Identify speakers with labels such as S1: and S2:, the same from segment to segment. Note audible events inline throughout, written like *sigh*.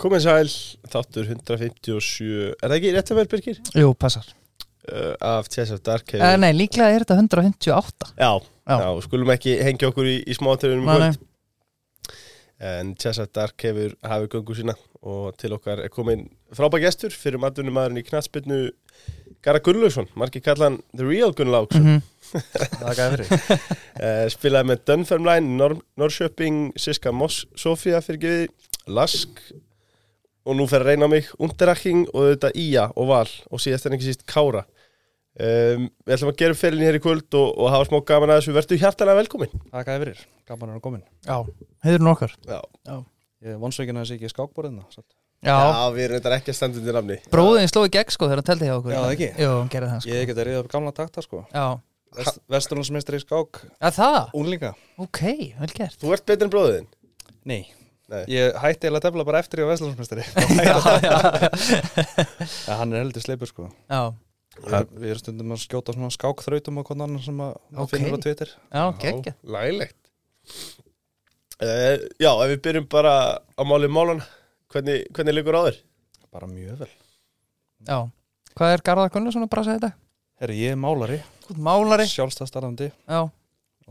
S1: Komið sæl, þáttur 157 Er það ekki rétt að vel, Birgir?
S2: Jú, passar
S1: Uh, af TSF Dark
S2: eh, Nei, líklega er þetta 158
S1: Já, já.
S2: Já.
S1: skulum ekki hengja okkur í, í smáatriðunum í
S2: Nei, nei.
S1: kvöld En TSF Dark hefur hafið göngu sína og til okkar er komin frábæk gestur fyrir matunum maðurinn í knatsbyrnu Gara Gunnlaugsson, margir kalla hann The Real Gunnlaugsson
S2: Mhm.
S3: Það gæði fyrir.
S1: Eh, spilaði með Dunfermline, Nor Norrköping, Siska Moss, Sofía fyrir gefið, Lask og nú fer að reyna á mig, Underacking og auðvitað Ía og Val og síðast en ekki síst Kára. Um, við ætlum að gera upp ferilin hér í kvöld og, og hafa smá gaman að þessu. Vertu hjartalega velkomin.
S3: Það gæði fyrir. Gaman að vera komin.
S2: Já, heiður nú okkar
S1: Já,
S3: Ég er vonsveikin að þessi ekki skákborðina. satt.
S2: Já,
S1: við erum þetta ekki að standa undir nafni.
S2: bróðin sló í gegn sko þegar hann teldi hjá okkur
S3: Já, það ekki?
S2: Jú, hann gerði það sko
S3: Ég get að riða upp gamla takta sko.
S2: Já,
S3: Vest, Vesturlandsmeistri í skák.
S2: að það?
S3: Úlinga.
S2: Ok, vel gert
S1: Þú ert betur en bróðin.
S3: Nei.
S1: Nei.
S3: Ég hætti eiginlega að tefla bara eftir ég var
S2: *laughs*
S3: Vesturlandsmeistri.
S2: *laughs* Já, já,
S3: ja, hann er heldur sleipur sko.
S2: já,
S3: Við erum- við erum stundum að skjóta svona skákþrautum og hvernig annan sem að maður
S2: Ok.
S3: finnur á Twitter.
S2: já geggja
S1: Lægilegt. Uh, já, ef við byrjum bara á málið málan, hvernig, hvernig liggur á þér?
S3: Bara mjög vel.
S2: Já, hvað er Garðar Gunnarsson að brasa þetta?
S3: Herru, ég er málari,
S2: Þú ert málari
S3: sjálfstæðstarfandi
S2: Já,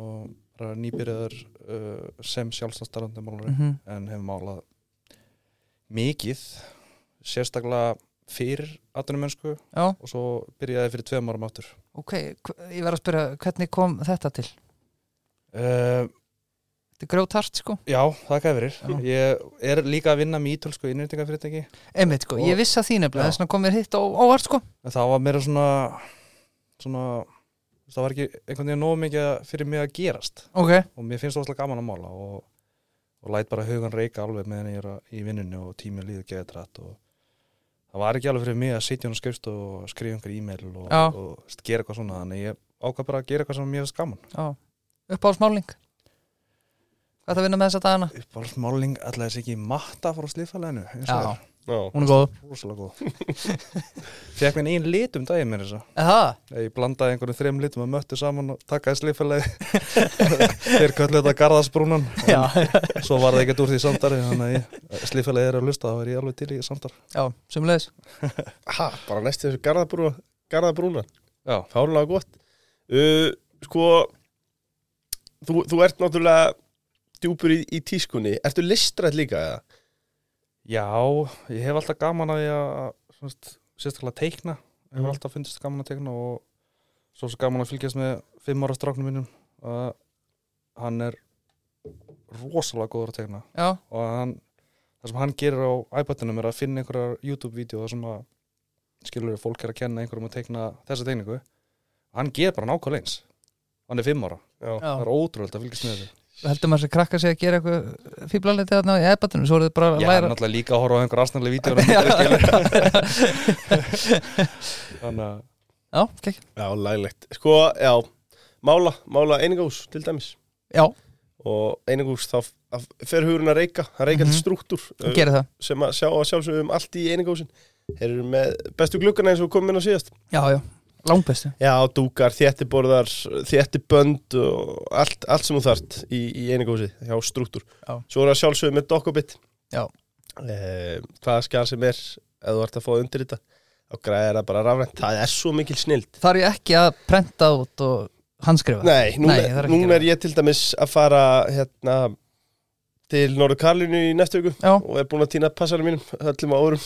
S3: og bara nýbyrjaður uh, sem sjálfstæðstarfandi málari.
S2: mhm,
S3: en hef málað mikið sérstaklega fyrir atvinnumennsku
S2: já,
S3: og svo byrjaði fyrir tveim árum áttur
S2: ok hv- Ég verð að spyrja, hvernig kom þetta til?
S3: uh,
S2: Þetta er grjótart sko
S3: Já, það gæði verið Ég er líka að vinna með ítölsku innrýtingafyrirtæki
S2: Einmitt sko, ég vissi að þín
S3: Já.
S2: eflega þess vegna kom mér hitt á óvart sko
S3: en það var meira svona svona það var ekki einhvern veginn nógu mikið fyrir mig að gerast
S2: Ok,
S3: og mér finnst það óslega gaman að mála og, og læt bara hugan reyka alveg meðan ég er að- í vinnunni og tíminn líður geðið rætt og það var ekki alveg fyrir mig að sitja hún og skrifst og skrifa einhver e-mail og,
S2: Já.
S3: og st- gera eitthvað svona þannig ég ákvað bara að gera eitthvað sem mér finnst gaman
S2: já, uppáhaldsmáling Hvað er það að vinna með þessa dagana?
S3: uppáhaldsmáling alltaf þessi ekki matta frá slífaleginu eins og
S2: Já,
S3: er
S1: Já.
S2: hún er góð
S3: rosalega góð *laughs* fekk mér einn lit um daginn mér þess að
S2: Það,
S3: ég blandaði einhverjum þrem litum að möttu saman og takkaði slífalegi *laughs* þeir köllu þetta garðasbrúnan
S2: já,
S3: Svo var það ekkert úr því samtari Þannig að slífælega er að lusta þá er ég alveg til í samtar
S2: já, sumleis
S1: Ha, bara næstu þessu Garðabrú, Garðabrúna
S3: Já.
S1: Fárlega gott uh, Sko þú, þú ert náttúrulega djúpur í, í tískunni Ertu listrætt líka eða?
S3: Já, ég hef alltaf gaman að ég að svona, sérstaklega teikna Ég hef
S1: Mhm.
S3: alltaf fundist gaman að teikna og svo svo gaman að fylgjast með fimm ára stráknum mínum að hann er rosalega góður að teikna
S2: Já,
S3: og hann, það sem hann gerir á iPadinum er að finna einhverjar YouTube-vídeó þar sem að skilur fólk er að kenna einhverjum að teikna þessa teikningu hann gerir bara nákvæmlega eins hann er fimm ára,
S1: Já,
S3: það
S2: já,
S3: er ótrúlega að fylgjast með þessu
S2: heldur maður sem krakka sig að gera eitthvað fíblaliti þarna í eðbatunum, svo eru þið bara að
S3: Já,
S2: læra
S3: náttúrulega líka að horfa á einhver aðstæðanlega *laughs* vídeo Þannig að
S2: *laughs* Já, kekk,
S1: já læglegt Sko, já, mála, mála einingahús til dæmis
S2: já,
S1: Og einingahús þá f- að- fer hugurinn að reyka Hann reyka mm
S2: Mhm.
S1: til struktúr
S2: hún
S1: uh,
S2: gerir það
S1: sem að sjá að sjálfsögum allt í einingahúsin Þeir eru með bestu glukkana eins og komin á síðast
S2: Já, já, langbestu
S1: Já, dúkar, þéttiborðar, þéttibönd og allt, allt sem þú þart í, í einingahúsi hjá struktúr.
S2: Já.
S1: Svo er það sjálfsögum með dokkubit.
S2: Já.
S1: Eh, hvaða skjál sem er, ef þú ert að fá undir þetta, þá græðir það bara rafrænt. Það er svo mikil snild.
S2: Þarf ég ekki að prenta út og handskrifa
S1: Nei, núna,
S2: Nei, það er ekki
S1: núna
S2: gera.
S1: er ég til dæmis að fara hérna, til Norður Karlinu í næstu viku
S2: Já.
S1: og er búin að týna passarinn mínum öllum á árum.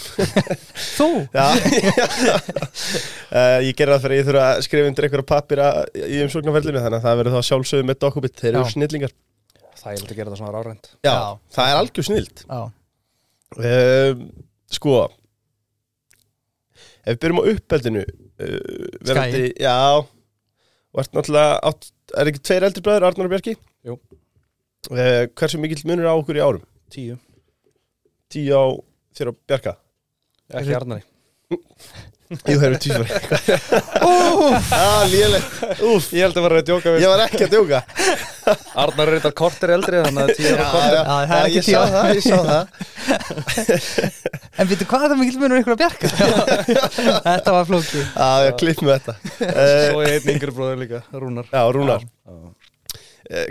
S2: Þú?
S1: Já, *laughs* uh, ég gerði það fyrir að ég þurfa að skrifa undir einhverja pappira í umsóknarferlinu þannig að það verður þá sjálfsögum með dokkubit, þeir eru
S2: Já.
S1: snillingar
S3: það er eitthvað að gera þetta svona rárænt
S1: Já,
S2: Já.
S1: það er algjör snild
S2: Já,
S1: um, Sko Ef við byrjum á uppeldinu uh, verandi, Já Og ert náttúrulega átt, Er ekki tveir eldri bræður, Arnar og Bjarki?
S3: Jú.
S1: uh, Hversu mikill munur er á okkur í árum?
S3: Tíu,
S1: Tíu á þér og Bjarka
S3: ekki Arnari
S1: Jú, það eru tísvar *laughs* ah, Lélegt, úf
S3: Ég held að vera að djóka við
S1: Ég var ekki að djóka
S3: Arnari er eitthvað kortir eldri þannig að tíu er að kortir
S2: Já, það er ekki
S1: ég sá
S2: tíu.
S1: það, ég sá
S2: *laughs*
S1: það
S2: en veitu hvað er það mikill munur ykkur að bjarga? *laughs* þetta var flóki
S1: Já, ég klipp með þetta uh,
S3: Svo er einn yngri bróður líka, Rúnar
S1: Já, Rúnar,
S3: Það
S1: uh,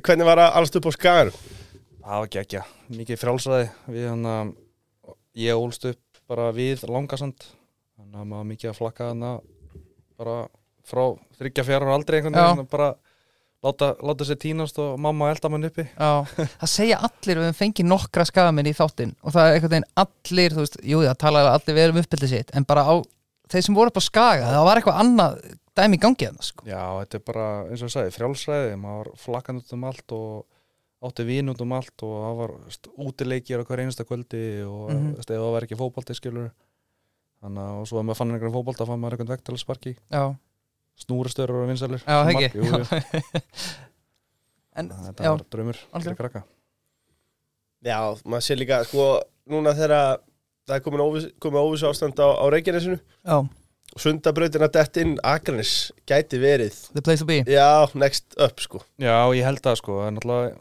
S1: hvernig var að allast upp á skaganum?
S3: var geggja, mikið frjálsræði Við hann að hérna, ég ólst upp bara við langasand þannig að maður mikið að flakka hana bara frá þryggja fjara ára aldrei einhvern
S2: Já.
S3: veginn bara láta, láta sér tínast og mamma elda mann uppi
S2: Já, *laughs* það segja allir við höfum fengið nokkra skafamenn í þáttinn og það er einhvern veginn allir, þú veist, jú það talaði allir vel um uppbyldið sitt, en bara á þeir sem voru upp á skaga, það var eitthvað annað dæmi í gangi þarna, sko.
S3: já, þetta er bara, eins og ég sagði, frjálsræði maður var flakkan út um allt og átti vín út um allt og það var veist, útileikir á hver einasta kvöldi og mm
S2: Mhm.
S3: -hmm. eða það var ekki fótbolti skilur þannig að og svo að maður fann einhvern fótbolta fann maður einhvern vektalasparki
S2: Já,
S3: snúrastörur og
S2: já,
S3: vinsalur
S2: það ekki.
S3: jú, jú.
S2: *laughs* en,
S3: þetta
S2: já,
S3: var draumur fyrir
S2: algjörlega.
S3: krakka
S1: Já, maður sé líka, sko, núna þegar það er komin óviss, komið óvissu ástand á, á Reykjanesinu
S2: já,
S1: og sundabrautina dett inn Akranes gæti verið,
S2: the place to be.
S1: já, next up, sko
S3: Já, ég held það sko, það er náttúrulega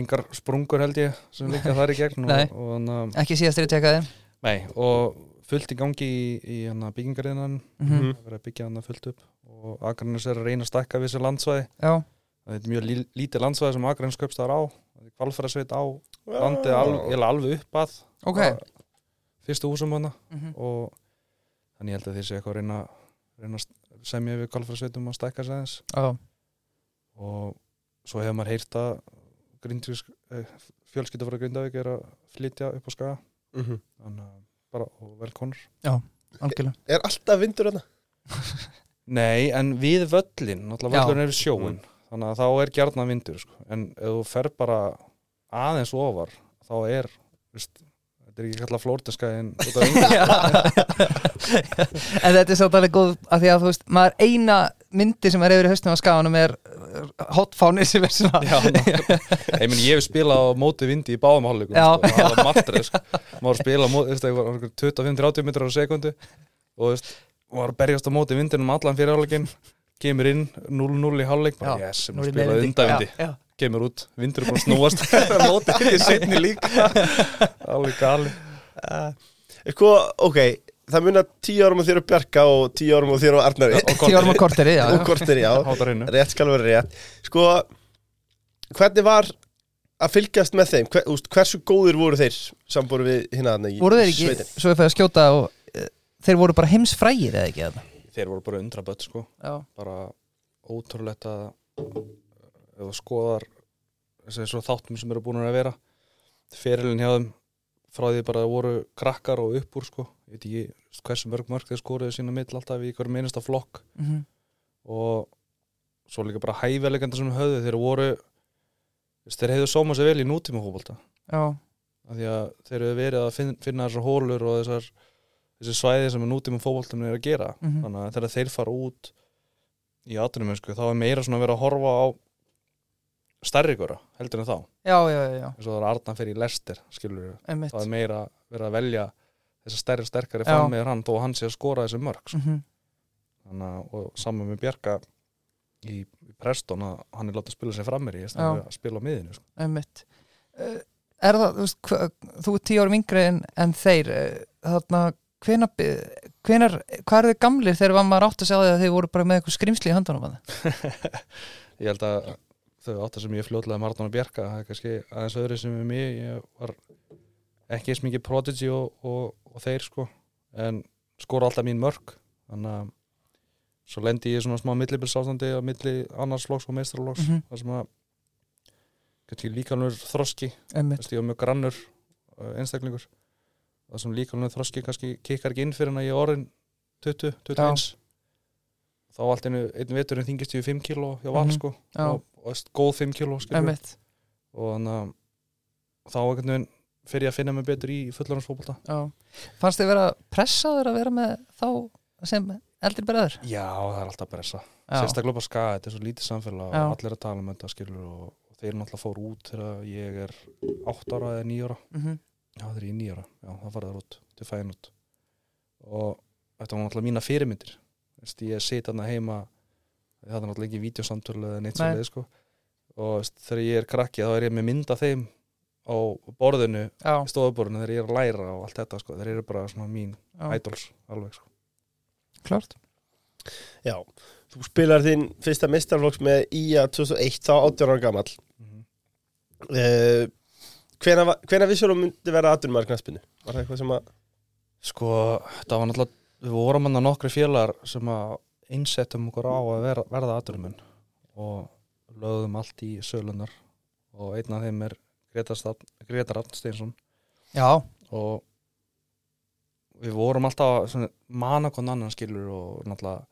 S3: engar sprungur held ég sem líka þar í gegn
S2: Nei.
S3: og, og, hana,
S2: Ekki síðast er ég tjekkaði.
S3: nei, og fullt í gangi í, í hana, byggingariðinan
S2: Mm
S1: Mhm.
S3: það er verið að byggja hana fullt upp og Akranis er að reyna að stakka við sér landsvæði
S2: Já,
S3: það er mjög lí, lítið landsvæði sem Akranis köpstar á kvalfærarsveit á landið
S1: Já.
S3: alveg, eiginlega alveg upp að
S2: ok.
S3: að fyrstu húsum hana
S2: Mhm.
S3: og þannig ég held að þeir sé eitthvað að reyna, reyna að st- semja við kvalfærarsveitum að stakka sér aðeins
S2: Já,
S3: og svo hefur maður heyrt að grindvísk, eh, fjölskylda frá Grindavík er að flytja upp á skaga
S1: Mhm.
S3: þannig að bara og velkonur
S2: algjörlega. *laughs*
S1: Er alltaf vindur þarna?
S3: Nei, en við völlin, náttúrulega
S2: Já.
S3: völlin er við sjóin þannig að þá er gjarnan vindur sko. en ef þú fer bara aðeins ofar þá er veist, þetta er ekki kallað flórtinska en þetta er
S2: Já. en þetta er svolítið alveg góð að því að þú veist, maður eina myndi sem er yfir í haustum á skaganum er hotfánir sem er svona
S3: Já, ég, meni, ég hef spilað á móti vindi í báðum hálfleikum
S2: Já,
S3: sko, það var martrið sko. maður spila á móti, það var 25-30 metrar á sekundu og þú veist, maður berjast á móti vindinum allan fyrir hálfleikin kemur inn 0-0 í hálfleik bara
S2: Já,
S3: yes,
S2: nú er
S3: maður
S2: ég
S3: spilaði
S2: meðvitund.
S3: undavindi
S2: Já, já.
S3: kemur út, vindur er búin
S2: *laughs*
S3: að snúast móti er ég setni líka alveg gali
S1: Uh, sko, ok, það munar tíu árum á þér og Bjarka og tíu árum á þér og Arnari
S3: og
S2: Tíu árum og korteri, já,
S1: *laughs* og
S2: já.
S1: kortir, já
S3: hátar hinnu
S1: rétt skal vera rétt sko, hvernig var að fylgjast með þeim, Hver, úst, hversu góðir voru þeir sambúru við hérna þarna í
S2: Voru þeir ekki,
S1: sveitinni?
S2: svo ég fæði að skjóta og eh, þeir voru bara heimsfrægir eða ekki eða?
S3: þeir voru bara undra börn sko
S2: Já,
S3: bara ótrúlegt að ef þú skoðar þessi svo þáttum sem eru búin að vera fyrirlin hjá þeim frá því bara að voru krakkar og upp úr sko, ég veit ekki hversu mörg mörg þeir skoruðu sína mill alltaf í hverju minnasta flokk
S2: mhm,
S3: og svo líka bara hæfilegandi sem þeir höfðu þeir voru þú veist, þeir hefðu sóma sér vel í nútíma fótbolta
S2: já,
S3: af því að þeir hefðu verið að finna, finna þessar hólur og þessar þessi svæði sem er nútíma fótboltum er að gera
S2: mhm,
S3: þannig að þegar þeir fara út í atvinnumensku þá er meira svona að vera að horfa á stærri góra heldur en þá eins
S2: já, já, já, já,
S3: og það er Arna fyrir í lestir skilur við,
S2: einmitt
S3: þá er meira að vera að velja þessar stærri sterkari
S2: Já.
S3: fram með hann þó að hann sé að skora þessi mörg sko.
S2: Mhm,
S3: þannig að og saman með Bjarka í, í Preston að hann er látið að spila sér fram með í þess að spila á miðinu sko.
S2: einmitt Eh, Er það, þú veist, hva- þú er tíu árum yngri en, en þeir eh, þarna, hvenar, hvenar hvað eru þið gamlir þegar var maður átt að segja að þeir voru bara með eitthvað skrimsli í handanum að það?
S3: ég held að þau áttar sem ég fljótlega um Arna og Bjarka það er kannski aðeins öðru sem er mig ég var ekki eins mikið prodigy og, og, og þeir sko en skora alltaf mín mörg þannig að svo lendi ég í svona smá millibilsástandi á milli annars flokks og meistralokks
S2: Mhm.
S3: það sem að kannski líkanur þroski
S2: Einmitt,
S3: þess að ég var mjög grannur uh, einstaklingur það sem líkanur þroski kannski kikkar ekki inn fyrir en að ég er orðin 20, 21 þá allt einu, einn veturinn þingist ég í 5 kíló hjá val
S2: Mhm.
S3: sko
S2: já,
S3: og, og veist, góð 5 kíló skilur við.
S2: einmitt,
S3: og þannig að þá einhvern veginn fyrir ég að finna mig betur í fullanarsfókbalta
S2: já Fannst þið vera pressaður að vera með þá sem eldri bræður?
S3: já, það er alltaf pressa
S2: Já.
S3: sérstaklega bara skaga, þetta er svo lítið samfélag
S2: Já.
S3: og allir að tala um þetta skilur og, og þeir náttúrulega fóru út þegar ég er 8 ára eða 9 ára
S2: Mhm,
S3: já, þeir eru í 9 ára, já, það farið þar út til fæðin út og þetta var náttúrulega mína fyrirmyndir Vist, ég sit þarna heima það er náttúrulega ekki vídeosamtölu eða neitt
S2: Nei.
S3: svo sko. og veist, þegar ég er krakki þá er ég með mynda þeim á borðinu
S2: Já,
S3: stofuborðinu þeir eru að læra og allt þetta sko. þeir eru bara svona mín
S2: já,
S3: idols alveg sko.
S2: klart
S1: Já, þú spilar þinn fyrsta mistarflokks með IA 2001 þá 18 ára gamall
S3: mm
S1: uh, Hvena, hvena vissjóla myndi vera aðdurumar knaspinu? Var það eitthvað sem að
S3: Sko, það var náttúrulega við vorum hann að nokkri félagar sem að einsettum okkur á að vera, verða atvinnumenn og lögðum allt í sölunar og einn af þeim er Grétar, Stafn, Grétar Arnsteinsson
S2: já,
S3: og við vorum alltaf svona, mana konn annan skilur og náttúrulega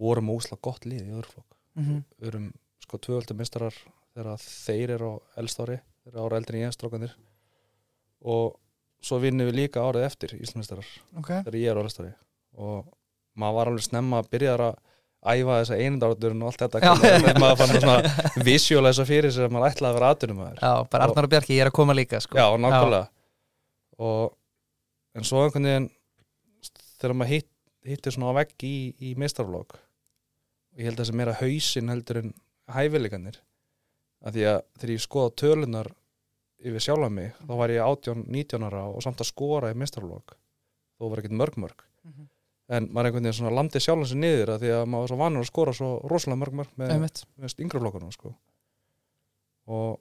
S3: vorum ósla gott lið í öðruflokk
S2: mhm,
S3: við erum sko tvööldu mistrar þegar þeir eru á elstári þeir eru ára eldri en ég strókanir og svo vinnum við líka árið eftir Íslandsmistrar
S2: ok
S3: þegar ég er á lestarri og maður var alveg snemma að byrja að æfa þessa einundarátturinn og allt þetta
S2: Já.
S3: þegar maður fann að svona visualize fyrir sér að maður ætlaði að vera aðtunum maður
S2: já, bara Arnar og Bjarki, ég er að koma líka sko.
S3: já, nákvæmlega og en svo einhvern veginn þegar maður hitt, hittir svona á vegg í, í mistarflokk ég held að þessi meira hausinn heldur en hæfileikanir að því að þegar ég skoða tölunar yfir sjálfa mig þá var ég 18, 19 ára og samt að skora í mistarflokk þó var ekkert mörg mörg
S2: Mhm.
S3: en maður einhvern veginn svona landi sjálfan sér niður að því að maður var svo vanur að skora svo rosalega mörg mörg með,
S2: Einmitt.
S3: veist, yngra flokkunum sko. og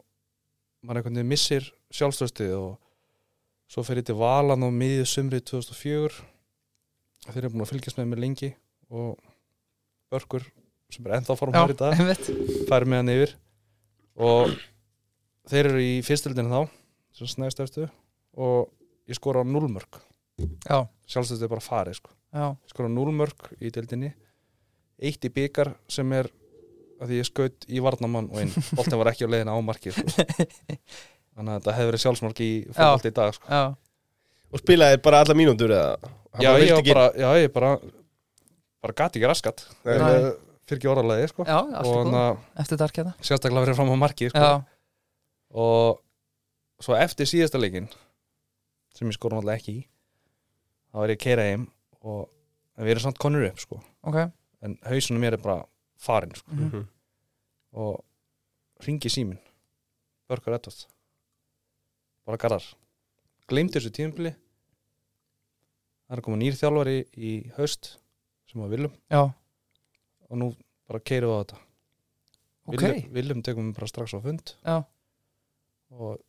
S3: maður einhvern veginn missir sjálfstöðstið og svo fer ég til valan á miðið sumri 2004 þeir eru búin að fylgjast með mér lengi og börkur sem er ennþá fórum
S2: já,
S3: hér í dag
S2: einmitt
S3: færi með hann yfir og þeir eru í fyrstöldinu þá sem snæðist eftir og ég skora á núlmörk
S2: já,
S3: sjálfstöðstið er bara farið sko
S2: já,
S3: skora núlmörk í deildinni eitt í byggar sem er að því ég skaut í varnamann og
S2: *laughs*
S3: inn boltin var ekki á leiðina á markið sko. þannig að þetta hefði verið sjálfsmark í fólkvöldi í dag sko.
S2: já,
S1: Og spilaði bara alla mínútur eða Hann
S3: já,
S1: vildi
S3: ég var
S1: ekki-
S3: bara, já, ég bara bara gati ekki raskat
S1: Nei.
S3: Eiginlega fyrir ekki orðalegi sko.
S2: já, allt er
S3: og hann
S2: góð
S3: að
S2: eftir darkjæða
S3: sérstaklega verið fram á markið sko.
S2: já,
S3: og svo eftir síðasta leikin sem ég skorum alltaf ekki í þá er ég að keira heim og en við erum samt konur upp sko.
S2: ok
S3: en hausunum mér er bara farinn sko.
S2: mhm.
S1: Mhm.
S3: og ringi símin Börgur Edvard bara garðar gleymdi þessu tíðumbili það er komið nýr þjálfari í haust sem við viljum
S2: já,
S3: og nú bara keirum við á þetta
S2: ok
S3: viljum, viljum tekum við bara strax á fund
S2: já,
S3: og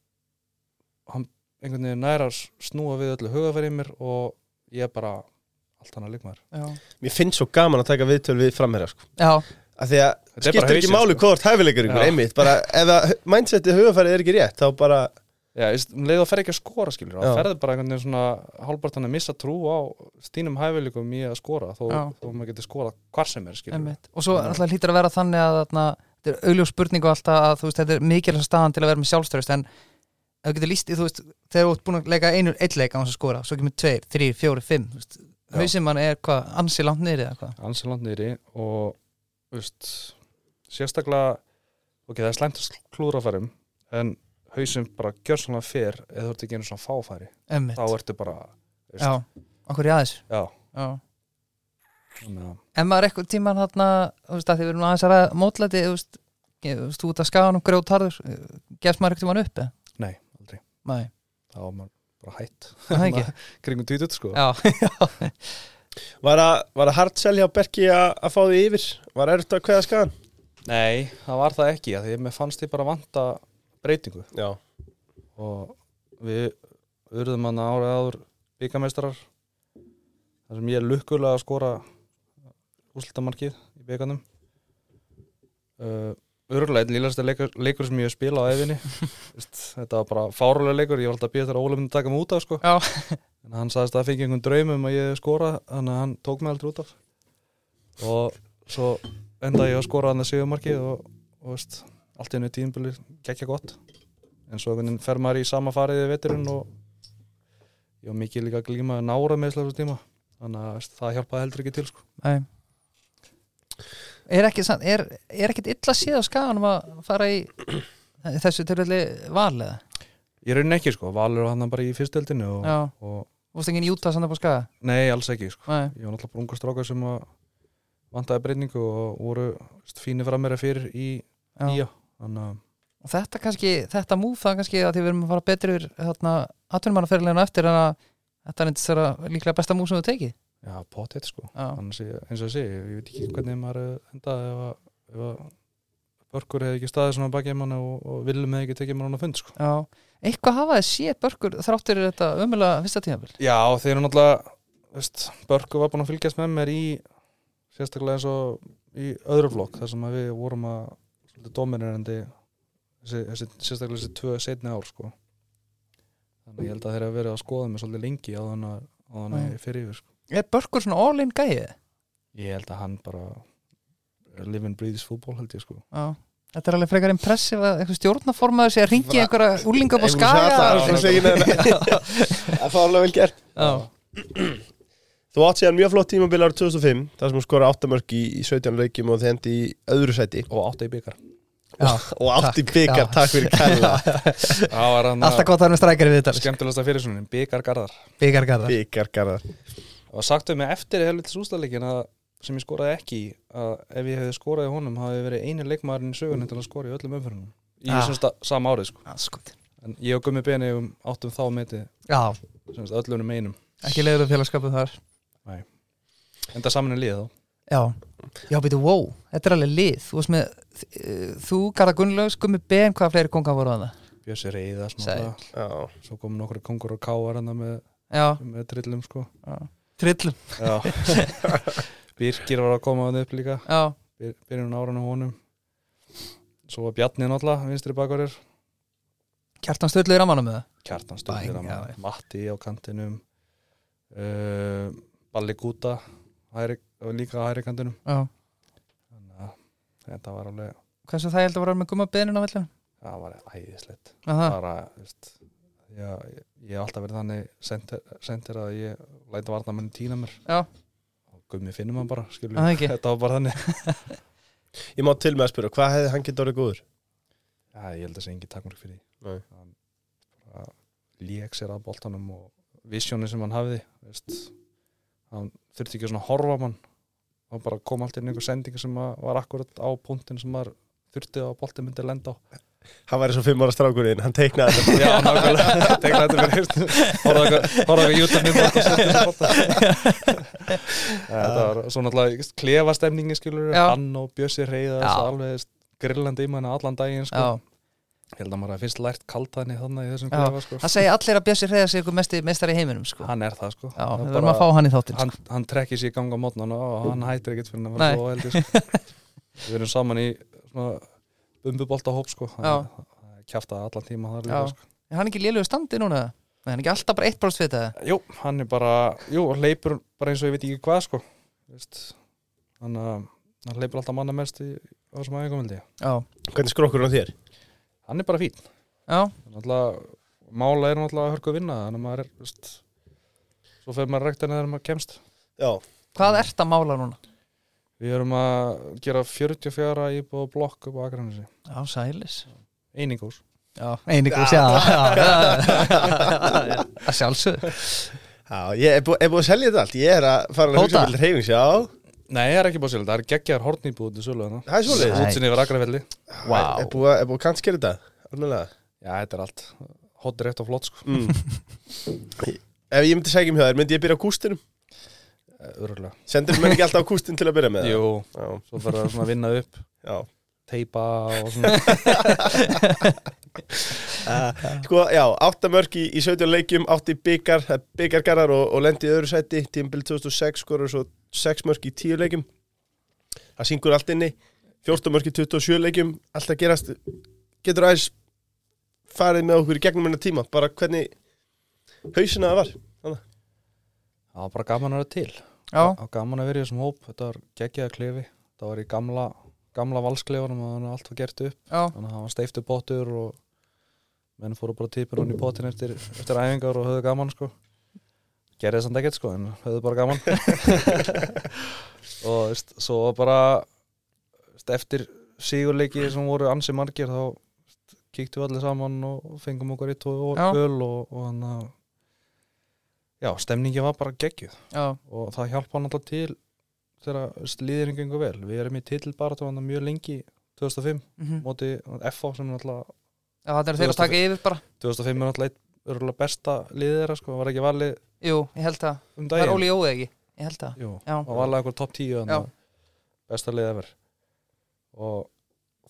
S3: hann einhvern veginn næra snúa við öllu hugafærið mér og ég er bara allt hann að leikmaður
S2: já,
S1: Mér finnst svo gaman að taka viðtöl við framherja sko.
S2: já,
S1: Af því að
S3: Þetta er bara
S1: skiptir ekki
S3: hausinn,
S1: máli
S3: sko.
S1: hvort hæfilegur ykkur,
S3: Já.
S1: einmitt bara ef að mindsetið hugafærið er ekki rétt þá bara,
S3: Já, veist, um leið og fer ekki að skora skilur það
S1: Já.
S3: ferði bara einhvern veginn svona hálfbart hann að missa trú á stínum hæfileikum í að skora þó,
S2: Já.
S3: þó maður getur skorað hvar sem er skilur
S2: einmitt og svo alltaf hlýtur að vera þannig að þarna, þetta er augljós spurning og alltaf að þú veist þetta er mikilvæg staðan til að vera með sjálfstörust en ef þú getur líst, þú veist, þegar þú ert búin að leika einur eitt leik á hans að skora, svo kemur tveir, þrýr, fjóri, fimm þú veist,
S3: Já.
S2: hausinn mann er hvað, ansi langt niður eða hvað
S3: Anseland nýri og veist, sérstaklega ok, það er slæmt að klúðrafærum en hausinn bara gjör svona fyrr eða þú ert ekki einu svona fáfæri
S2: einmitt,
S3: þá ertu bara veist,
S2: já, okkur í aðeins
S3: já,
S2: já
S3: þannig að-
S2: en maður eitthvað tíman þarna þú veist að þið verðum nú aðeins að ræða mótlæti þú veist, ég- þú veist, út að skagan og grjótarður gefst maður eitthvað upp eða?
S3: nei, aldrei,
S2: Nei,
S3: þá var maður bara hætt
S2: það *laughs* ekki
S3: kringum tvítut sko
S2: Já, já,
S1: var að, var að hard sell hjá Berki að, að fá því yfir var erft að kveða skagan
S3: nei, það var það ekki að því að mér fannst ég bara vanta breytingu
S1: Já,
S3: og við urðum hann árið áður byggameistrar þar sem ég er lukkulega að skora úslitamarkið í bygganum uh, örgulega einn lílasta leikur, leikur sem ég hef spilað á efinni þetta var bara fárulega leikur ég var alltaf að býja þar að Óli myndi taka mig út af sko.
S2: Já.
S3: en hann sagðist að það fengi einhvern draum um að ég hef skorað þannig að hann tók mig aldrei út af og svo endaði ég að skora hann að sigumarkið og, og veist, allt í hennu tíðinbili gekkja gott en svo einhvern veginn fer maður í sama fariði veturinn og ég var mikið líka að glíma að nára með þessu tíma þannig að veist, það hjálpaði heldur ekki til sko.
S2: nei Er ekki, sann- er, er ekkit illa séð á skaganum að fara í þessu tilfelli val eða?
S3: ég raunin ekki, sko, Valur var hann bara í fyrstöldinu og,
S2: Já,
S3: og
S2: þú veist enginn júta sann upp á skaga?
S3: nei, alls ekki sko.
S2: Nei,
S3: ég var náttúrulega bara unga stráka sem að vantaði breyningu og voru veist, fínir fram meira fyrir í
S2: já.
S3: ía þannig að
S2: Og þetta kannski, þetta múf það kannski að því við erum að fara betri yfir þarna atvinnumannaferðilegna eftir en að þetta er einn þessara líklega besta múf sem þú tekið
S3: Já, potið sko,
S2: Já,
S3: annars ég, eins og ég segi, ég veit ekki hvernig maður eh, endaði ef að, ef að Börkur hefði ekki staðið svona bakið manna og, og Viljum hefði ekki tekið manna á fund sko.
S2: Já, eitthvað hafa þið séð börkur þráttir þetta ömulega fyrsta tíðanbíl
S3: Já, þeir eru náttúrulega veist, Börkur var búin að fylgjast með mér í sérstaklega eins og í öðru flokk þar sem að við vorum að svolítið dominirandi þessi, þessi, sérstaklega þessi tvö setni ár sko. þannig að ég held að þeir hafa verið að skoða mig svolítið lengi á þannig að, á þannig að ég fer yfir sko.
S2: Er börkur svona all-in gæði?
S3: ég held að hann bara live and breathe is football held ég sko
S2: Já, þetta er alveg frekar impressiv að einhver stjórnaformaður sé að ringi einhverja úlinga upp á
S1: Það er
S2: skaga
S1: segin en Það var alveg vel gert
S2: Já,
S1: Þú átt síðan mjög flott tímabil árið 2005 þar sem hún skora 8 mörg í, í 17 leikjum og þendi í öðru sæti
S3: og átta í byggar
S2: já,
S1: og átt í byggar,
S2: já.
S1: takk fyrir kæla
S2: *laughs*
S3: það var hann
S2: alltaf gott að hann er strækari við þetta
S3: skemmtilegsta fyrir svona byggargarðar
S2: Byggargarða
S1: byggargarðar
S3: og sagtu mig eftir helvitis ústæðleikin að sem ég skoraði ekki í, að ef ég hefði skoraði honum hafi ég verið einu leikmaðurinn í sögunni til að skora í öllum umfyrunum í
S2: Ah.
S3: ah. semst að sama árið sko
S2: Andskotinn.
S3: en ég og Gummi Beni um áttum þá metið
S2: Já,
S3: semst öllunum einum
S2: ekki leiður um félagskapu þar
S3: en það saman er liðið þá
S2: Já, já, betur, wow, þetta er alveg lið Þú veist með, eh, þú, Garða Gunnlaugs, Gummi Ben, hvaða fleiri konga voru að það?
S3: Bjössi reyða
S2: Sæll.
S3: smá það.
S1: Já,
S3: svo komu nokkru kongur og káar hann með,
S2: Já,
S3: með trillum sko
S2: trillum
S3: *laughs* Já. Birgir var að koma hann upp líka
S2: Já,
S3: byr- byrjun áran á honum svo var Bjarni náttúrulega vinstri bakvarir
S2: kjartan stöðlu í ramanum með það
S3: Kjartan
S2: Bæng,
S3: Stöðir
S2: já, já.
S3: Matti á kantinum uh, Balli Gúta hæri, og líka á hæri kantinum
S2: Já,
S3: þannig að þetta var alveg
S2: hversu það ég held að voru með Gumma Benin á vellinu
S3: það var æðislegt
S2: Aha,
S3: bara, veist já, ég, ég hef alltaf verið þannig sendir, sendir að ég læta varnamenni týna mér
S2: Já.
S3: og gummi finnum hann bara skilur
S2: Það ekki.
S3: þetta var bara þannig
S1: ég má til með að spyrja, hvað hefði hann getið orðið góður?
S3: já, ég held að segja engin takkmörk fyrir því
S1: Nei.
S3: hann bara lék sér að boltanum og visjónin sem hann hafði veist, hann þurfti ekki að svona horfa á mann hann bara kom allt inn einhver sending sem að var akkurat á punktin sem maður þurfti að boltin myndi lenda á
S1: Hann væri svo 5 ára strákurinn, hann teiknaði
S2: *laughs*
S1: þetta
S3: já, nákvæmlega, *laughs* tegna þetta fyrir heyrstu. horfa eitthvað- horfa ekki júta minn bolta þetta var svo náttúrulega klefastemningi skilur,
S2: Já.
S3: hann og Bjössi reyða
S2: Já.
S3: þessu alveg veist, grillandi í manna allan daginn
S2: já,
S3: sko. ég held að maður hafi fyrst lært kaltæðni þannig í þessum
S2: Já.
S3: klefa sko.
S2: það segja allir að Bjössi Hreðars er ykkur mesti meistari í heiminum sko. Já,
S3: hann er það sko
S2: við
S3: Það
S2: verðum að fá hann í þáttinn
S3: hann,
S2: sko.
S3: hann trekkir sér í ganga mótnan og hann hættir ekkert fyrir hann að
S2: Nei.
S3: vera svo eldi
S2: *laughs*
S3: sko. við erum saman í svona umbubolta hóp sko
S2: Já.
S3: kjaftaði allan tíma þar líka
S2: Já.
S3: sko.
S2: Er hann ekki lélugu standi núna? Nei, hann er ekki alltaf bara eitt bróst við þetta
S3: jú, hann er bara, jú, hann hleypur bara eins og ég veit ekki hvað sko Veist, hann, uh, hann hleypur alltaf manna mest í á þessum aðeinkvæmildi
S2: Já,
S1: Hvernig skrokkur á þér?
S3: hann er bara fín,
S2: já,
S3: hann alltaf mála er hann alltaf að hörku að vinna þannig að maður er, veist svo fer maður rektina þegar maður kemst
S1: Já,
S2: hvað ert að mála núna?
S3: við erum að gera 44 íbúð blokk upp á Akranesi
S2: Já, sælis
S3: einingús
S2: Já, einnig og sjá *laughs* já, já, já. Að sjálfsög
S1: já ég er, bú, er búið að selja þetta allt Ég er að fara að hugsa
S2: Hóta.
S1: til reyfings, já
S3: Nei, það er ekki búið að selja, það er geggjar hortnýbúð til sölu þarna.
S1: Það er svoleiðis
S2: Nei.
S3: Útsinni yfir Akrafelli
S2: Vá.
S1: Er búið að- er búið að kannskera þetta? Almennilega.
S3: Já, þetta er allt Hot rétt og flott sko
S1: Mm. *laughs* Ef ég myndi segja um hjá þér, myndi ég byrja á kústinum?
S3: Örgulega
S1: Sendir mér ekki alltaf á kústin til að byrja með það?
S3: Eh, Jú,
S1: Já,
S3: svo fyrir það svona að vinna upp
S1: já
S3: Teipa og
S1: *laughs*
S3: svona
S1: Sko, já, áttamörk í, í 17 leikjum, átt í byggar, byggargarðar og, og lendi í öðru sæti, tímbil 2006 skorur svo 6 mörk í 10 leikjum, það syngur allt inni, 14 mörk í 27 leikjum, allt að gerast, getur aðeins farið með okkur í gegnum hennar tíma, bara hvernig hausina það var.
S3: Það var bara gaman að vera til
S2: Já,
S3: Það var gaman að vera í þessum hóp Þetta var geggjaða klefi Það var í gamla, gamla valskleifunum og þannig að allt var gert upp
S2: já,
S3: Þannig að það var steiftu bóttur og menn fóru bara típur hann í bóttin eftir, eftir æfingar og höfðu gaman sko gerði þess að ekkert sko en höfðu bara gaman og veist, svo bara veist, eftir sigurleiki sem voru ansi margir þá veist, kíktum við allir saman og fengum okkur í tóð og
S2: Já.
S3: öl og, og hann að já, stemningi var bara geggjuð
S2: já,
S3: og það hjálpa hann alltaf til þegar veist, liðurinn gengur vel við erum í titilbaratóðan mjög lengi 2005
S2: mhm.
S3: móti FH sem er alltaf
S2: já það er þeir að taka yfir bara
S3: 2005 er alltaf örgulega besta liðið þeirra sko, var ekki valið
S2: Jú, ég held að,
S3: um
S2: það
S3: daginn
S2: er Óli Jói ekki Ég held að,
S3: Jú,
S2: já
S3: og valið eitthvað topp 10
S2: Já.
S3: þarna, besta liðið efer og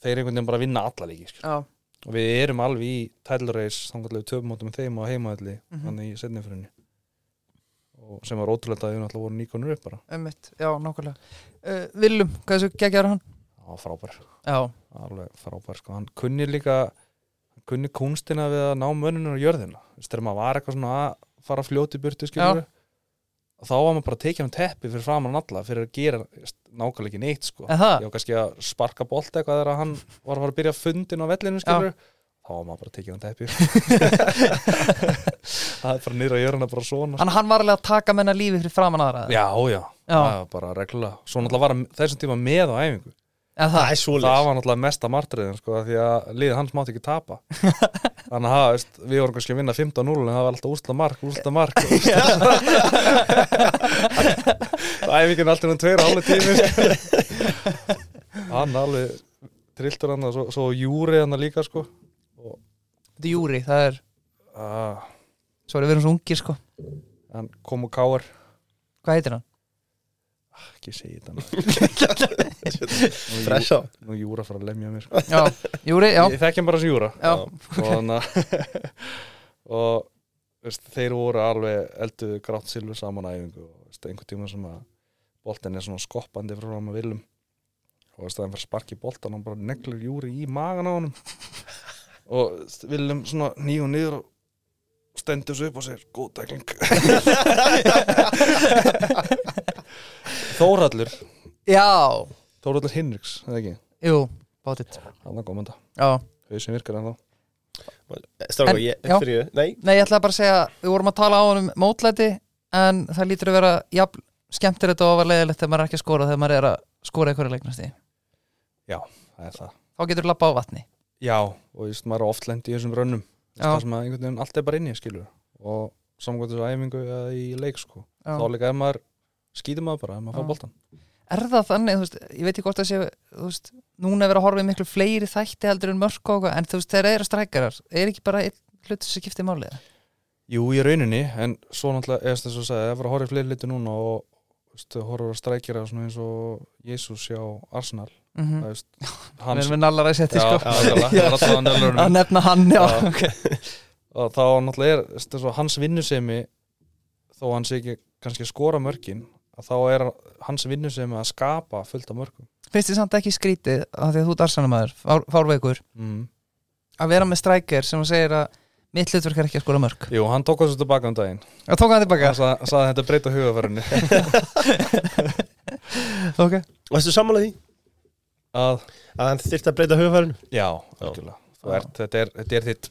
S3: þeir einhvern veginn bara vinna alla leiki skilur.
S2: já,
S3: og við erum alveg í title race þannig að við töfum átum þeim á heimaðalli
S2: Mhm.
S3: þannig í setnifrunni og sem var ótrúlega að við náttúrulega voru nýkonur upp bara
S2: ömmitt, já, nákvæmlega uh, Willum, hvað er svo geggjar hann?
S3: það var frábær,
S2: Já,
S3: alveg frábær sko. hann kunni líka hann kunni kunstina við að ná mönnunum á jörðina Þú veist, þegar maður var eitthvað svona að fara að fljóti burtu skilur þá var maður bara að tekja hann teppi fyrir framan alla fyrir að gera nákvæmlega ekki neitt sko.
S2: eða það?
S3: ég var kannski að sparka bolt eitthvað þegar hann var að fara að byrja fundin á vellinu skilur þá var maður bara að tekið hann teppi *laughs* það er bara nýra að gjöra hann bara svona
S2: Hann, hann var alveg að taka menna lífi fyrir framan aðra
S3: já, já,
S2: Já.
S3: það var bara reglulega svo náttúrulega var hann þessum tíma með á æfingu
S2: eða það?
S1: er svo
S3: það var náttúrulega mesta martriðin sko, af því að liðið hans mátti ekki tapa þannig að það, veist, við vorum kannski að vinna 15-0 en það var alltaf úsla mark, úsla mark það er ekki alltaf um tveir áli tími sko. hann alveg trilltur hann og svo, svo júri hann líka sko.
S2: Þetta er Júri, það er,
S3: ah,
S2: svo er við erum svo ungir sko
S3: hann kom og káar
S2: Hvað heitir hann?
S3: ekki segi þetta nú. Nú er Jú-
S1: Fressa
S3: nú er júra fara að lemja mér sko.
S2: Já, Júri, já,
S3: ég þekki hann bara sem júra
S2: já,
S3: *laughs* og þannig að- og veist, þeir voru alveg elduðu grátt silfur saman á æfingu og veist, einhvern tíma sem að boltin er svona skoppandi frá hann að viljum og veist, það er bara sparki boltan hann bara neglur júri í magan á honum og viljum svona nýju niður og stendur svo upp og segir góð dækling Þórallur
S2: já,
S3: Þórallur Hinriks, eða ekki
S2: jú, bátitt
S3: hann er komanda,
S2: Já,
S3: þau sem virkar ennþá
S1: Stráka,
S2: En-
S1: ég,
S2: já.
S1: fyrir ég, nei
S2: nei, ég ætlaði bara að segja, við vorum að tala á hann um mótlæti En það lítur að vera, jafn, skemmtir þetta og var leiðilegt þegar maður er ekki að skora Þegar maður er að skora eitthvað leiknast í
S3: það er það
S2: Þá getur lappa á vatni
S3: Já, og just, maður er oft lend í þessum rönnum Þú veist,
S2: Já.
S3: það sem að einhvern veginn allt er bara inni skilur og samkvæmt þessu æfingu eða í leik sko.
S2: Já.
S3: þá líka ef maður skýtur maður bara ef maður
S2: Já.
S3: fá boltan
S2: er það þannig, þú veist, ég veit ekki hvort það sé þú veist, núna er verið að horfa í miklu fleiri þætti heldur en mörk og eitthvað, en þú veist, þeir eru strækjarar er ekki bara einn hlut sem skiptir máli eða?
S3: Jú, í rauninni, en svo náttúrulega eða þess að segja, ef maður horfir fleiri liti núna og þú veist, horfir að strækjara svona eins og Jésús hjá Arsenal
S2: Mhm.
S3: það veist,
S2: við
S3: hans
S2: erum við nallar að setja sko *laughs*
S3: sko.
S2: að nefna hann, já,
S3: Já.
S2: ok.
S3: *laughs* og þá náttúrulega er veist, svo, hans vinnusemi þó hann sé ekki kannski að skora mörkin að þá er hans vinnusemi að skapa fullt af mörkum
S2: finnst þið samt ekki skrítið að því að þú ert arsanamaður, fár, fárveikur
S3: mm.
S2: að vera með strækjar sem að segir að mitt hlutverk er ekki að skora mörk
S3: Jú, hann tók þessu tilbaka um daginn
S2: að tók hann tilbaka,
S3: Hann sa- sagði þetta breyta hugafærunni
S2: ok
S1: Og þessu sammála því
S3: að,
S1: að hann þyrfti að breyta hugfærinu
S3: Já, algjörlega Þú
S2: Já.
S3: ert, þetta, er, þetta er þitt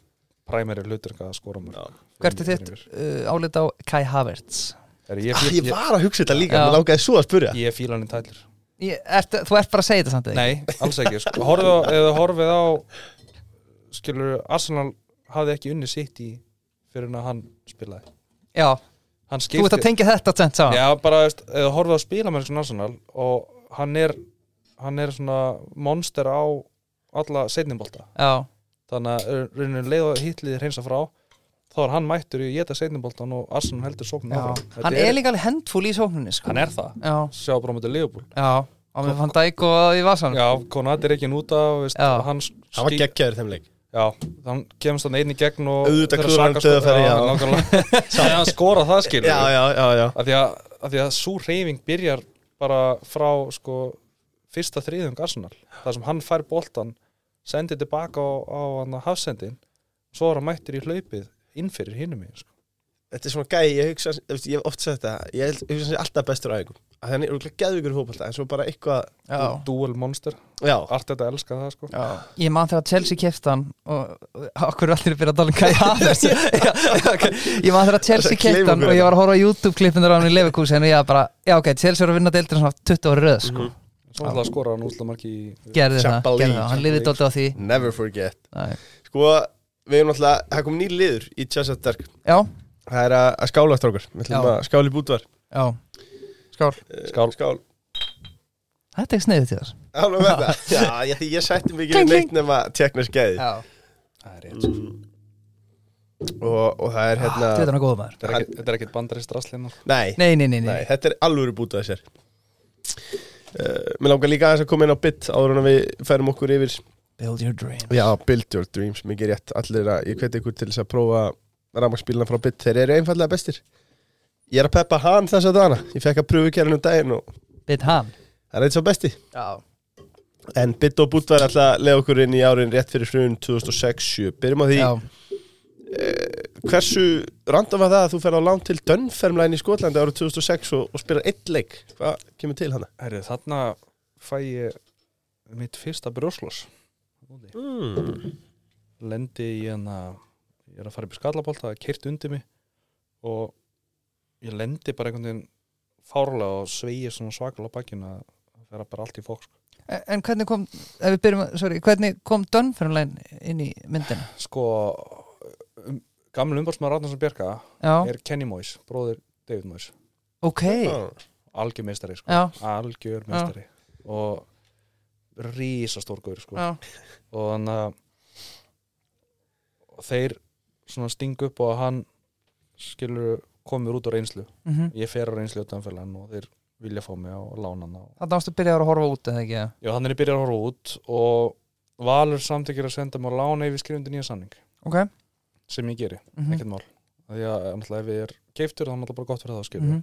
S3: præmeri hlutur að skora mörg
S2: hvert er þitt uh, álita á Kai Havertz
S3: Er, ég,
S1: ah,
S3: fíl,
S1: Ég
S3: ég,
S1: var að hugsa þetta líka,
S2: Já.
S1: mér langaði svo að spurja
S3: ég fíla hann í tælir
S2: ég, ert, þú ert bara að segja þetta samt ekki?
S3: Nei, alls ekki sko. horfið á, Eða horfið á Skilur, Arsenal hafði ekki unni sitt í Fyrir en að hann spilaði
S2: já, þú ert
S3: Hann
S2: að
S3: skipti
S2: tengja þetta tvennt saman
S3: Já, bara, veist, eða horfið á spilamennskun Arsenal Og hann er Hann er svona monster á Alla seinnibolta
S2: já.
S3: þannig að rauninni leið og hitlið reynsa frá þá er hann mættur í geta seinniboltan og Arsenal heldur sóknum
S2: Já,
S3: áfram. Þetta
S2: hann er líka alveg hendfúl í sókninni sko.
S3: hann er það,
S2: Já,
S3: sjá bara mútið Leopold
S2: já, á með fann dæk og í vasan
S3: já, Konat er ekki núta veist,
S2: Já.
S3: hann,
S1: Hann var
S3: ský-
S1: geggjaður í þeim leik
S3: já, hann kemst hann einn í gegn og
S1: Auðvitað
S3: þegar
S1: klúðrar hann
S3: Saka skor-
S1: dauðafæri,
S3: já,
S1: já. *laughs*
S3: nákvæmlega. Þegar hann skora það skilur
S1: Já, já, já, já
S3: Af því að, að, því að svo reyfing byrjar bara frá sko, fyrsta þriðung Arsenal þar sem hann fær boltan sendir tilbaka á, á hann að hafsendin svo er hann mættur í hlaupið innfyrir hinum í sko.
S1: Þetta er svona gæi, ég hugsa, þú veist, ég hef oft sagt þetta Ég held- hugsa hans alltaf bestur á ægum Þannig er örugglega geðvíkur í fótbolta En svo bara eitthvað,
S2: já.
S3: dual monster,
S1: já *laughs*
S3: allt þetta elska það sko.
S2: Ég man þegar Chelsea kefti hann og okkur er allir að byrja að tala um Kai Havertz Já, ok. Ég man þegar
S1: Það er að
S2: Chelsea
S1: gleyma
S2: kefti
S1: okkur
S2: hann og ég
S1: þetta.
S2: var að horfa á YouTube-klippin þegar hann í Leverkusen og ég var bara, já ok, Chelsea var að vinna deildina svona 20 ári röð, sko.
S3: svo ætlaði að skora hann útlamarki í
S2: gerði það,
S1: Champa
S2: gerði
S1: League.
S2: það, hann liði dótti á því
S1: Never forget
S2: Nei.
S1: Sko, við erum alltaf, það kom nýr liður í Chelsea Dark
S2: Já,
S1: Það er að, að skála eftir okkur Við ætlum
S2: Já.
S1: að skála í bútvar
S2: já, skál
S1: Eh,
S3: Skál.
S1: Skál
S2: Þetta er sniðið til þess
S1: Alveg með það Já, ég, því ég sætti mig ekki
S2: Kling,
S1: við neitt nema tekna skeiði
S2: Já,
S3: það er rétt, sko.
S1: og, og það er
S2: þetta
S1: hérna
S2: er hann góða maður
S3: Þetta er ekkert- þetta er ekkert hérna, bandari straslinn
S1: Nei,
S2: Nei, nei, nei, nei,
S1: Nei, þetta er alvöru bútið að sér Eh, uh, Mér langar líka aðeins að koma inn á bit áður en að við færum okkur yfir
S2: Build your dream
S1: Já, Build Your Dreams, mikið rétt Allir að, ég hveti ykkur til þess að prófa rafmagnspílana frá Bit, þeir eru einfallega bestir Ég er að peppa hann þess að dana Ég fekk að pröfu kjærinu daginn og
S2: Bit ham
S1: það er eitt svo besti
S2: Já
S1: En Bit og Bút var alltaf að leiða okkur inn í árin rétt fyrir frun 2006-7 Byrjum á því, Eh,
S2: Já,
S1: hversu random var það að þú fer á lán til Dönfermlæn í Skotlandi árið 2006 og, og spilar eitt leik Hvað kemur til hana?
S3: Herri, þarna fæ ég mitt fyrsta brjóslos
S1: Mm.
S3: lendi í hérna ég er að fara upp í skallabólta, það er keirt undir mig og ég lendi bara einhvern veginn fárlega og sveigi svona svakal á bakkinu að það vera bara allt í fólk sko.
S2: En- En hvernig kom, ef við byrjum, að- sorry, hvernig kom Dunfermline inn í myndina?
S3: sko um, gamli umbársmaður Ragnarsson Bjerka
S2: Já,
S3: er Kenny Moyes, bróðir David Moyes
S2: ok,
S1: Ah.
S3: algjör meistari sko,
S2: já,
S3: algjör meistari og rísastórgur sko
S2: já,
S3: og þannig að og þeir svona stingu upp og hann skilur komur út á reynslu
S2: mhm
S3: ég fer á reynslu á Danferlan og þeir vilja fá mig á lána hann og
S2: Þannig ástu að byrja að horfa út eða ekki, já
S3: já, hann er í byrjar að horfa út og Valur samtökir að senda mig á lána ef við skrifum til nýja samning
S2: Ok,
S3: sem ég geri,
S2: mhm,
S3: ekkert mál Af því að náttúrulega ef ég er keiftur þá er náttúrulega bara gott fyrir það skilur
S2: mhm,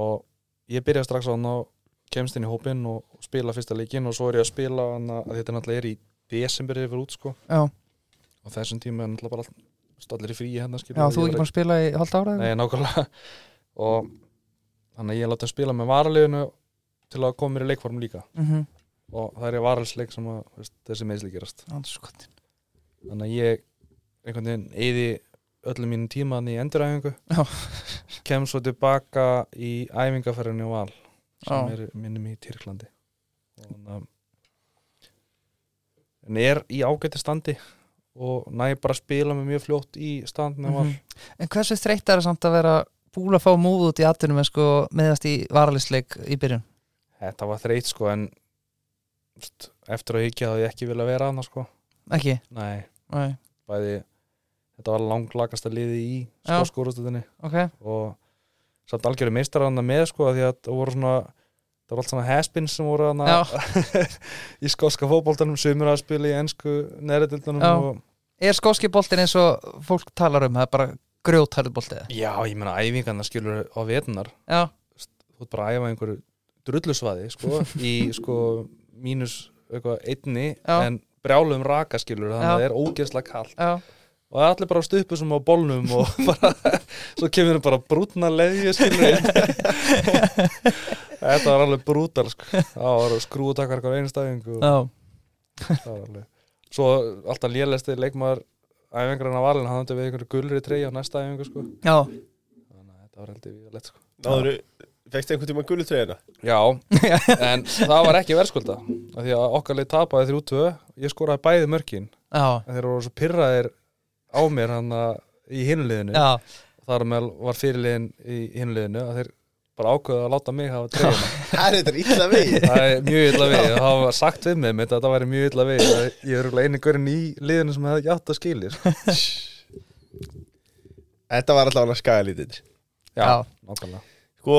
S3: og ég byrja strax á hann og kemst inn í hópinn og og spila fyrsta leikinn og svo er ég að spila hann að þetta náttúrulega er í desember yfir út sko
S2: já
S3: og þessum tíma er náttúrulega bara allt- stallir í fríi hennar skilur
S2: Já, þú er ekki búin að spila í halvt ára?
S3: Nei, nákvæmlega og þannig að ég láta hann spila með varaliðinu til að koma mér í leikform líka
S2: Mhm,
S3: og það er í varalisleik sem að veist, þessi meðsli gerast
S2: andskotin
S3: þannig að ég einhvern veginn eyði öllum mínum tímaðan í enduræfingu
S2: Já.
S3: kem svo tilbaka í æfingaferðinu á val sem
S2: Já.
S3: er minnum í Tyrklandi og þannig að en er í ágæti standi og næ bara að spila mig mjög fljótt í stand með val
S2: Mhm. En hversu þreytt er það samt að vera búin að fá múð út í atunum en sko meðast í varalisleik í byrjun?
S3: þetta var þreyt sko en st, eftir að higgja þá ég ekki vilja vera annars sko
S2: Ekki?
S3: nei,
S2: Nei,
S3: bæði þetta var langlakasta liði í
S2: Já.
S3: skóskórustutinni
S2: ok,
S3: og samt algjöru meistar hann með sko því að það voru svona það voru allt svona haspins sem
S2: já
S3: voru hann *laughs* í skóska fótboltanum sumur að spila í ennsku
S2: Já.
S3: neðrildildunum og
S2: Er skóski boltin eins og fólk talar um, það er bara grjótarðu boltið?
S3: já, ég meina æfingarna skilur á vetunar
S2: Já,
S3: þú ert bara að æfa einhverju drullusvaði sko, í sko mínus eitthvað einni
S2: Já.
S3: en brjálum raka skilur þannig
S2: Já.
S3: að það er ógeðslega kall
S2: já
S3: og það er allir bara á stupu sem á bólnum og *laughs* bara, svo kemur þeim bara brútna leðju skilur
S2: *laughs*
S3: þetta var alveg brútal sko. það var skrúutakar eitthvað einstæðingu
S2: Já,
S3: alveg... svo alltaf lélesti leikmaður æfingarinn á valin, hann hefði við einhverju gulri treyja á næsta æfingu sko.
S2: já,
S3: þannig að þetta var heldur við lett sko.
S1: Náður, fekst einhvern tíma gullutreyðina?
S3: já, en það var ekki verðskulda af því að okkar leið tapaði 3-2 ég skoraði bæði mörkin
S2: já,
S3: en þeir voru svo pirraðir á mér hann í hinuleginu
S2: já
S3: þar með var fyrirliðin í hinliðinu að þeir bara ákveðu að láta mig
S2: *laughs*
S3: hafa treyjuna
S1: Það er þetta ítla við
S3: það er mjög illa við og það var sagt við mig mitt að það væri mjög illa við Það- ég er örugglega eini görinn í liðinu sem hefði ekki átt að skilja sko.
S1: Þetta var allavega skagalítill
S2: Já.
S3: nákvæmlega
S1: Sko,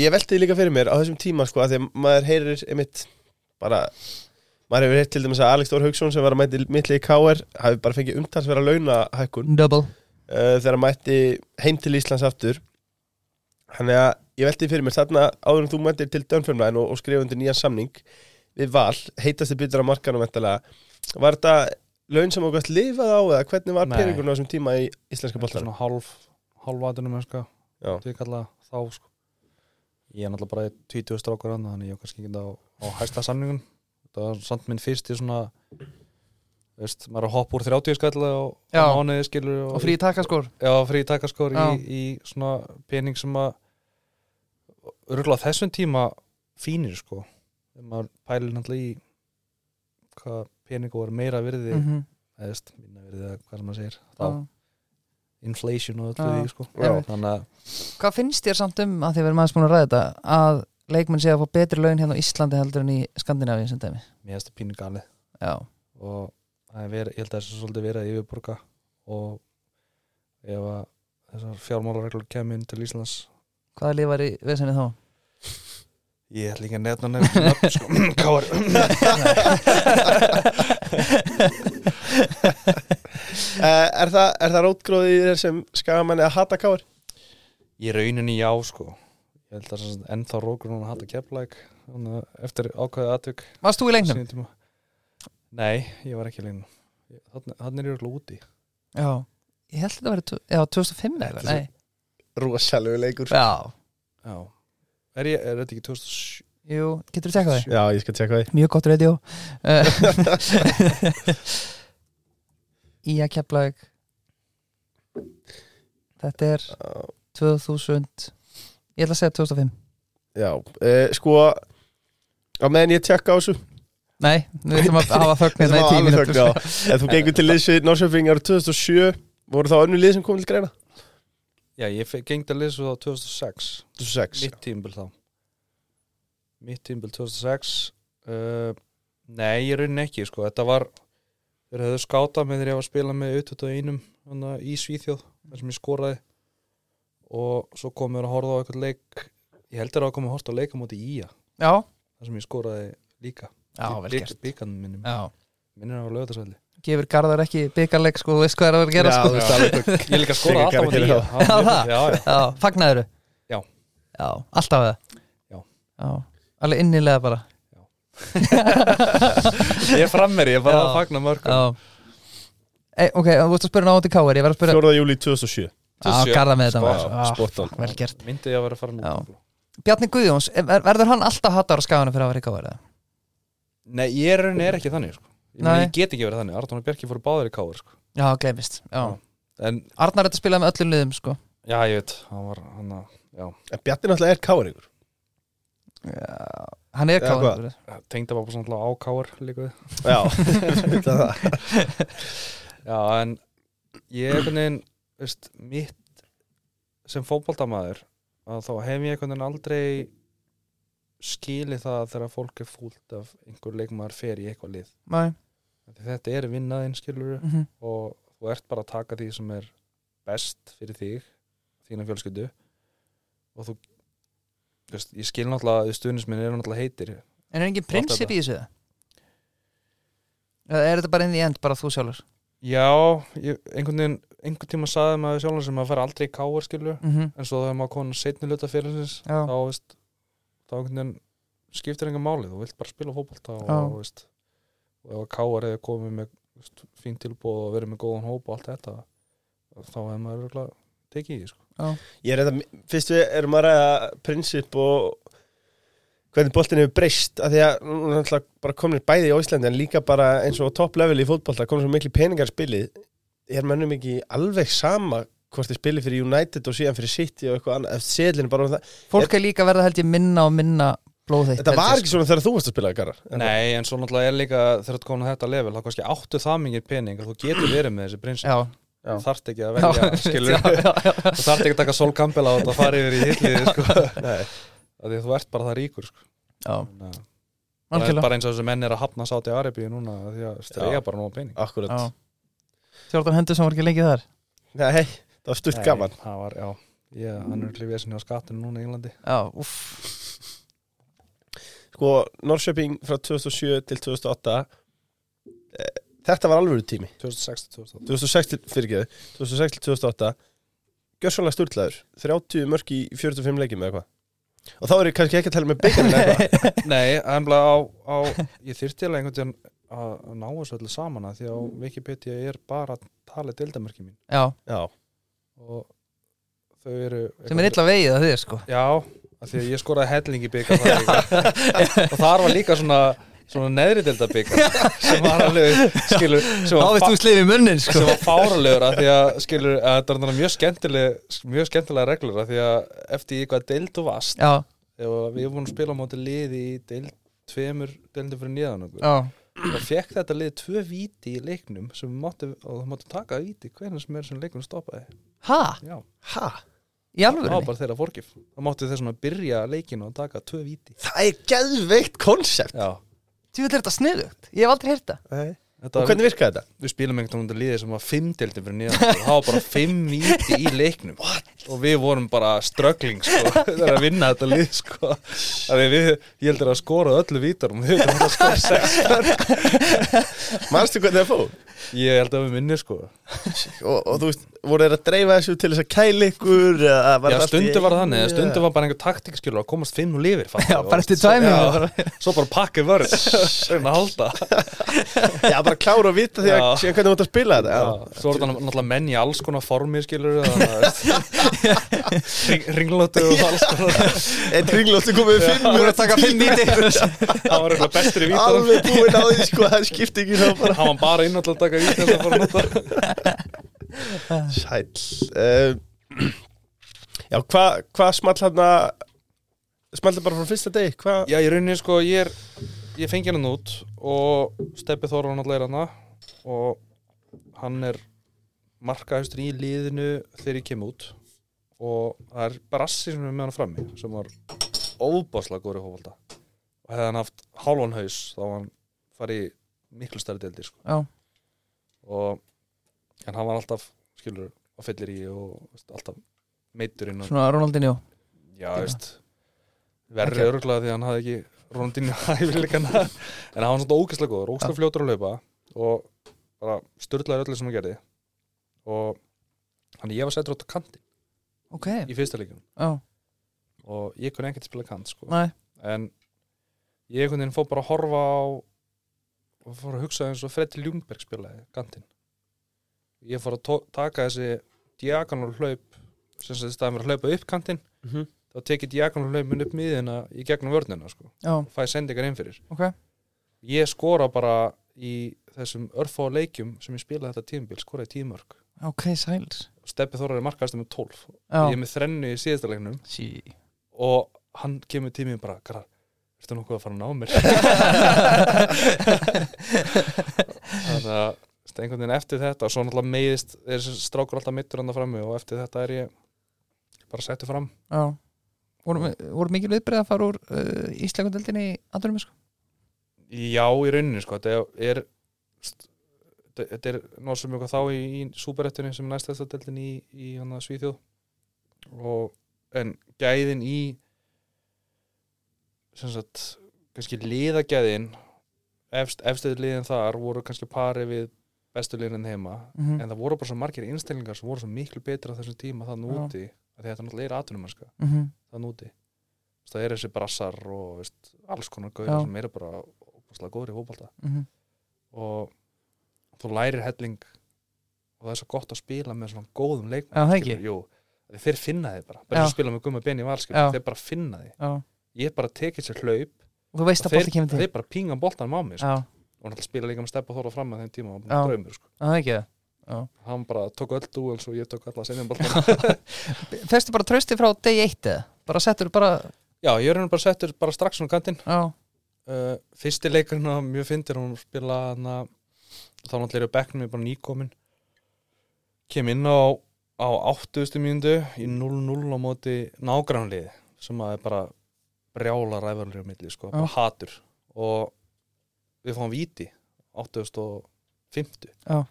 S1: ég velti því líka fyrir mér á þessum tíma sko, að því að maður heyrir einmitt bara, maður hefur heyrt til dæmis að Alex Dór Hauksson sem var að mæti mittli í KR hafi bara fengið umtalsverða launahækkun uh,
S2: Double
S1: Eh, þegar hann mætti heim til Íslands aftur Þannig að ég velti því fyrir mér þarna áður en þú mættir til Dönfjörnvæðin og, og skrifundir nýjan samning við val, heitasti byttur á markanum væntanlega. var þetta laun sem okkur lifað á eða hvernig var
S3: Nei.
S1: peningurinn á þessum tíma í íslenska
S3: Þetta er
S1: boltanum?
S3: svona hálf hálfvatunum sko,
S1: Já.
S3: því kalla þá sko. ég er náttúrulega bara 20 strákur hann þannig ég er kannski ekki á, á hæsta samningun það var samt minn fyrst í svona veist, maður er að hoppa úr 30 skalla og,
S2: Já.
S3: og mánuði skilur
S2: Og frí takaskór
S3: Já, frí takaskór í,
S2: Já.
S3: í svona pening sem að örgulega þessum tíma fínir sko þegar maður pælir náttúrulega í hvað peningu var meira virði mm.
S2: Mhm,
S3: eðst, minna virði eða hvað sem maður segir þá,
S2: já.
S3: inflation og öllu
S2: Já.
S3: því sko
S1: Já.
S3: þannig að
S2: Hvað finnst þér samt um að þið verðum aðeins búin að ræða þetta að leikmenn sé að fá betri laun hérna á Íslandi heldur en í Skandinavíu sem dæmi
S3: mér hefst að pínu galið
S2: Já,
S3: og það er verið, ég held að þessu svolítið verið að yfirborga og ef að þessar fjármálareglur kemur inn til Íslands
S2: hvað lifar í vesenni þá?
S3: Ég ætla ekki að nefna nefna nöfn, *laughs* sko, káar
S1: *laughs* Eh, er, það, er það rótgróði í þér sem skagamann eða hata káir?
S3: Ég rauninni já, sko Ég held að sem sagt ennþá rókur hún að hata keflæk eftir ákveðið atvik
S2: Varst þú í lengnum?
S3: sínum tíma. Nei, ég var ekki í leinu Þannig er ég alltaf úti
S2: Já Ég held að þetta verið, já, 2005 eða eitthvað, Nei,
S1: Rosalegu leikur
S2: já,
S3: Já Er, ég, er þetta ekki 2007?
S2: jú, getur þú tekað því?
S1: Já, ég skal tjekka því
S2: Mjög gott radio *laughs* Í að keflaug Þetta er 2000 Ég ætla að segja 2005
S1: Já, eh, sko á meðan ég tjekka á þessu
S2: Nei, við ætlum að hafa
S1: Þetta var
S2: þögnina í tíu
S1: alveg
S2: mínútur
S1: þögn, já. En þú gengur til liðs við Norrköping árið 2007 voru þá önnu lið sem kom til greina?
S3: Já, ég fe- gengdi að lesa það 2006
S1: 2006
S3: Mitt tímbil þá Mitt tímbil 2006 uh, Nei, ég raunin ekki sko. Þetta var Þeir höfðu skátað mig þegar ég var að spila með U21 hana, í Svíþjóð þar sem ég skoraði og svo komum við að horfa á eitthvað leik ég held að það komum að horfa á leika móti í Ía
S2: Já,
S3: þar sem ég skoraði líka
S2: já, vel gert
S3: Bíkanum minnum,
S2: Já,
S3: minnum á
S2: *laughs*
S3: lögðarsvelli
S2: gefur Garðar ekki byggarleik sko, þú veist hvað er að vera að gera sko
S1: Já, þú veist alveg
S3: Ég líka skoraði alltaf móti í
S1: Bikarskeið,
S3: Ía
S2: Já, það?
S3: Já, já,
S2: Já, fagnaðuru
S3: Já.
S2: Já, alltaf það
S3: Já.
S2: Já, alveg innilega bara
S3: ég er frammeri, ég er bara
S2: Já.
S3: að fagna mörgum
S2: Já e, Ok, þú veist að spyrja náttúrulega káir, ég var að spyrja
S1: 4. júli 2007
S2: Já, Garðar með þetta
S3: Spot-
S2: maður. Já,
S1: spot on.
S2: Vel gert
S3: Myndi ég að vera að fara sko.
S2: Já.
S3: nú
S2: Bjarni Guðjóns, er- verður hann alltaf hattar á skaganum fyrir að vera í káir? eða?
S3: Nei, ég er rauninni er ekki þannig sko. ég,
S2: Nei.
S3: meni, ég get ekki verið þannig, Arnón og Bjarki fóru báðir í káður sko.
S2: Já, glemist Já,
S3: Já. En,
S2: Arnar er þetta spilað með öllum liðum sko
S3: já, ég veit, hann var hann að,
S1: En Bjarni náttúrulega er káir ykkur
S2: Já, hann er
S1: Eða
S2: káir
S3: tengda bara svona á káður líka við
S1: *laughs* Já, það er það
S3: Já, en ég er einhvern veginn, veist, mitt sem fótboltamaður að þá hef ég einhvern veginn aldrei skilið það þegar fólk er fúlt af einhver leikmaður fer í eitthvað lið
S2: Nei
S3: Þetta er vinnaðinn skilur
S2: mhm,
S3: og þú ert bara að taka því sem er best fyrir þig þína fjölskyldu og þú þú veist, ég skil náttúrulega að stuðnismenn eru náttúrulega heitir
S2: En er engin prinsip í þessu? Eða er þetta bara inn í end, bara þú sjálfur?
S3: já, ég, einhvern veginn einhvern tíma saði maður sjálfum sem maður fær aldrei í káar skilju,
S2: Mm
S3: en svo þegar maður konar setni hluta fyririns,
S2: Já,
S3: þá veist þá einhvern veginn skiptir enga máli þú vilt bara spila fótbolta og,
S2: Já.
S3: og veist og ef káar hefur komið með veist, fín tilbúð og verið með góðan hóp og allt þetta þá hefur maður örugglega tekið í því, sko.
S1: Ég er þetta, fyrst við erum að ræða prinsip og hvernig boltin hefur breyst að því að nú er náttúrulega bara komnir bæði í Íslandi en líka bara eins og á topp level í fótbolta komnir svo miklu peningar í spilið er mönnum ekki alveg sama hvort þið spilið fyrir United og síðan fyrir City og eitthvað annað, seðlinn bara um það
S2: fólk er líka að verða held ég minna og minna blóðið
S1: Þetta var ekki svona þegar þú varst að spila Garðar
S3: Nei, en svo náttúrulega er líka þegar þú komin að þetta level, þá kannski áttu það mingir pening og þú getur verið með þessi prinsip
S2: Já,
S1: Já.
S3: þú þarft ekki að
S2: *laughs* já,
S3: velja, skilur
S2: já, já, já.
S3: þú þarft ekki að taka Sol Campbell á þetta og fara yfir í hitlið, sko
S1: Nei.
S3: að því að þú ert bara það ríkur, sko
S2: já.
S3: Þannig að það er
S2: Algjörlega
S3: bara eins og þessi menn er að hafna sátt í Arabíu núna af því að
S1: Já.
S3: strega bara nóg af pening
S1: Akkurat
S2: Já. Jordan Henderson var ekki lengi þar
S1: Nei, það var stutt gaman
S3: Nei, Það var, já, ég, hann er klifið sinni á skattinu núna í Englandi
S2: Já, uff
S1: Sko, Norrköping frá 2007 til 2008 eh, Þetta var alvöru tími
S3: 2006-2008
S1: 2006 til, fyrirgeðu, 2006 til 2008 Gjörsvanlega sturlaður 30 mörg í 45 leikjum eða eitthvað Og þá er ég kannski ekki að tala með byggarinn eða *laughs* eitthvað
S3: Nei, emla á, á ég þyrfti alveg einhvern tíðan að ná þessu öllu saman að því að á Wikipedia er bara talið dildamerki mín
S2: Já,
S1: Já,
S3: og þau eru
S2: sem er illa vegið að þið sko
S3: já, af því að ég skoraði helling í byggar þar líka. og þar var líka svona svona neðri delta byggar sem var alveg, skilur sem
S2: Þá
S3: var,
S2: veist þú slið í munnin sko
S3: sem var fáralegur af því að, skilur, að þetta er náttúrulega mjög skemmtileg mjög skemmtilega reglur af því að eftir í hvað deild þú varst
S2: Já,
S3: ef að við vorum að spila á móti liði í deild tveimur deildum fyrir nýðan okkur
S2: já,
S3: og fekk þetta liði tvö víti í leiknum sem máttu, og það máttu taka víti hvernig sem er sem leiknum stoppaði
S2: ha,
S3: já
S1: ha?
S2: í
S3: Það var
S2: alvörinni
S3: bara þeirra fórgif Það máttu þessum að byrja leikinu og taka tvö viti
S1: Það er geðveikt konsept
S3: Já
S2: Þú vil þetta sniðugt, ég hef aldrei heyrt það
S1: Og
S3: Þetta, var-
S1: hvernig virkaði þetta?
S3: sko. Við spilum einhvern veginn liðið sem var fimm deildi fyrir nýðan Það var bara fimm viti í leiknum What? og við vorum bara ströggling sko, *laughs* þegar að vinna þetta lið sko. Af því við, ég heldur að skora öllu um vítarum við heldur að skora sex
S1: Manstu hvernig það fór?
S3: ég held að við minni sko
S1: Og, og þú veist, voru þeir að dreifa þessu til þess að kæla ykkur eða var
S3: já
S1: þetta allt í
S3: stundu var það þannig,
S1: einu,
S3: eða stundu var bara einhver taktík skilur að komast fimm og lifir fattar
S2: Já,
S3: þú?
S2: bara eftir
S3: Svo-
S2: tvæminu.
S3: já, svo bara pakka í vörð reyna að halda
S1: Já, bara klára og vita því að
S3: Já.
S1: sé hvernig þú ert að spila þetta
S3: Já,
S1: Já,
S3: svo er þetta náttúrulega menn í alls konar formi skilur ringlótu og alls konar
S1: Eitt ringlóttu komið við fimm
S2: Þú voru að taka fimm víti
S3: það var eitthvað bestur í vítarum
S1: Alveg búin á því sko, það skipti ekki þá bara
S3: hann var bara inn alltaf að taka vítarum og fara að nota
S1: Sæll uh, Já, hvað hva small hann að small bara frá fyrsta deg Hvað?
S3: Já, ég rauninni sko, ég er ég fengi hann út og Steppi Þóran allir hann og hann er markaðustur í liðinu þegar ég kem út og það er Brassi sem er með hann frammi sem var óbáslega góri hófalda og hefði hann haft hálfan haus þá var hann farið í miklu stærri deildir sko.
S2: Já.
S3: og en hann var alltaf skilur og fyllir í og veist, alltaf meittur innan
S2: Svona Ronaldinho
S3: Já,
S2: Gera.
S3: veist Verri okay. örgulega því að hann hafði ekki Rondinu *laughs* hæfileikana En hann var svona ógæslega góður, ógæslega fljótur að laupa Og bara styrlaði öllu sem hann gerði Og Þannig ég var settur átt á kanti
S2: Ok,
S3: í fyrsta leikum
S2: já,
S3: Og ég kunni ekkert spila kant sko.
S2: næ,
S3: En ég einhvern veginn fór bara að horfa á Og fór að hugsa eins og Freddi Ljungberg spilaði kantinn Ég fór að tó- taka þessi Diagonal hlaup Sem sem staðum að hlaupa upp kantinn
S1: Mhm.
S3: þá tekið diagonal hlaupin upp miðina í gegnum vörnina sko,
S2: já,
S3: og fæ sendingar inn fyrir
S2: ok
S3: ég skora bara í þessum örfá leikjum sem ég spilaði þetta tímabil, skoraði tímörk
S2: Ok, sæls
S3: og Steppi Þórar er markaðast með 12
S2: Já,
S3: ég er með þrennu í síðasta leiknum
S2: sí *laughs*
S3: og hann kemur tímið bara, grar ertu nokkuð að fara að ná mér þannig að veist, einhvern veginn eftir þetta og svo náttúrulega meiðist, þessi strákur alltaf meittur hann frammi og eftir þetta er ég bara settu fram
S2: Já Voru, voru mikil viðbreið að fara úr uh, Íslegundeldinni í Andurum sko?
S3: Já, í rauninni sko, þetta er st- þetta þetta er náttúrulega sem eitthvað þá í, í súberettunni sem er næst þess að deltin í, í hann að Svíþjóð og, en gæðin í sem sagt kannski liðagæðin efst, efstuðu liðin þar voru kannski pari við bestu liðin heima
S2: mm
S3: en það voru bara svo margir innstælingar sem voru svo miklu betra á þessum tíma þann
S2: Já.
S3: úti af því að þetta náttúrulega er atvinnumannska
S2: -hmm.
S3: þann úti Þú veist, það eru þessi brassar og veist, alls konar
S2: Já.
S3: gauðar sem eru bara óbúslega góður í fótbolta
S2: mhm.
S3: og þú lærir helling og það er svo gott að spila með svona góðum leikmenn
S2: Já, það
S3: skilur,
S2: ekki
S3: jú, Því þeir finna þið bara,
S2: Já.
S3: bara sem spila með gummi benni í valskip
S2: Já.
S3: þeir bara finna þið,
S2: Já.
S3: ég bara tekið sér hlaup
S2: Og Þú veist
S3: og
S2: að bolti kemur til
S3: þeir bara pinga boltanum á mig sko.
S2: Já,
S3: og náttúrulega spila líka með steppa þóra fram að þeim tíma og
S2: Já.
S3: bara draumur sko.
S2: það er ekki það
S3: hann bara tók öll dú eins og ég tók alla að senja boltanum
S2: Festu bara trösti frá degi eitt eða? Bara settur bara
S3: já, ég er hann bara settur bara strax svona kantinn
S2: Já,
S3: uh, fyrsti leikurinn að mjög fyndir hún spila hana, þá náttúrulega eru bekknum ég bara nýkomin kem inn á, á 80. mínútu í 0-0 á móti nágrannlið sem að er bara brjála ræfarlið á milli sko, bara
S2: Já.
S3: hatur og við fáum víti 8050
S2: Já.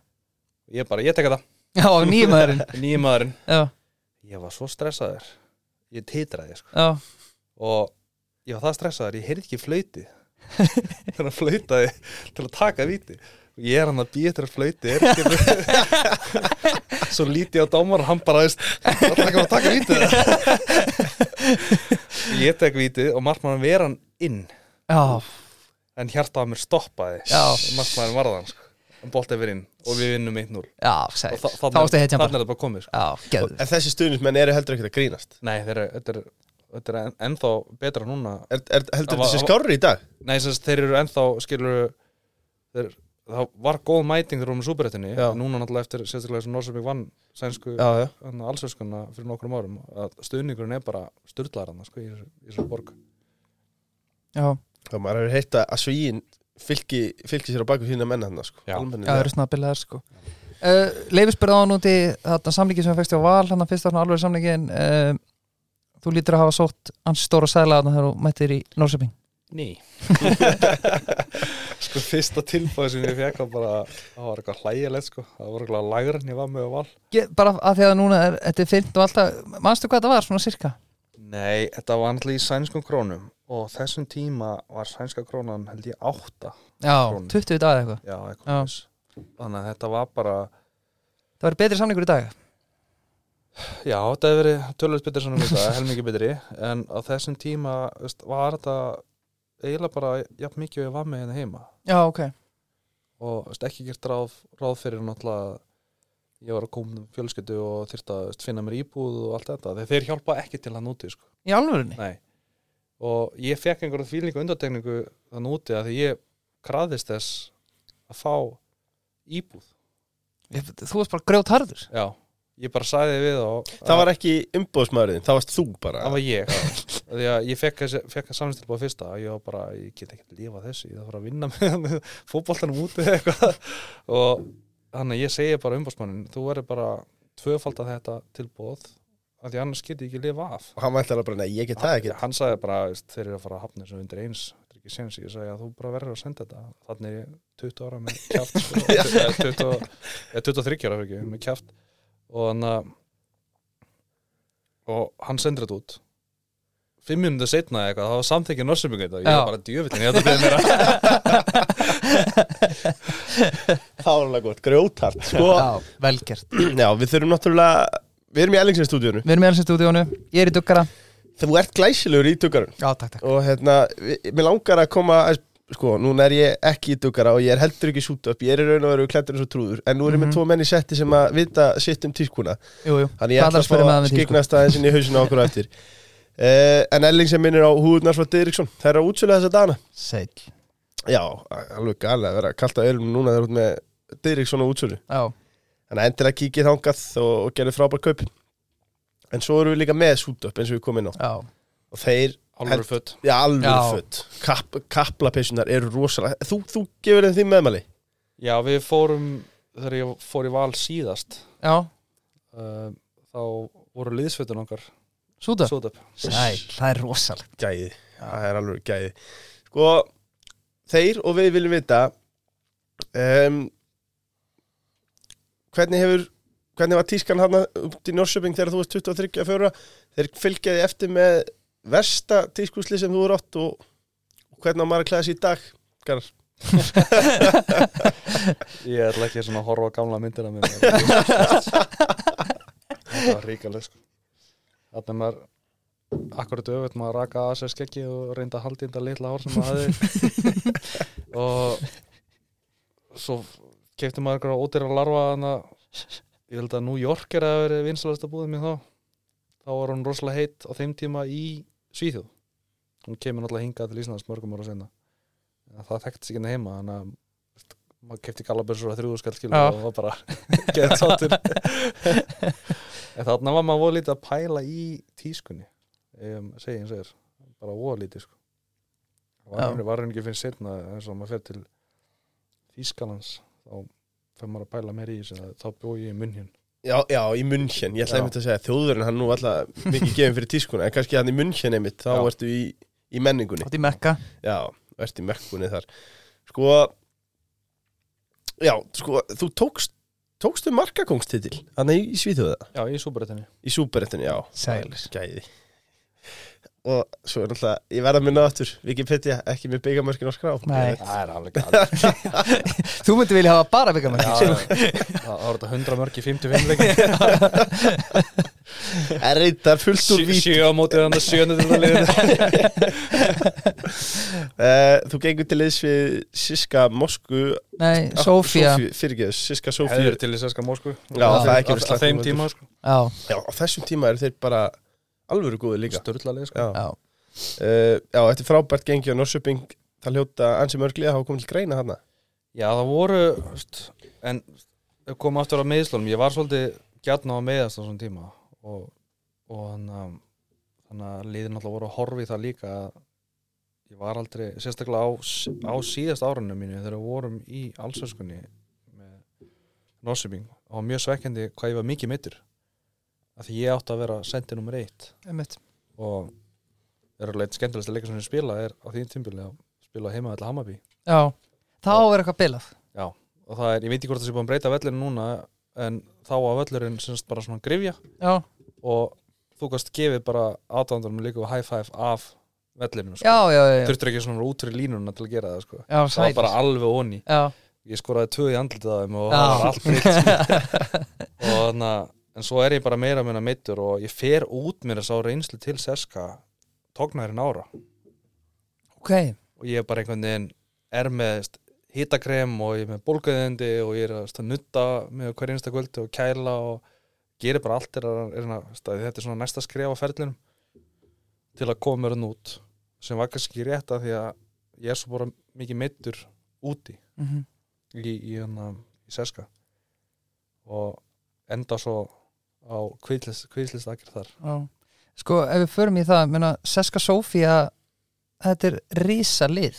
S3: ég bara, ég tek þetta,
S2: já nýjumæðurinn
S3: nýmaðurinn
S2: *laughs* Já,
S3: ég var svo stressaður ég titraði sko
S2: já,
S3: og ég var það stressaður, ég heyrði ekki *laughs* flöyti þannig að flöytaði til að taka víti og ég er hann að býja til að flöyti er ekki *laughs* svo líti ég á dómar og hann bara veist, það taka að taka víti *laughs* ég tek víti og margmann ver hann inn
S2: já,
S3: en hjartað á mér stoppaði
S2: Já.
S3: margmann varðan sko. en boltið verið inn og við vinnum 1-0
S2: já,
S3: og
S2: sæl
S3: þa-
S2: Þá varstu
S3: þarna
S2: heitjan
S3: þarna
S2: bara
S3: er það bara komið sko.
S2: Já, geður
S1: En þessi stuðnismenn eru heldur ekkert að grínast
S3: nei, þeir eru- þetta er, þetta er en- ennþá betra núna
S1: er, er, Heldur
S3: Það var-
S1: þetta sé skárri í dag?
S3: Nei, sem sagt, þeir eru ennþá, skilur þeir, það var góð mæting þegar við vorum í súberettinni,
S1: Já.
S3: núna náttúrulega eftir sérstaklega sem Norsefík vann sænsku
S1: Já, já
S3: allsvöskana fyrir nokkrum árum að stuðningurinn er bara styrlaðar hann sko, í þessu- í þessu borg
S2: Já,
S1: Og maður hefur heyrt að- að svíin fylki, fylki sér á baku þína menna hann sko.
S3: Já.
S1: Almennir
S2: já, það
S1: menn.
S2: eru snabbilegar sko uh, Leifur spurði á hann úti þarna samlíki sem hann fækst á val hann fyrst þarna alveg samlíkin uh, Þú lítur að hafa sótt hans stóra sæla þarna þegar þú mættir í Norsöping
S3: ný *laughs* sko fyrsta tilbúið sem ég fekk var bara, það var eitthvað hlægilegt sko það var eitthvað lægra en ég var með á val
S2: Ég- bara að því að núna er, þetta er fyrnt og alltaf manstu hvað þetta var svona sirka
S3: nei, þetta var alltaf í sænskum krónum og þessum tíma var sænska krónan held ég átta
S2: já,
S3: Krónur.
S2: 20 dagar eitthvað
S3: já, eitthvað
S2: Já.
S3: þess. þannig að þetta var bara
S2: það var betri samlingur í dag
S3: já, þetta hefur verið tölvöld betri svona mjög helmingi betri en á þessum tíma veist, var þetta eiginlega bara jafn mikið og ég var með hérna heima
S2: já, ok,
S3: og veist, ekki gert ráð, ráð fyrir náttúrulega að ég var að koma um fjölskyldu og þyrst að veist, finna mér íbúð og allt þetta þegar þeir hjálpa ekki til hann úti sko.
S2: í alvörunni
S3: Nei. og ég fekk einhverjum fílingu undartegningu þann úti að því ég kraðist þess að fá íbúð
S2: ég, þú varst bara grjót harður
S3: já, ég bara sagði við og,
S1: Það var ekki umbóðsmaðurinn, það varst þú bara
S3: það var ég því að ég fekk, þessi- fekk að samstilbúða fyrsta og ég var bara, ég get ekki að lifa af þessu ég þarf að fara að vinna með, með fótboltanum úti eða eitthvað og þannig að ég segi bara umbásmannin þú verður bara tvöfalda þetta tilbúð af því annars get ég ekki að lifa af
S1: Og hann ætlaði bara, nei, ég get það ekki
S3: hann sagði bara, veist, þeir eru að fara að hafna þessu undir eins þetta er ekki séns, ég sagði að þú bara verður að senda þetta þannig er ég 20 ára með kjaft
S1: *laughs*
S3: sko, eða 20 eða 23 ára fyrir ekki, með kjaft og hann að og hann sendur þetta út fimm minútið setna eða eitthvað, það var samþykja norsumbyggja þetta, ég
S2: Já.
S3: var bara djöfillin, ég ætla að byrja mér að
S1: *laughs* Það var alveg gott, grjótart Sko,
S2: já, velgert
S1: *clears throat* já, við þurfum náttúrulega Við erum í Ellingsson stúdíunum
S2: við erum í alveg stúdíónu, ég er í duggara
S1: Þú ert glæsilegur í duggarum
S2: já, takk, takk
S1: og hérna, vi- mér langar að koma að, sko, núna er ég ekki í duggara og ég er heldur ekki sút upp, ég er í raun og veru klættur eins og trúður, en nú erum við
S2: Mhm.
S1: tvo menn í setti sem að vita sitt um tískuna,
S2: jú, jú.
S1: þannig ég
S2: Hvað
S1: ætla að um fá
S2: ætlarðu spyrja mig
S1: að
S2: aðeins í tísku?
S1: skiknast aðeins inn í hausinu á okkur á *laughs* eftir uh, en Elling sem minnir á húðunar frá Didriksson, það er að útsölu þessa dana
S2: Sæll.
S1: já, alveg galið að vera kalt að ölum núna þegar út með Didriksson á útsölu
S2: Já,
S1: þannig að endilega kikið þangað og, og gerðu frábær kaup en svo erum við líka með sút upp eins og við komum inn á
S2: já,
S1: og þeir
S3: alveg fött
S1: Já, alveg
S2: Já.
S1: fött Kapp, Kaplapesunar eru rosalega Þú, þú gefur þeim því meðmæli
S3: já, við fórum, þegar ég fór í val síðast
S2: já,
S3: uh, þá voru liðsfötun okkar
S2: súta
S3: sót upp
S2: Sæl, það er rosalegt
S1: Gæði, það er alveg gæði Sko, þeir og við viljum vita um, Hvernig hefur Hvernig var tískan hann út í Norsjöping þegar þú varst 23 að fjóra Þeir fylgjaði eftir með versta tískusli sem þú eru átt og, og hvernig á maður að klæða sér í dag Garðar?
S3: Ég ætla ekki svona að horfa á gamla myndina mér Þetta var ríkaleg sko Þannig að maður akkurat öfut maður raka að sér skeggi og reynda að halda í þetta litla hár sem maður hafði og svo kefti maður einhverja ódýra larfa þannig að ég held að New York er að vera vinsalasta búið mér þá þá var hún rosalega heitt á þeim tíma í Svíþjóð hún kemur náttúrulega hingað til Íslands mörgum ára senna það þekkt sig hérna heima þannig að veist, maður kefti galabessur að þrjúðu skall skilu
S2: Já.
S3: og var bara *laughs* geðt sáttur en þarna var maður voða lítið að pæla í tískunni um, segi eins og er bara voða lítið sko var
S2: Já.
S3: henni var henni ekki fyrir setna eins og maður fer til Ískalans þá fer maður að pæla meir í þessu að þá bjó ég í munn hér
S1: Já, já, í München, ég ætlaði
S3: Já.
S1: einmitt að segja þjóðurinn hann nú alltaf mikið gefin fyrir tískuna en kannski hann í München einmitt, þá
S3: Já.
S1: ertu í, í menningunni
S2: Átti mekka
S1: Já, ertu í mekkunni þar Sko Já, sko, þú tókst tókstu markakongstitil, hann er í Svíþjóða
S3: já, í súbretinni
S1: í súberettinu, já
S2: Sælis.
S1: Gæði Og svo er alltaf, ég verða að minna aftur Wikipedia, ekki með byggamörkin á skrá
S2: Nei.
S3: það er alveg gæð *laughs*
S2: Þú myndi vilja hafa bara byggja með
S3: það það var þetta 100 mörg í 55 *laughs* leikin
S1: Er reyndar fullt úr vít
S3: 7 á mótið hann að 7 til það liðið
S1: uh, Þú gengur til liðs við Siska Mosku
S2: Nei, Sofía
S1: Fyrirgeðu, Siska Sofíu
S3: hefur til þess að skam ósku
S1: Já,
S2: það
S1: er ekki verið
S3: að,
S1: slæmt.
S3: að þeim tíma sko.
S2: Já,
S1: Já, á þessum tíma eru þeir bara alvöru góði líka
S3: störðlega sko.
S1: Já,
S2: já,
S1: uh, já þetta er frábært gengi á Norsjöping Það hljóta ansi mörgli að hafa komið til greina hana
S3: já það voru veist, en ef komum aftur á meðslunum ég var svolítið gjarn á að meðast á svona tíma og, og þannig að- þannig að liðin alltaf voru að horfi það líka að ég var aldrei sérstaklega á, á síðast árunum mínu þegar við vorum í allsöskunni með Norsibing og mjög svekkjandi hvað ég var mikið mittur af því ég átti að vera sendi nummer eitt
S2: einmitt
S3: og er alveg eitt skemmtilegsta leikar sem ég spila er á því tímbili að spila heima alltaf Hammarby
S2: já, það á að vera eitthvað bilað
S3: og það er, ég veit ekki hvort það sé búin að breyta vellinu núna en þá á vellurinn semst bara svona grifja
S2: já,
S3: og þú gast gefið bara aðdándanum líka high five af vellinu sko.
S2: já, já, já, já,
S3: þurftur ekki svona út fyrir línuna til að gera það sko.
S2: já
S3: það var
S2: sælir.
S3: bara alveg onni
S2: já,
S3: ég skoraði tvö í andlitið af þeim og
S2: Já.
S3: það var allt breytt sko. og þannig að en svo er ég bara meira meina meittur og ég fer út mér þess að reynslu til seska tóknærin ára
S2: ok,
S3: og ég er bara einhvern veginn er með hýtakrem og ég er með bólgaðindi og ég er að veist, að nutta með hver einsta kvöldi og kæla og gerir bara allt er að, er að, veist, að þetta er svona næsta skref á ferlinum til að koma mér hann út sem var kannski ekki rétt að því að ég er svo bara mikið meittur úti
S2: mm
S3: í, í, hana, í Seska og enda svo á kvíðlist akkir þar
S2: já sko, ef við förum í það, menna Seska Sofía, þetta er risalið,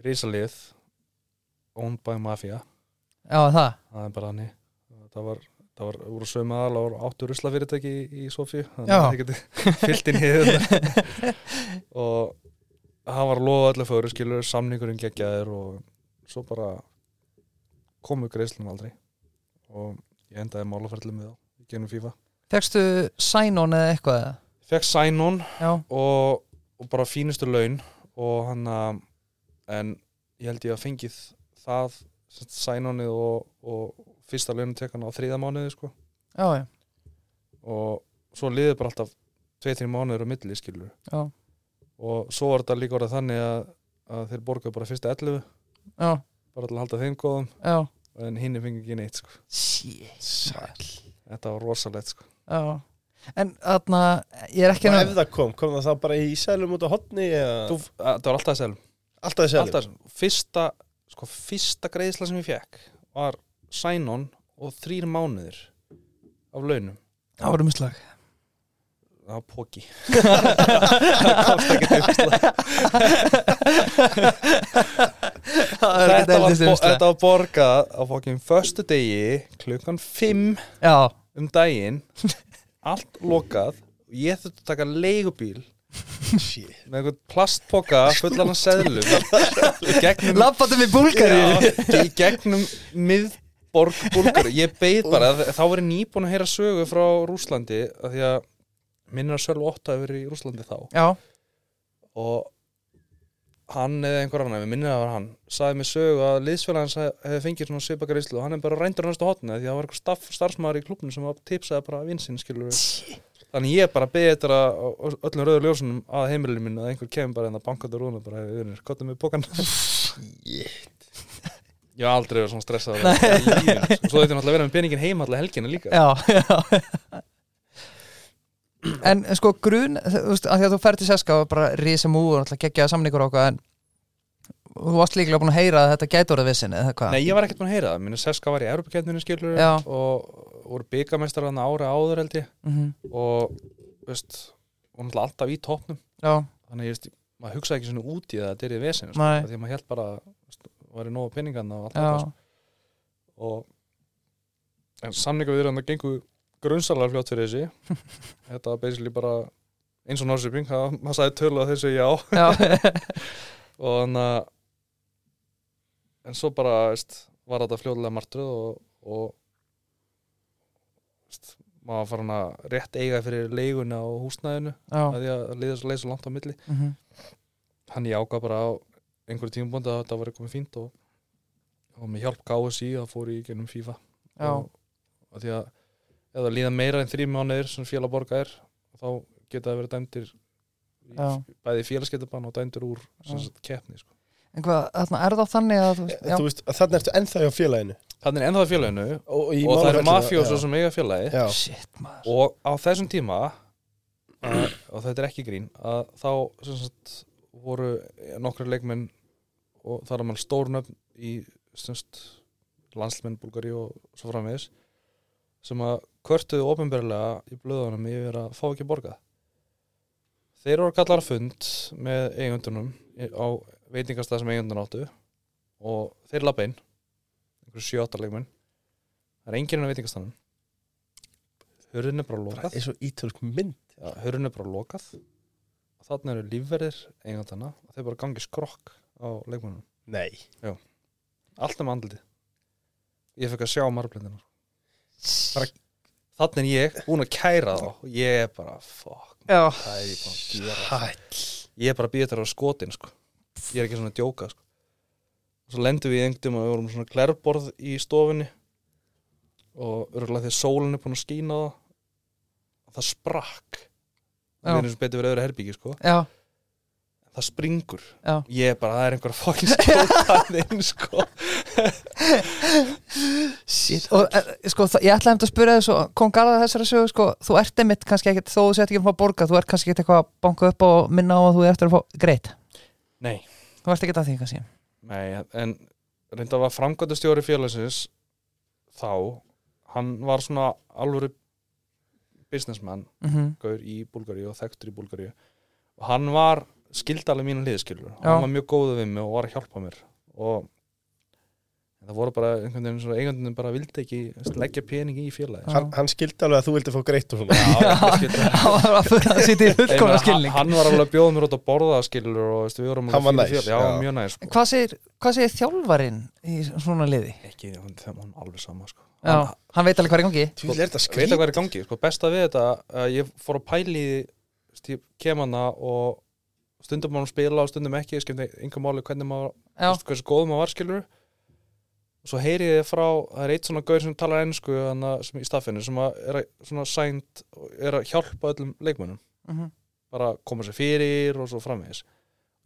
S3: Rísalið Owned by Mafia
S2: já, það
S3: það er bara hann það var, það var úr sömu aðal og áttu rusla fyrirtæki í, í Sofíu þannig
S2: Já.
S3: að það geti fyllt inn í þetta og hann var loða allir fyrir skilur samningurinn geggjaðir og svo bara komu greiðslun aldrei og ég endaði málaferðlið með þá í genum FIFA
S2: fegstu sænon eða eitthvað eða?
S3: fekk Sænon
S2: já,
S3: og, og bara fínustu laun og hann að en ég held ég að fengið það sem sagt, sænónið og, og fyrsta launum tekan á þriða mánuði sko.
S2: já, já,
S3: og svo liðið bara alltaf tvei-þrjum mánuður á milli skilur
S2: Já.
S3: og svo var þetta líka orðið þannig að, að þeir borgaðu bara fyrsta 11
S2: já,
S3: bara til að halda þeim góðum
S2: já
S3: en hinn er fengið ekki neitt sko.
S2: Sjæl
S3: þetta var rosalegt sko.
S2: Já, en þarna ég er ekki
S1: Og
S2: að
S1: ef það kom, kom það þá bara í sælum út á hotni eða...
S3: Þú, að, það var alltaf að selja
S1: Alltaf í sælum?
S3: alltaf, fyrsta, sko, fyrsta greiðsla sem ég fekk var sænon og þrýr mánuðir af launum
S2: Það var umslag
S3: það var
S2: *laughs*
S3: póki það komst ekki til umslag.
S2: Það er
S3: þetta,
S2: ekki eldist
S3: var
S2: um
S3: bo-
S2: umslag
S3: þetta var borgað á fókin förstu degi klukkan 5
S2: Já,
S3: um *laughs* daginn allt lokað og ég þurfti að taka leigubíl
S1: Shit.
S3: með einhvern plastpoka fullan af seðlum *laughs* í gegnum
S2: lappatum í búlgari
S3: Já, í gegnum miðborg búlgar ég beið bara, þá verið nýbúin að heyra sögu frá Rúslandi af því að minnir að Sölv 8 hefur verið í Rúslandi þá
S2: Já,
S3: og hann eða einhver annar, við minnir að það var hann sagði mér sögu að liðsfélag hans hef- hefði fengið svona svipakar íslu og hann er bara reyndur á næstu hotni því að það var einhver staff, starfsmaður í klubnum sem var- tipsaði bara vinsinn skilur þannig ég bara beðið þetta á á öllum rauður ljósunum að heimilinu mín að einhver kemur bara hérna en að banka þetta rúðuna bara hefur vinnir, kottum við
S2: *laughs*
S3: bókan
S1: Shit.
S3: Ég hef aldrei verið svona stressað Svo þetta er náttúrulega að vera með peningin heima alltaf helgina líka
S2: já, já En sko grun, þú veist, að því að þú ferð til seska og bara risa mú og alltaf geggjaða samningur og okkur en þú varst líklega búin að heyra að þetta gæti orðið vissin eða hvað
S3: Nei, ég var ekkert búin að heyra það Minna Seska var í Europakendinu skilur
S2: Já.
S3: og voru byggamestrar hann ára áður held ég
S2: Mhm,
S3: og veist, hún náttúrulega alltaf í toppnum
S2: Já,
S3: þannig að ég veist, maður hugsaði ekki svona út í það að þetta er í vesinu sko,
S2: Nei.
S3: af því að maður held bara veist, var í nógu peningan og allt
S2: já,
S3: þetta sko. og en samninga við erum að gengu grunnsalega fljótt fyrir þessi þetta var basically bara eins og Norsiping, maður sagði tölu að þessu já
S2: já, *laughs*
S3: og þannig að en svo bara veist, var þetta fljóðlega martröð og, og veist, maður var farin að rétt eiga fyrir leiguna og húsnæðinu
S2: já
S3: að því að liða svo leið svo langt á milli
S2: mhm,
S3: hann ég ákvað bara á einhverju tímabóndi að þetta var eitthvað fínt og, og með hjálp KSI að fór í gennum FIFA
S2: Já,
S3: og, og því að ef það líða meira en þrý mánuðir sem félagborga er þá geta það verið dæmdir í-
S2: Já.
S3: bæði félagsgetabann og dæmdir úr sem
S2: Já.
S3: sagt, keppni sko.
S2: en hvað, þarna er það þannig að þú veist, já,
S1: Þú veist, þarna ertu ennþá hjá félaginu.
S3: Þannig er ennþá í félaginu
S1: Og, í
S3: og það eru
S1: málaferlinu,
S3: mafjósar
S1: já.
S3: sem eiga félagi
S1: Já.
S2: shit maður
S3: og á þessum tíma *clears throat* uh, og þetta er ekki grín að þá sem sagt, voru nokkri leikmenn og það er maður stórnöfn í sem sagt, landsmenn Búlgari og svo framvegis sem að kvörtuðu ofinberlega í blöðunum yfir að fá ekki borgað þeir voru kallar að fund með eigundunum í- á veitingastað sem eigundun áttu og þeir lappa inn einhverju sjóta leikmenn það er enginn inn á veitingastanum hurðin er bara
S1: Bara
S3: lokað
S1: eins og ítölsk mynd.
S3: Já, hurðin er bara lokað þarna eru lífverðir eigandana og þeir bara gangi skrokk á leikmannum
S1: Nei
S3: allt um andliti ég fekk að sjá marblindina þarna er ég búin að kæra þá og ég er bara fuck
S2: Já,
S3: það er ég búin að gera
S1: Hæll
S3: ég er bara að býja þetta á skotin sko. ég er ekki svona að djóka sko. svo lendum við í engdum og við vorum með svona glerborð í stofunni og örgulega þegar sólin er búin að skína það og það sprakk
S2: Já.
S3: við erum sem betur verið öðru herbyggi sko.
S2: já,
S3: það springur
S2: já
S3: ég er bara, það er einhver fokkin skjótaðinn *laughs* sko.
S2: Shit, og eh, sko, það- ég ætlaði einmitt að spura þér svo kom garðað þessari sögu, sko, þú ert einmitt kannski ekkert, þó þú sett ekki um að fá að borga þú ert kannski ekkert eitthvað að banka upp og minna á að þú ert að fá greit,
S3: nei,
S2: þú ert ekkert að því kannski
S3: Nei, en reynda var framkvæmdastjóri félagsins þá, hann var svona alvöru businessman
S2: mm *laughs*
S3: gaur í Búlgaríu og þekktur í Búlgaríu og hann var skildalega mínu hliðskilur
S2: Já.
S3: hann var mjög góðu við mig og var að hjálpa mér og það voru bara einhvern veginn svona eigandunum bara vildi ekki leggja peningi í
S2: *laughs*
S3: félagi
S1: hann, hann skildi alveg að þú vildi fá greitt og svona
S3: Já, ég skil-
S2: hann var að fyrir að sitja í
S3: Ég meina,
S2: fullkomna
S3: hann,
S2: skilning
S3: hann var alveg að bjóða mér út að borða skilur og veist, við vorum alveg
S1: Hann var
S3: fínir
S1: næs,
S3: félagar. já,
S1: já.
S3: mjög næs sko.
S2: hvað segir, hvað segir þjálfarin í svona liði?
S3: ekki, hann, hann alveg sama sko.
S2: Já, hann, veit alveg hvað er í gangi
S1: Þú vil er þetta
S3: veit
S1: skrít
S3: að hvað er í gangi, sko, besta við þetta að ég fór að pæli í því, þú veist, ég kem hana og stundum maður spila og stundum ekki, ég skemmt einhver máli hvernig maður, þú
S2: já,
S3: veist, hversu góð maður var skilur og svo heyri ég frá það er eitt svona gaur sem talar ennsku hana, sem í staffinu, sem að er að, svona sænt og er að hjálpa öllum leikmönnum
S2: mhm
S3: bara að koma sér fyrir og svo framvegis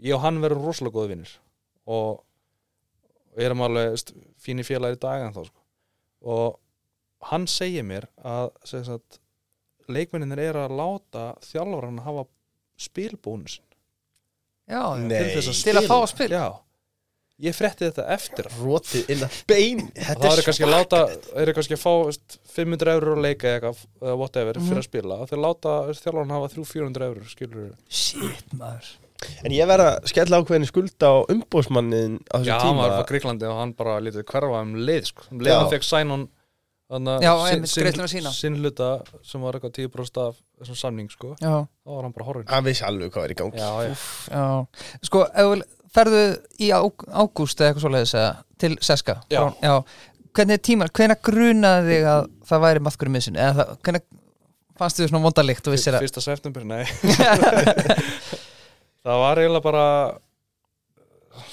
S3: ég og hann verðum rosalega góði vinnir og og erum alveg veist, fínir félagar í dag en þá sko. og hann segir mér að sem sagt, leikmenninir eru að láta þjálfarana hafa spilbónus
S2: Já, já.
S1: Nei.
S3: til þess að
S2: til að fá að spila
S3: já, ég frétti þetta eftir á.
S1: Rótið inn að bein
S3: Og
S1: Þetta er
S3: það eru kannski að láta eru kannski að fá veist, 500 eurur að leika eða eitthvað, eða whatever
S2: Mhm.
S3: fyrir að spila og þeir láta þjálfarana hafa 300-400 eurur skilur
S2: Shit, maður
S1: En ég verð að skella ákveðin skuld á umbósmannin á
S3: Já,
S1: þessum
S3: hann
S1: tíma
S3: var frá Gríklandi og hann bara lítið hverfa um leið sko. um leið
S1: Já.
S3: hann fekk Sænon
S2: Já, einmitt, greiðsluna sína.
S3: sinnluta sem var eitthvað 10% af þessum samning sko.
S2: Já,
S3: þá var hann bara horfinn
S1: Hann vissi alveg hvað er í gangi
S3: Já, já,
S2: já Sko, ef við ferðu í ág- ágúst eða eitthvað svoleiðis eða til Seska
S3: Já.
S2: Hvernig er tímar, hvenær grunaði þig að það væri maðkur í missun eða það, hvenær fannst þið svona vondalikt og vissir að
S3: fyrsta september, nei það var eiginlega bara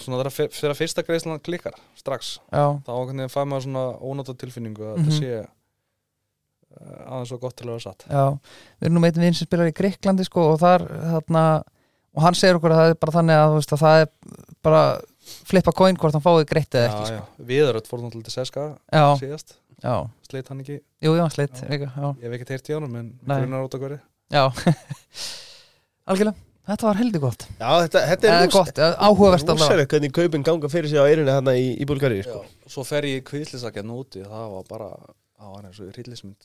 S3: svona þegar fyr- þegar fyrsta greiðslan klikkar strax,
S2: *laughs* Já,
S3: þá einhvern veginn fæði maður svona ónáta tilfinningu að
S2: Mhm.
S3: þetta sé eh, aðeins svo gott til að vera satt
S2: já Við erum nú meitum vinn sem spilar í Gríklandi sko og þar, þarna og hann segir okkur að það er bara þannig að, þú veist, að það er bara flippa coin hvort hann fáið greitt eða ekki sko.
S3: já, já. Viðaröld fór náttúrulega til Seska
S2: Já,
S3: síðast,
S2: já,
S3: sleit hann ekki
S2: jú, já, sleitt líka, já
S3: ég hef ekki teirt í honum en
S2: Nei.
S3: grunar út að hverju
S2: Já *laughs* Algjörlega, þetta var heldur gott
S1: Já, þetta, þetta er
S2: Eða
S1: rosa-
S2: gott, eða áhugavert allavega
S1: rosalegt hvernig kaupin ganga fyrir sig á eirinu þarna í, í Búlgaríu sko.
S3: svo fer ég kvíðlisakjarn úti það var bara, það var eins og hryllismynd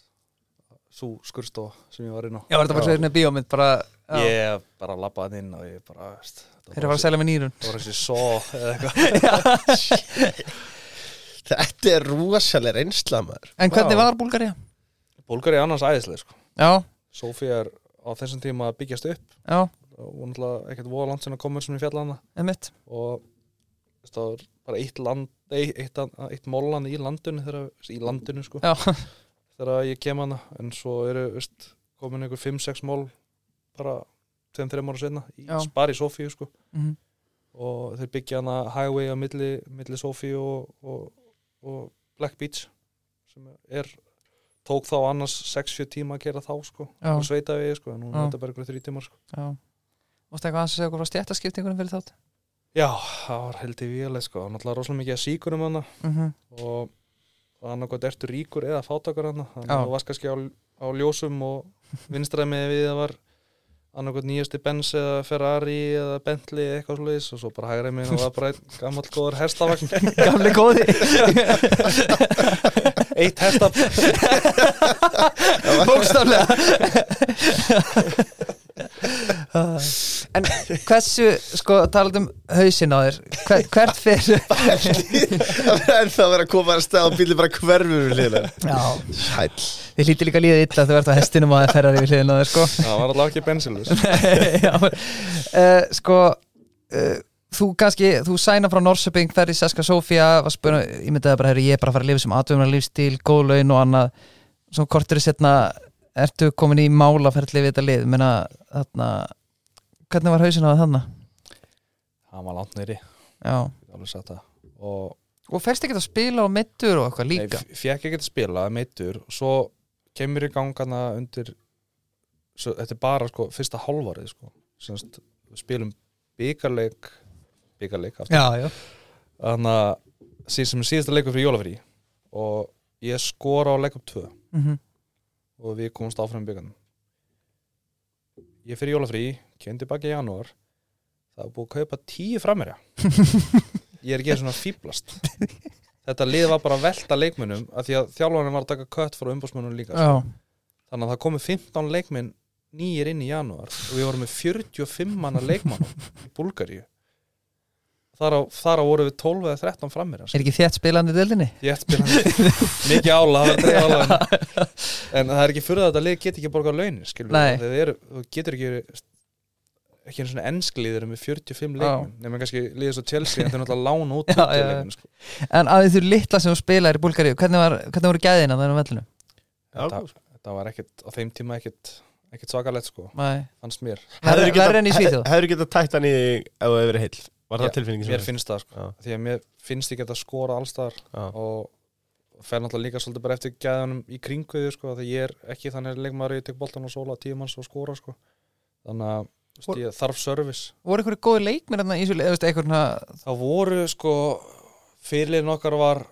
S3: svo skurstó sem ég var inn á
S2: Já, þetta var
S1: Já.
S2: svo einnig bíómynd bara já,
S3: ég bara labbaði inn og ég bara veist,
S2: Þeir eru að fara að selja með nýrun
S3: það var eins og svo eða eitthvað
S1: Þetta er rosalega reynsla maður
S2: En hvernig
S3: Já.
S2: var Búlgaria?
S3: Búlgari er annars æðislega sko.
S2: Já,
S3: Sofía er á þessum tíma að byggjast upp
S2: já,
S3: og hún náttúrulega ekkert voða land sinna komur sem ég fjalla hana
S2: emitt
S3: og veist, það var bara eitt land eitt, eitt, eitt mólan í landinu þegar, í landinu sko
S2: Já,
S3: þegar ég kem hana en svo eru veist, komin einhver 5-6 mál bara 2-3 ára senna í,
S2: Já.
S3: bara í Sofíu sko
S2: mhm,
S3: og þeir byggja hana highway á milli, milli Sofíu og, og, og Black Beach sem er tók þá annars 6-7 tíma að gera þá sko
S2: Já.
S3: og sveita við sko en hún
S2: Já.
S3: er þetta bara einhverju 3 tímar sko
S2: já Vostu eitthvað aðeins að segja okkur frá stjættaskiptingunum fyrir þátt?
S3: Já, það var held í véleg sko og náttúrulega rosalega mikið að síkur um hana
S2: Mhm,
S3: og það er náttúrulega ertu ríkur eða fátakar hana þannig
S2: Já.
S3: að það var kannski á, á ljósum og vinstraði með við það var annarkot nýjasti Benz eða Ferrari eða Bentley eða eitthvað slúðis og svo bara hægrið mig og var bara einn gammal góður herstavagn
S2: *laughs* Gamli *laughs* góði
S3: eitt
S2: *laughs*
S3: hestafn
S2: Bókstaflega *laughs* En hversu, sko, talað um hausin á þér hver, Hvert fyrir
S1: Það er það að vera að koma að stað og bílið bara hverfur við hliðina
S2: *laughs* Já,
S1: Sæll
S2: þið lítir líka líða illa Þú ert á hestinum og það ferðar yfir hliðin á þér, sko
S3: það var allavega ekki bensilus
S2: *laughs* Já, uh, Sko uh, Þú kannski, þú sæna frá Norsöping ferð í Seska Sofía, var spuna, ég myndi að bara heyrðu, ég er bara að fara að lifa sem atvöfnar lífstíl, góð laun og annað, svo kortur setna ertu komin í málaferðli við þetta lið, menna þarna, hvernig var hausin á þarna?
S3: það var langt nýri,
S2: Já,
S3: alveg satt það og
S2: og ferst ekki að spila á mittur og eitthvað líka
S3: Nei, fekk ekki að spila meittur og svo kemur í gangana undir svo, þetta er bara sko, fyrsta hálfarið sko. Semst, við spilum byggarleik byggarleik aftur
S2: Já, já
S3: þannig að síð, sem er síðasta leikur fyrir jólafrí og ég skora á leikum 2
S2: mm
S3: og við komumst áfram í byggarnum ég fyrir jólafrí kem tilbaka í janúar það er búið að kaupa tíu framherja ég er ekki einu sinni að fýblast þetta lið var bara að velta leikmunum af því að þjálfarinn var að taka kött frá umbúsmunum líka
S2: Já, sko.
S3: þannig að það komu 15 leikminn nýjir inn í janúar og við vorum með 45 manna leikmann í Búlgaríu þar á, þar á voru við 12 eða 13 framir
S2: er ekki þétt spilandi í deildinni?
S3: mikið ála, það var dreif ála en það er ekki fyrir að þetta lið get ekki borgað launin skilur
S2: Nei.
S3: við, þeir eru, þú getur ekki ekki einu svona ennskliðir með 45
S2: Já.
S3: leikmenn nema kannski liðið svo Chelsea en þeir náttúrulega lána
S2: *laughs*
S3: út
S2: Já,
S3: 20
S2: já, já.
S3: leikmenn, sko.
S2: En að því þú litla sem þú spilar í Búlgaríu, hvernig, var, hvernig voru gæðina á þennan vellinu?
S3: þetta, þetta var ekkit, á þeim tíma ekkit ekkit svakalegt sko,
S2: Nei,
S3: fannst mér
S1: Hefðirðu getað-
S2: verður enn í Svíþjóð?
S1: Hefur getað tætt hann í þig ef þú hefur verið heill Var það
S3: Já,
S1: tilfinningin
S3: mér finnst það sko
S1: Já.
S3: því að mér finnst ég geta skora allstar
S1: Já.
S3: og fer náttúrulega líka svolítið bara eftir gæðanum í kringu því sko því ég er ekki þannig leikmaður að ég tek boltan og sóla tíu manns og skora sko þannig að þú veist, ég þarf service
S2: Voru einhverju góði leikmir þarna í þessu lið, eða veist, einhverjum svona-
S3: þá voru sko fyrirliðin okkar var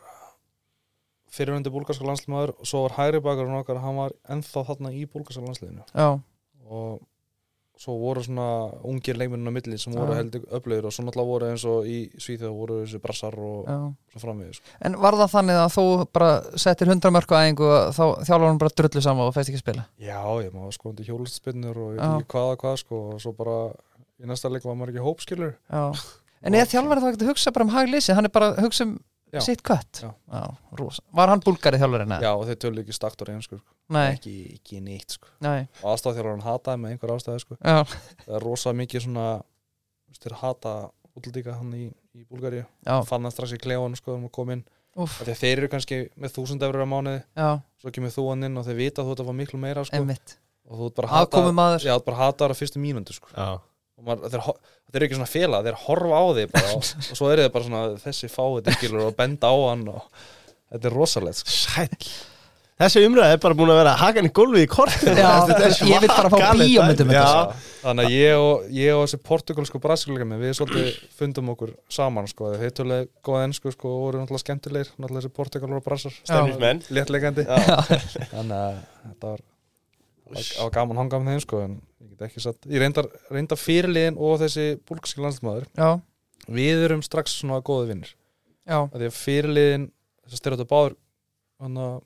S3: fyrirvendu búlgarska landslimaður og svo var hægri bakarinn okkar hann var ennþá þarna í búlgarska landsliðinu
S2: Já,
S3: og svo voru svona ungir leikmennina milli sem voru
S2: Já.
S3: heldur öflöður og svo náttúrulega voru eins og í Svíþjóð voru þessu brassar og
S2: já
S3: svo framvegis sko.
S2: En var það þannig að þú bara settir hundra mörku aðingu og þá þjálfur hann bara drullu saman og fæst ekki að spila?
S3: Já, ég maður var skoðandi hjólustispinnur og ég
S2: Já.
S3: veit ekki hvað að hvað sko og svo bara í næsta leik var maður ekki hópskilur
S2: Já En eða þjálfur þá ekkert að hugsa bara um haglýsi, hann er bara að hugsa um
S3: Já.
S2: sitt kött
S3: Já.
S2: rosa Var hann búlgari þjálfurinn? eða?
S3: Já, og þeir tölu ekki staktur einn sko
S2: Nei,
S3: ekki, ekki neitt sko
S2: nei,
S3: og aðstæðþjálfarinn hataði með einhver ástæði sko
S2: já,
S3: það er rosa mikið svona þú veist, þeir hata útlíka hann í, í Búlgaríu
S2: já,
S3: fann það strax í klefann sko þegar maður kom inn
S2: úff,
S3: af því að þeir eru kannski með þúsund eurur á mánuði
S2: já,
S3: svo kemur þú hann inn og þeir vita að þú ert að fá miklu meira sko
S2: einmitt
S3: og þú ert bara
S2: Afkomu
S3: hataður-
S2: maður,
S3: Já, þú ert bara hataður á fyrstu mínundu sko
S1: Já
S3: og maður, þeir, ho- þeir eru ekki svona fela, þeir horfa á þig bara
S2: *laughs*
S3: og, og svo eru þeir bara svona þessi fáið skilur og benda á hann og þetta er rosalegt sko.
S1: Sæll Þessi umræð er bara búin að vera hakan í gólfið í kortinu
S2: Já, ég vil bara fá bíómynd um þetta.
S1: Já,
S3: þannig að ég og, ég og þessi portugalsku brasilega með við svolítið fundum okkur saman sko, þeir tölulega góða ennsku sko, og voru náttúrulega skemmtilegir, náttúrulega þessi portugalur og brasar
S1: stemnismenn
S3: léttlegandi *laughs* þannig að þetta var það var gaman að hanga með þeim sko, en ég get ekki satt, ég reyndar, reyndar fyrirliðin og þessi búlgski landsmaður
S2: já,
S3: við erum strax svona góði vinnir
S2: já,
S3: að því að fyrirliðin þess að styrir þetta báður hann að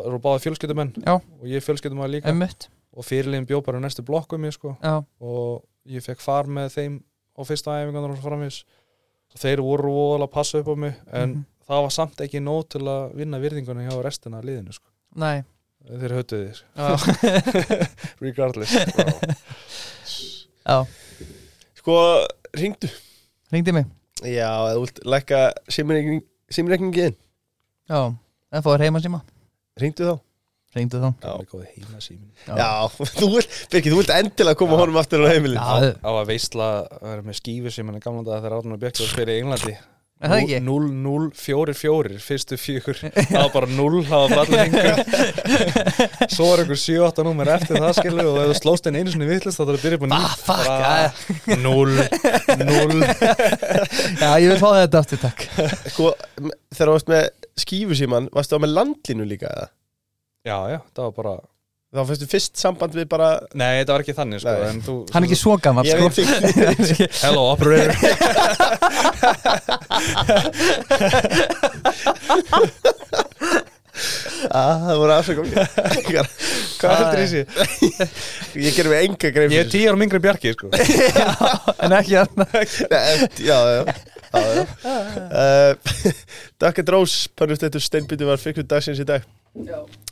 S3: eru báður fjölskyldumenn
S2: Já.
S3: og ég er fjölskyldumæður líka
S2: einmitt
S3: og fyrirliðin bjó bara um næstu blokku mér sko
S2: Já,
S3: og ég fekk far með þeim á fyrsta æfingarnar og svo framvís og þeir voru voðalega að passa upp á mig en
S2: Mhm.
S3: það var samt ekki nóg til að vinna virðinguna hjá restina af liðinu sko
S2: nei,
S3: þeir höttu því sko. *laughs*
S2: já,
S3: regardless sko.
S2: já,
S1: Sko, ringdu
S2: ringdi mig
S1: Já, eða þú vilt lækka simreikning- simreikningin
S2: Já, en fóður heima síma,
S1: Ringdu þá
S2: ringdu þá
S1: Já.
S3: það er góði heima símin
S2: Já.
S1: Já, *laughs* þú vilt, Birgir, þú vilt endilega koma honum aftur á heimilið
S2: Já,
S3: á að veisla að vera með skífi sem hann er gamla dag þegar Arnur Björk var að spila í Englandi
S2: er það ekki?
S3: 0-0-4-4 fyrstu fjögur það var bara 0 það var allir hengur svo var einhver 7-8 númer eftir það skilur og ef þú slóst einn einu sinni vittlist þá þarf að byrja upp á
S2: Ah, fuck,
S3: Bara- 0 0
S2: já, ég vil fá þetta aftur, takk
S1: Sko, m- þegar þú varst með skífusíman Varstu á með landlínu líka eða?
S3: já já það var bara
S1: Þá fyrstu fyrst samband við bara
S3: nei þetta var ekki þannig sko
S1: Nei.
S3: en þú
S2: Hann er ekki svo gammal,
S1: Ég
S2: sko
S1: veit
S2: *laughs*
S1: ekki
S3: hello operator *laughs*
S1: að Ah, það voru
S2: *laughs*
S1: afsökum Hvað heldur þessi? Ég gerum við enga greið
S3: Ég er tíu ára mingri en Bjarki, sko
S2: en ekki hann
S1: Nei, já, já, já, já. *laughs* Uh, Dakka Drós Pannustættur Steinbyttu var fyrir dagsins í dag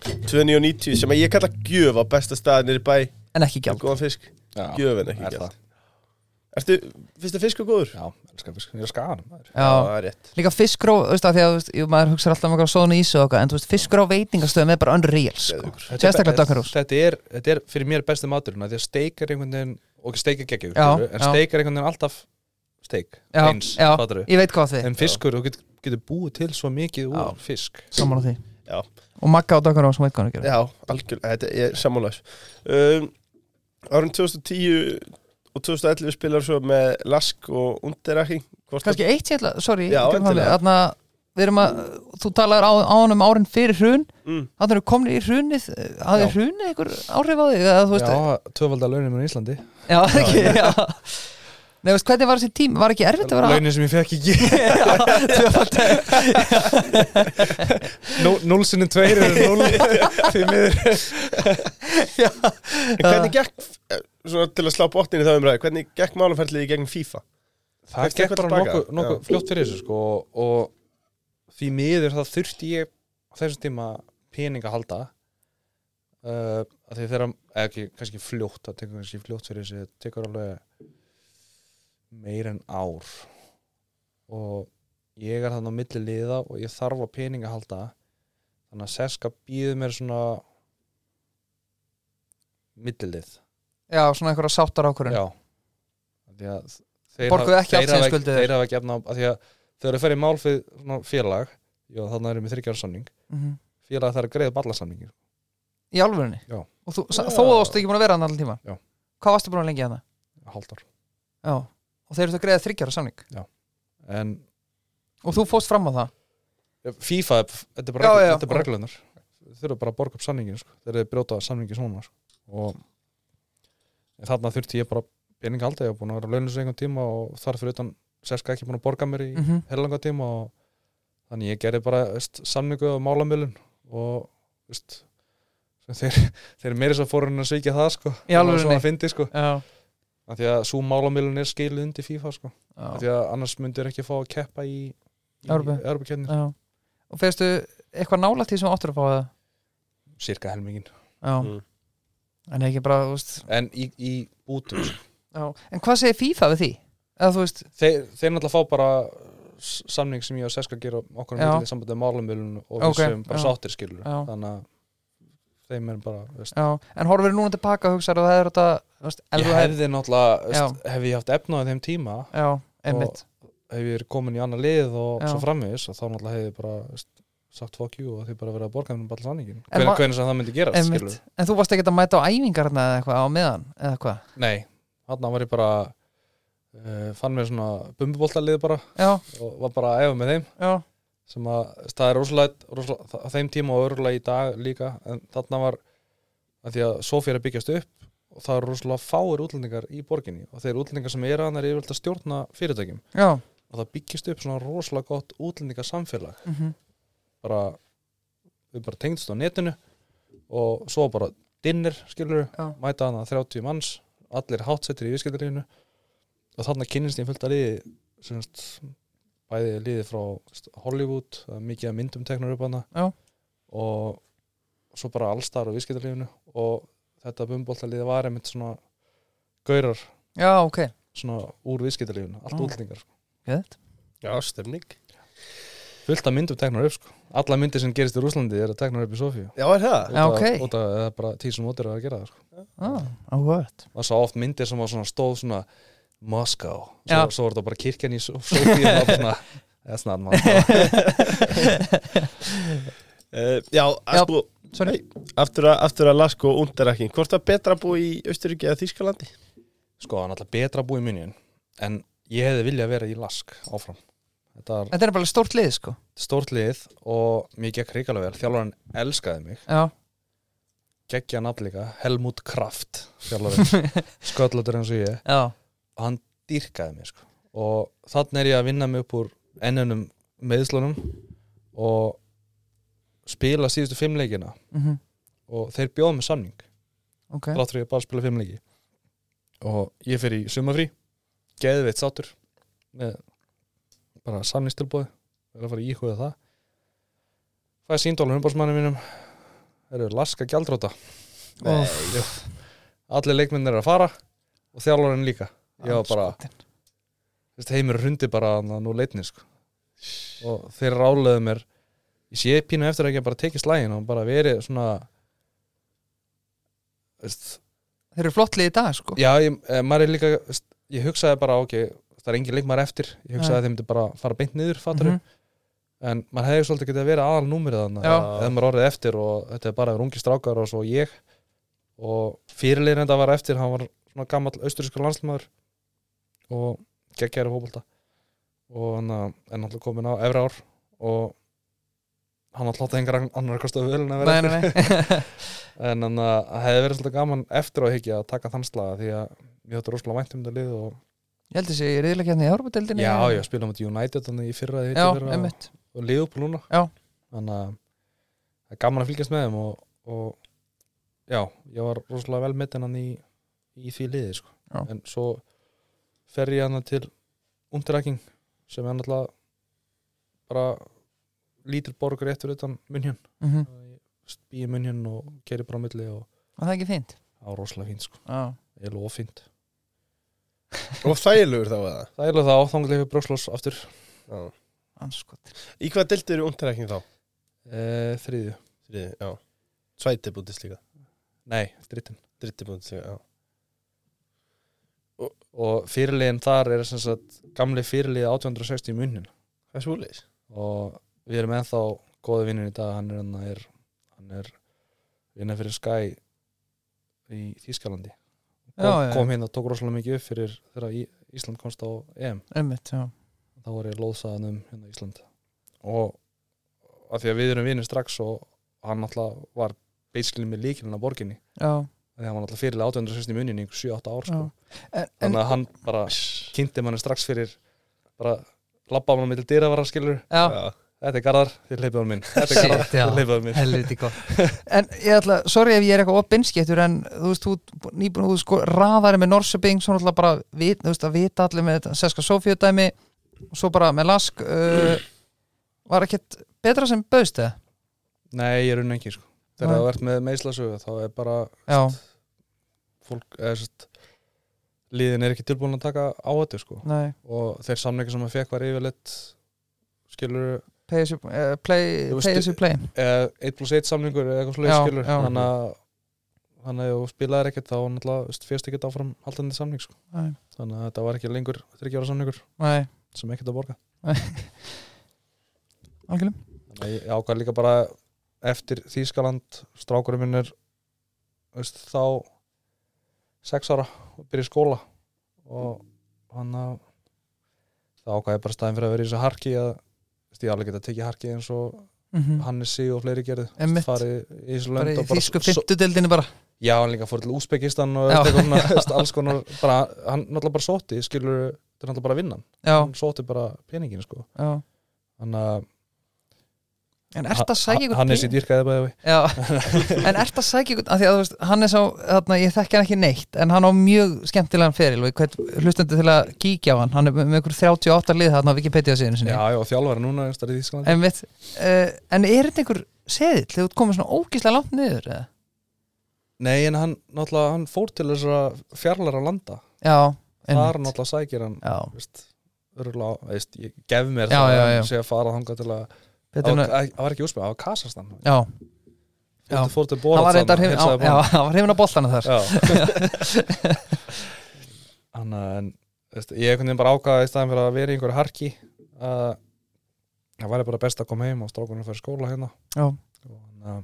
S1: 2990 sem að ég kalla gjöf á besta stað nýri bæ
S2: en ekki
S1: með
S2: gjald
S1: góðan fisk,
S3: *laughs* Já,
S1: gjöf en ekki
S3: er
S1: gjald
S3: það.
S1: Ertu, finnst þið fiskur góður?
S3: Já, elskar fisk Ég er að skaga hann maður.
S2: já,
S1: það er rétt
S2: líka fiskró, þú veist að því að þú veist, jú, maður hugsa alltaf um eitthvað svona ísu og okkar en þú veist, fiskró veitingastöðum er bara unreal sko.
S1: Geðveikur.
S3: Þetta er-
S2: sérstaklega dökkarús
S3: Þetta er, þetta er fyrir mér besti maturinn af Því að steik er einhvern veginn Og ekki steik er geggjur
S2: Já,
S3: En
S2: já.
S3: steik er einhvern veginn alltaf steik
S2: Já,
S3: Eins,
S2: já.
S3: fattarðu?
S2: ég veit hvað þið,
S3: En fiskur, þú getur getur búið til svo mikið úr fisk
S2: saman á því
S1: Já.
S2: og Magga og dökkarús, hún veit hvað hann gerir
S1: Já, algjörlega, þetta er sammálaus um, Árum 2010 og 2011 spilar svo með Lask og Underaki
S2: kannski eitt ég ætla, sorry
S1: Já, endilega.
S2: þarna, við erum að, þú talar á, á hann um árin fyrir hrun
S1: mm,
S2: þannig eru komin í hrunið hafði
S3: Já.
S2: hrunið ykkur áhrif á því eða, þú veist,
S3: Já, tvöfaldar launin mér í Íslandi
S2: Já, ekki, já Nei, veist, hvernig var þessi tími? Var ekki erfitt að vera
S3: Launin sem ég fekk ekki
S2: Tvöfalt
S3: *laughs* Nú- Núll sinni tveir eru núll Því miður
S2: *laughs*
S1: En hvernig gekk, eh, svona til að slá botnin í það umræði Hvernig gekk málaferlið í gegnum FIFA?
S3: Það
S1: Fékkstu
S3: gekk
S1: eitthvað
S3: bara
S1: tilbaka?
S3: nokkuð nokku
S1: Já.
S3: fljótt fyrir þessu sko og því miður það þurfti ég á þessum tíma pening að halda uh, að því þeirra eða ekki, kannski fljótt, það tekur kannski fljótt fyrir þessu, það tekur alveg meir en ár og ég er þannig á milli liða og ég þarf á pening að halda þannig að seska býður mér svona millilið
S2: Já, svona einhverja sáttar ákvörun
S3: Já Af því að þeir
S2: Borguðu
S3: hafa-
S2: ekki allt
S3: þeir
S2: sem
S3: hafa
S2: skuldið er.
S3: Þeir hafa ekki efna á af því að Þegar þeir ferði mál fyrir svona félag Já, þannig erum við þryggjara samning Félag þarf að greiða upp alla samningir
S2: Mhm. Í alvörunni
S3: Já.
S2: Og þú, sa-
S1: Já.
S2: þó að þú varst ekki búin að vera hann allan tíma
S3: Já.
S2: Hvað varstu búin að lengja hann?
S3: Haldar
S2: Já Og þeir eru það greiða þryggjara samning
S3: En
S2: Og þú fóst fram á það
S3: FIFA, er- þetta er bara,
S2: Já,
S3: reglu-
S2: já.
S3: Þetta er bara reglunar Þeir þurfa bara að borga upp samningin sko. Þeir eru brjóta samningin svona sko. Og en þarna þurfti ég bara pening að halda Ég var búin að vera launins einhvern tíma Og þar fyrir utan Seska ekki búin að borga mér í
S2: mm -hmm.
S3: heilanga tíma og þannig ég gerði bara veist, samningu á málamölun og veist, sem þeir, þeir meiri svo fórun að svíkja það sko,
S2: Í alvörunni?
S3: svona fyndi sko
S2: Já,
S3: af því að svo málamölun er skiluð undir FIFA sko,
S2: já,
S3: af því að annars myndir ekki fá að keppa í, í
S2: Evrópu.
S3: Europakefnir,
S2: já. Og fegstu eitthvað nálægt því sem áttur að fá það
S3: cirka helmingin
S2: Já
S1: Mm.
S2: En ekki bara, þú veist
S3: en í, í bútu sko.
S2: já. En hvað segir FIFA við því? Eða þú veist
S3: þeir, þeir náttúrulega fá bara s- samning sem ég og Seska gera okkur um
S2: Já.
S3: milli í sambandi með málamölun og
S2: Ok,
S3: okay, við sem bara
S2: já.
S3: sáttir skilur
S2: Já.
S3: þannig að þeim er bara veist,
S2: Já En horfir núna tilbaka og hugsaður að það er þetta þú veist, ef
S3: Ég
S2: þú hefðir-
S3: hefði náttúrulega,
S2: Já.
S3: veist, hef ég haft efnaðið þeim tíma,
S2: Já, einmitt
S3: hef ég verið komin í annað lið og
S2: Já.
S3: svo framvegis og þá náttúrulega hefði ég bara veist, sagt fuck you og þið bara verið að borga þeim bara sanningin.
S2: En
S3: Hver,
S2: ma-
S3: hvernig sem það myndi gerast, skilur
S2: einmitt. En þú varst ekkert að mæta á æfingarna eða eitthvað á meðan eða hvað
S3: Nei, hann var ég bara, uh, fann mér svona bumbuboltalið bara
S2: Já,
S3: og var bara að efa með þeim
S2: já,
S3: sem að veist, það er rosalega, rosalega það- á þeim tíma og örulega í dag líka en þarna var, að því að Sofía er að byggjast upp og það eru rosalega fáir útlendingar í borginni og þeir útlendingar sem eru hann er yfirvöld að stjórna fyrirtækjum
S2: já
S3: og það byggist upp svona rosalega gott útlendingasamfélag
S2: mm -hmm.
S3: bara, við bara tengdist á netinu og svo bara dinner skilur,
S2: Já.
S3: mæta hana 30 manns allir hátsettir í viðskiptarífinu og þarna kynnist ég fullt að liði semst, bæði liði frá veist, Hollywood, það er mikið að myndum teknar upp hana
S2: Já.
S3: og svo bara allstar á viðskiptarífinu og þetta bumbóltaliði var einmitt svona gaurar
S2: Já, ok,
S3: svona úr viðskiptarífinu, allt
S2: Já.
S3: útlendingar
S2: gett
S1: Já, stemning
S3: fullt af myndum teknar upp sko. alla myndir sem gerist í Rúslandi er að teknar upp í Sofíu
S1: Já, er það?
S2: Já, ok.
S3: út af eða bara tíð sem ótir að gera það sko.
S2: ah, Áhvert
S3: það sá oft myndir sem var svona stóð svona Moská, svo,
S2: Já.
S3: svo var þetta bara kirkjan í Sofíu svona,
S2: *laughs*
S3: eða svona Moská.
S1: Uh, já,
S2: Já.
S1: sko,
S2: Sorry,
S1: aftur að, aftur að Lask og Underaki Hvort var betra að búa í Austuríki eða Þýskalandi?
S3: sko það er alltaf betra að búa í munjun en ég hefði viljað vera í Lask áfram þetta er
S2: þetta er bara stórt lið sko
S3: stórt lið og mér gekk ríkalega vel þjálfarinn elskaði mig
S2: Já,
S3: geggja nafn líka, Helmut Kraft þjálfarinn,
S2: *laughs*
S3: sköllotur eins og ég
S2: já,
S3: og hann dýrkaði mig sko. og þannig er ég að vinna mig upp úr ennunum meðslunum og spila síðustu fimm leikina
S2: mm -hmm.
S3: og þeir bjóðum með samning
S2: ok,
S3: þrátt fyrir að bara spila fimm leiki og ég fer í sumafrí geðveitt sáttur með bara samningstilbúð vel að fara að íhuga það fæði síndóla umbásmanni mínum þeir eru laska gjaldróta
S1: Nei.
S3: Jú. allir leikmennir eru að fara og þjálfarinn líka ég var bara,
S2: Andskotinn.
S3: þessi heimur hrundi bara þarna nú leitni sko. og þeir ráleðu mér ég sé pínu eftir að ekki að bara tekið slægin og bara verið svona veist,
S2: þeir eru flottlið í dag sko
S3: Já, ég, eh, maður er líka veist, ég hugsaði bara, ok, það er engin leikmar eftir ég hugsaði
S2: Nei.
S3: að þeim myndi bara fara beint niður fattaru,
S2: Mhm.
S3: en maður hefði svolítið getið að vera aðal númerið þannig,
S2: Já.
S3: eða maður orðið eftir og þetta er bara yfir ungi strákar og svo ég og fyrirlegin þetta var eftir hann var svona gammal austurískur landslæmaður og geggjæri fótbolta og hann eh, að- en alltaf komin á efra ár og hann alltaf átti engar annar kostaðu völun að vera
S2: nei, nei, nei.
S3: en þannig að það hefði verið svolítið gaman eftir á að higgja að taka þann slaga því að mér þetta rosalega vænt um þetta lið og
S2: *laughs* ég held þessi, ég er reyðilega hérna í Árbadeldinni
S3: já, ég spila mot United þannig að ég fyrra að
S2: já,
S3: higgja þeirra og,
S2: einmitt
S3: og liðu upp núna
S2: Já.
S3: þannig að það er gaman að fylgjast með þeim og, og já, ég var rosalega vel metin hann í, í því liði sko.
S2: Já.
S3: en svo fer ég hann til undiræking sem er náttúrulega bara lítur borgur eftir utan munhjön
S2: mm -hmm.
S3: býi munhjön og gerir bara á milli og
S2: og það er ekki fínt
S3: það var rosalega fínt sko.
S2: já,
S3: ég lofa fínt
S1: Og þægilegur þá eða?
S3: Það er alveg það áþanglega fyrir Bröslós aftur
S1: Já.
S2: anskot
S1: Í hvað deltu eru undirækning þá?
S3: e, Þriðju
S1: Þriði, já. Svæti bútist líka.
S3: Nei, drittin
S1: Dritti bútist líka, já.
S3: Og fyrirliðin þar er sem sagt gamli fyrirlið 1860 í munnin
S1: Það er svúleis.
S3: og við erum ennþá góði vinnur í dag hann er, hann er, hann er vinna fyrir Sky í Þýskalandi
S2: Já,
S3: kom,
S2: já, já.
S3: kom hérna og tók rosalega mikið upp fyrir þegar Í- Ísland komst á EM
S2: einmitt, já
S3: þá var ég lóðsaðan um hérna Ísland og af því að við erum vinnur strax og hann alltaf var basically með líkilinn á borginni
S2: Já,
S3: Af því að hann var alltaf fyrirlega 1860 munin í einhver 7-8 ár sko.
S2: já. En, en,
S3: þannig að hann bara kynnti manni strax fyrir bara labba mann á milli dýra var að skilur
S2: já,
S3: þetta er garðar, þið hleypið hann minn þetta er
S2: Shit,
S3: garðar,
S2: já.
S3: þið hleypið hann minn
S2: helviti gott En ég ætla, sorry ef ég er eitthvað opinskettur en þú veist, þú nýbúin, þú sko raðari með Norsöping, svo náttúrulega bara vit, þú veist að vita allir með þetta Seska Sofíudæmi og svo bara með Lask uh, Var ekkert betra sem bauðst það?
S3: nei, ég er unni ekki sko. þegar
S2: Nei.
S3: þú ert með meðslasögu þá er bara
S2: Já,
S3: fólk eða, sest, liðin er ekki tilbúin að taka á þetta sko.
S2: nei,
S3: og þeir samleika sem hann fekk var yfirleitt skilur
S2: pay as you, uh, play,
S3: Þú veist, eh,
S2: pay, as you play
S3: eða 1 plus 1 samlingur eða eitthvað
S2: Já,
S3: slúið skilur
S2: já.
S3: þannig að þannig að ef þú spilaðir ekkert þá náttúrulega veist, fyrst ekkert áfram haldandi samling sko.
S2: Nei.
S3: þannig að þetta var ekki lengur 30 ára samlingur
S2: Nei,
S3: sem ekkert að borga
S2: algjörlega
S3: þannig að ég ákvað líka bara eftir Þýskaland strákurum minn er veist, þá 6 ára og byrja í skóla og hann að þá ákvað ég bara staðin fyrir að vera í þessu harki að veist, ég alveg geta tekið harki eins og
S2: mm
S3: Hannesi og fleiri gerðu
S2: Einmitt.
S3: farið í þessu
S2: Bara
S3: lönd
S2: í
S3: og bara
S2: þýsku
S3: so-
S2: fymtudeldinni bara
S3: Já, hann líka fór til Úsbekistan og
S2: Já.
S3: eitthvað
S2: *laughs*
S3: svona, veist, alls konar bara, hann náttúrulega bara sótti, skilur þetta er náttúrulega bara vinnan,
S2: Já,
S3: hann sótti bara peningin sko,
S2: já
S3: þannig að
S2: En ert að sækja
S3: hann er sér dýrkaði bæði
S2: Já, en ert að sækja ykkur, af því að þú veist, hann er sá, þarna, ég þekki hann ekki neitt, en hann á mjög skemmtilegan feril og ég hvet hlustandi til að kíkja á hann, hann er með með ykkur 38 lið þarna á Wikipedia síðan sinni.
S3: Já, já, þjálfara núna, einhvers staðar í Þýskalandi
S2: En, mitt, uh, en er þetta einhver seðill, þegar þú ert komið svona ógíslega langt niður, eða?
S3: Nei, en hann náttúrulega, hann fór til þessara fjarlæra landa,
S2: Já,
S3: þar náttúrulega sækir hann,
S2: Já,
S3: veist, örgulega, veist, ég gef mér
S2: Já,
S3: það
S2: já,
S3: að
S2: já.
S3: hann sé að fara þangað til að
S2: betur
S3: það
S2: en
S3: var-
S2: að,
S3: það var ekki Úsbek, það var Kasastan
S2: já, Já.
S3: fór til
S2: hann var reyndar
S3: Boratsson,
S2: hrifin, á-
S3: heilsaði
S2: já,
S3: bara-
S2: hann var hrifin á boltana þar.
S3: Þannig *laughs* að en, veist, ég einhvern veginn bara ákvaða í staðan fyrir að vera í einhverju harki að það væri bara best að koma heim og strákunum fyrir skóla hérna
S2: Já.
S3: og þannig að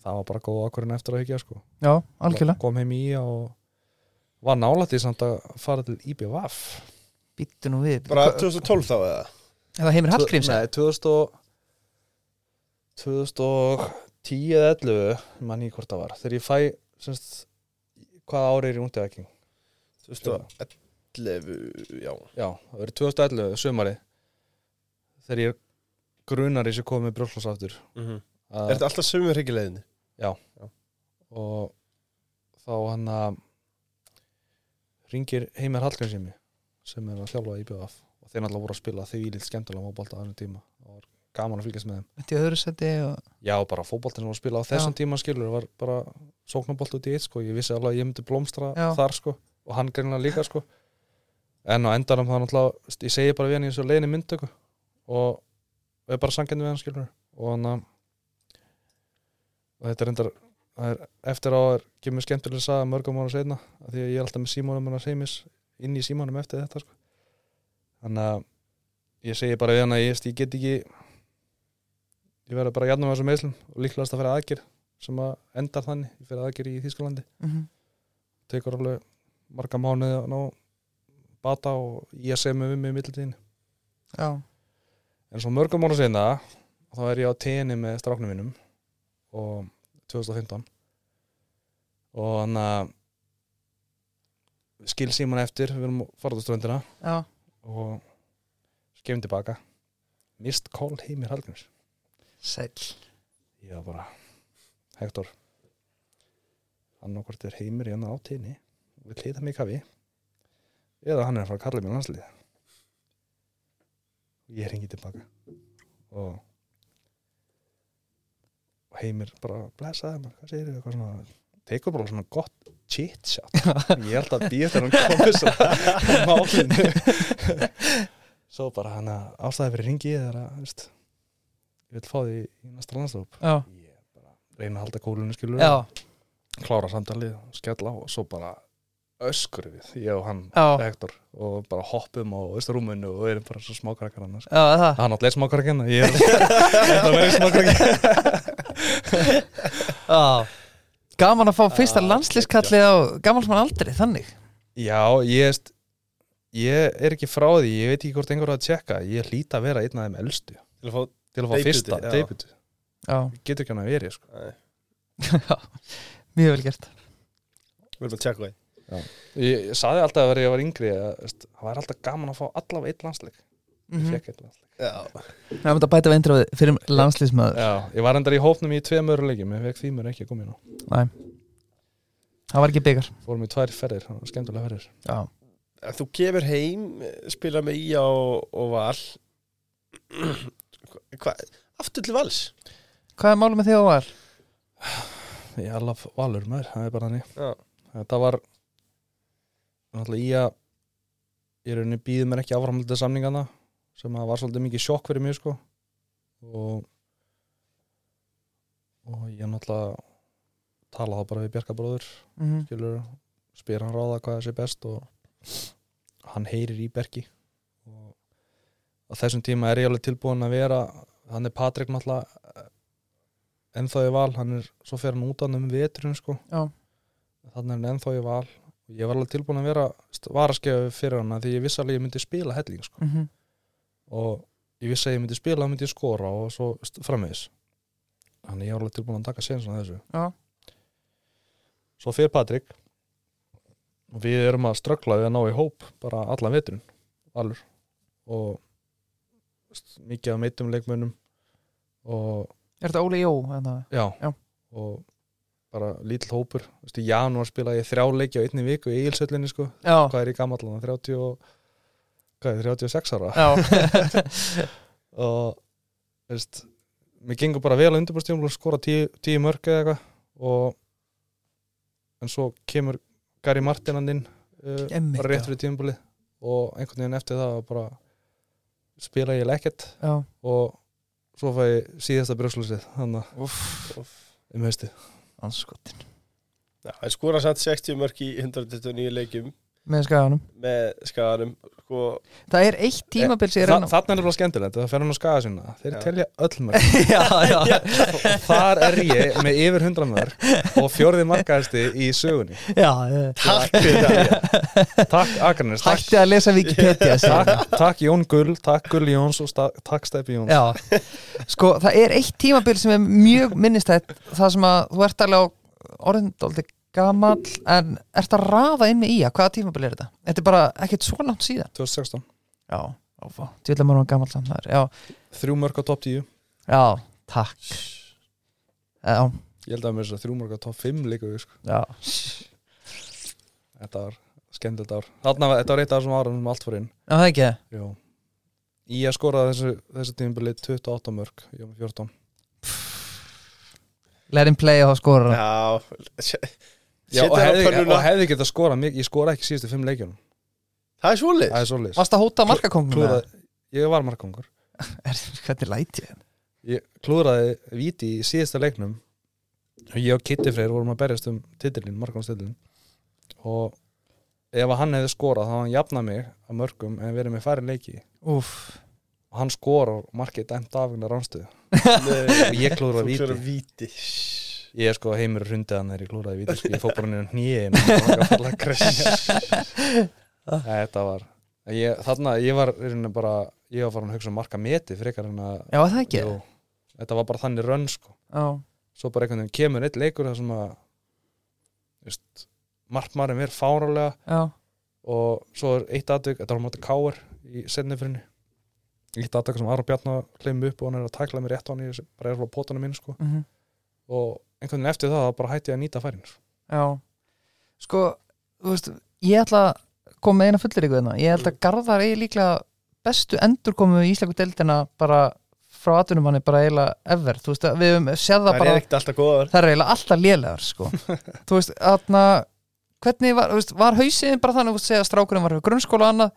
S3: það var bara góð ákvörðin eftir að higgja sko
S2: Já, algjörlega.
S3: kom heim í IA og var nálætt í samt að fara til IBVF
S2: Býttu nú við.
S1: Bara
S2: Hva-
S1: 2012 þá eða?
S2: Eða heimir Hallgríms, eða?
S3: Nei, 2000 og 2010 eða 11 mann í hvort það var þegar ég fæ semst, hvaða ári er í undiræking
S1: 2011, já.
S3: já, það verið 2011 sumari þegar ég grunari sem kom með brjóklás aftur
S1: Mhm. Er þetta alltaf sömu hryggjuleiðinni?
S3: og þá hann að ringir Heimir Hallgrímsimi sem er að þjálfa í BF og þeir náttúrulega voru að spila því ílitt skemmtilega fótbolta á þessum tíma og var gaman að fylgjast með þeim
S2: Þetta í öðru seti og
S3: já, bara fótbolta sem voru að spila á þessum
S2: Já.
S3: tíma skilur var bara sóknabolt út í eitt sko ég vissi alveg að ég myndi blómstra
S2: Já.
S3: þar sko og hann greinlega líka sko en á endanum það náttúrulega ég segi bara við hann í þessu leiðinni myndtöku og við erum bara sangjarni við hann skilur og hann að- og þetta er endar það er eftir á er kemur skemmtilega saga mörgum ára seinna af því að ég er alltaf með símónum hann að seimis inn í símónum eftir þetta sko. þannig að ég segi bara við hann að ég, veist, ég get ekki ég verður bara gjarnum á þessum meðslum og líklegast að fara aðgir sem að endar þannig, ég fyrir aðgir í Þýskalandi
S2: mm
S3: tekur alveg marga mánuði að ná bata og ég segi með við mig í millitíðin
S2: já,
S3: en svo mörgum ára seinna þá er ég á tenni með stráknum mínum og 2015 og hann að skil síman eftir við erum farað á ströndina
S2: já,
S3: og skefum tilbaka mist kól heimir halgrims
S2: sæll
S3: ég var bara Hector hann okkur er heimir í hann á tenni og vil hita mig í kafi eða hann er að fara að kalla mér landslið ég ringi tilbaka og og heimir bara blessaði maður, hvað segir þið, eitthvað svona tekur bara svona gott chit chat ég held að býja þegar hann komið svo málinu svo bara hann að ástæði fyrir ringi eða að, veist ég vil fá því í næsta landslóp
S2: já,
S3: ég bara reyna að halda kólunni skilur
S2: já,
S3: klára samtalið, skella á og svo bara öskur við, ég og hann
S2: já, já,
S3: Hector, og bara hoppum á austarúminu og erum bara svo smákrakkar annars
S2: það
S3: hann átt leið smákrakkin og ég *laughs* er þetta með smákrakkin
S2: Já. Gaman að fá fyrsta
S1: Já,
S2: landslískallið á gamalsmann aldrei, þannig
S3: já, ég veist ég er ekki frá því, ég veit ekki hvort einhver er að tjekka ég hlýta að vera einn af þeim elstu
S1: Til að fá
S3: til að fá
S1: Debutu,
S3: fyrsta,
S1: já.
S3: debut
S2: Já,
S3: getur ekki hann að veri, sko
S1: Nei,
S2: já. mjög vel gert
S1: Við erum að tjekka það
S3: ég, ég saði alltaf að vera ég var yngri að, veist, það var alltaf gaman að fá allavega einn landsleik
S2: mm
S3: ég
S2: -hmm.
S3: fekk einn landsleik
S1: Já,
S2: Það myndi að bæta við eindröfið fyrir landslísmaður
S3: Já, ég var endar í hópnum í tveim öruleikjum ég fekk þýmur ekki að koma inn á
S2: Það var ekki byggar
S3: fórum í tvær ferðir, það var skemmtulega ferðir
S2: Já,
S1: En þú kemur heim, spila með Ía og, og Val *clears throat* Hva? Aftur til Vals
S2: hvað er málum með því að var?
S3: ég alla valur maður, það er bara þannig
S1: Já.
S3: þetta var náttúrulega í að ég rauninni býði mér ekki áframhaldið samningana sem að var svolítið mikið sjokk fyrir mig sko og og ég náttúrulega talaði þá bara við Bjarka bróður
S2: Mm
S3: skilur, spyr hann ráða hvað það sé best og hann heyrir í Berki og á þessum tíma er ég alveg tilbúin að vera hann er Patrik náttúrulega eh, ennþá í val, hann er svo fer hann út annum veturinn sko
S2: Já.
S3: þannig er hann ennþá í val og ég var alveg tilbúin að vera varaskefi fyrir hann af því ég vissi alveg að ég myndi spila helling sko
S2: -hmm.
S3: og ég vissi að ég myndi spila, myndi ég skora og svo st- framvegis þannig ég var alveg tilbúin að taka sénsna þessu
S2: Já.
S3: svo fyrir Patrik og við erum að ströggla við að ná í hóp bara allan veturinn alur og st- mikið af meitum leikmönnum og
S2: Er þetta Óli Jó? þarna?
S3: Já,
S2: Já.
S3: og bara lítill hópur Vistu, janúar spilaði ég þrjá leiki á einni viku í Egilsöllinni sko,
S2: Já,
S3: hvað er ég gamall þarna? 30 og, hvað er 36 ára
S2: já
S3: *laughs* og veist, mér gengur bara vel að undirbúrstíðum og skora tíu, tíu mörg eða eitthvað og en svo kemur Gary Martinand inn uh,
S2: Einmitt,
S3: bara rétt
S2: já.
S3: fyrir tíumbúli og einhvern veginn eftir það var bara spila ég lekkert
S2: Já,
S3: og svo fæ ég síðasta brjóslusið þannig
S2: uff,
S3: að um hausti
S2: anskotin
S1: Já, en skora samt 60 mörk í 129 leikjum
S2: Með skaganum
S1: með skaganum sko,
S2: Það er eitt tímabil sér
S3: Eh, Þa, þannig er það skemmtilegt, það fer hann á skaga sinna þeir
S1: Já.
S3: telja öll mörg
S2: *laughs* Já, já,
S3: *laughs* þar er ég með yfir 100 mörg og fjórði markaðasti í sögunni
S2: já eh,
S1: Takk fyrir það
S3: takk Akranes, takk
S2: Hætti að lesa Wikipedia sér
S3: takk, takk Jón Gull, takk Gull Jóns og sta- takk Steppi Jóns
S2: Já, sko það er eitt tímabil sem er mjög minnistætt það sem að þú ert alveg á orðindóldi gamall en ert að rafa inn með ía, hvaða tímabil er þetta? Þetta er bara ekkert svo langt síðan
S3: 2016,
S2: Já, Djöðlega maður var gammal samt maður Já,
S3: Þrjú mörg á topp 10
S2: já, takk Já,
S3: Ég held að mér þess að þrjú mörg á topp 5 líka sko.
S2: já
S3: Þetta var skemmtilegt ár Þarna var, þetta var eitt af þessum árum um allt fór inn
S2: Já, það ekki það
S3: Jó Ég að skoraði þessu, þessu tímabili 28 mörg Ég var með 14
S2: Let him play og þá skora hann.
S1: Já,
S3: Já,
S1: setja
S3: og,
S1: hann á
S3: hefði,
S1: pönnuna
S3: og hefði getað skorað mikið Ég skoraði ekki síðustu 5 leikjunum
S1: Það er svolít
S3: Það er svolítið
S2: Varst að hóta markakóngum eða?
S3: Klúðraði Ég var markangur
S2: Er- Hvernig læti ég?
S3: Ég klúðraði viti í síðasta leiknum Ég og Kitty Freyr vorum að berjast um titilin, markanstillin og ef að hann hefði skorað þá hefði hann jafnað mig að mörgum en verið með færri leiki
S2: Úf
S3: og hann skorar og markið er dæmt af hennar ránstöðu
S1: Nei,
S3: og ég klúðraði
S1: *laughs* Þú
S3: viti
S1: klúðrar víti
S3: Ég er sko heimur hrundið hann þegar ég klúraði vítið sko, ég fór bara niður hnýin og það var að falla að
S1: *laughs*
S3: kressa Þetta var ég, Þarna, ég var í rauninni bara ég var farin að hugsa um marka meti frekar en að
S2: Já, það ekki
S3: Jú, Þetta var bara þannig rönn sko
S2: Já,
S3: Svo bara einhvern veginn kemur eitt leikur þar sem að just, markmarin verið fárálega
S2: já
S3: og svo er eitt atvik, þetta var á móti káir í sennifrinni eitt atvik sem Aron Bjarnar hlimu upp og hann er að tækla mér rétt á hann ég bara er alveg á pótunum mín sko
S2: mhm.
S3: og einhvern veginn eftir það, það bara hætti ég að nýta færin sko.
S2: Já, sko þú veist, ég ætla að koma með eina fullir ykkur þarna, ég held að Garðar eigi líklega bestu endurkomu í Íslaku deildina bara frá atvinnumanni bara eiginlega ever, þú veist að við höfum séð það
S1: Það er
S2: bara,
S1: ekkert alltaf góðar
S2: það er eiginlega alltaf lélegar *laughs* sko, þú veist, aðna hvernig var, þú veist, var hausin bara þannig þú veist, segja að strákurinn var í grunnskóla og annað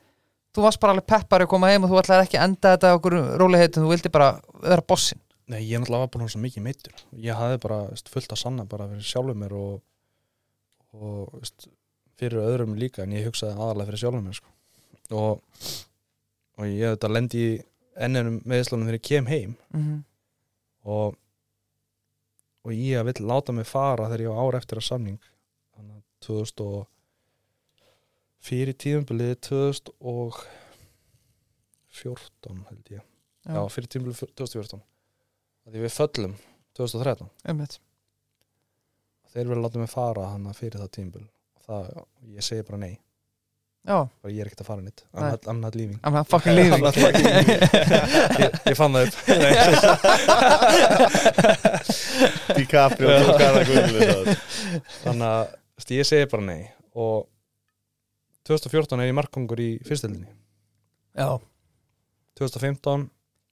S2: þú varst bara alveg peppari að koma heim og þú ætlaði ekki að enda þetta á okkur róliheitum, þú vildi bara vera bossin,
S3: Nei, ég náttúrulega var bara svo mikið meittur ég hafði bara veist, fullt að sanna bara fyrir sjálfum mér og, og veist, fyrir öðrum líka en ég hugsaði aðalega fyrir sjálfum mér sko. og, og ég hef þetta lendi í ennum meðislunum þegar ég kem heim
S2: mm
S3: og, og ég að vill láta mig fara þegar ég á ára eftir að samning þannig að 2000 og fyrir tíðumbilið 2014 held ég Já, fyrir tímlu 2014 Því við föllum 2013
S2: einmitt,
S3: Þeir verður láta mig fara hann fyrir það tímlu og það, ég segi bara nei
S2: já,
S3: bara ég er ekkert að fara nýtt
S2: Nei.
S3: I'm, not- I'm not leaving
S2: I'm not fucking leaving
S3: not fucking leaving.
S2: *laughs*
S3: ég, ég fann það upp Nei.
S1: DiCaprio
S3: *laughs*
S1: og Garðar Guðmundsson.
S3: Þannig að þú veist, ég segi bara nei og 2014 er ég markongur í fyrstöldinni
S2: já,
S3: 2015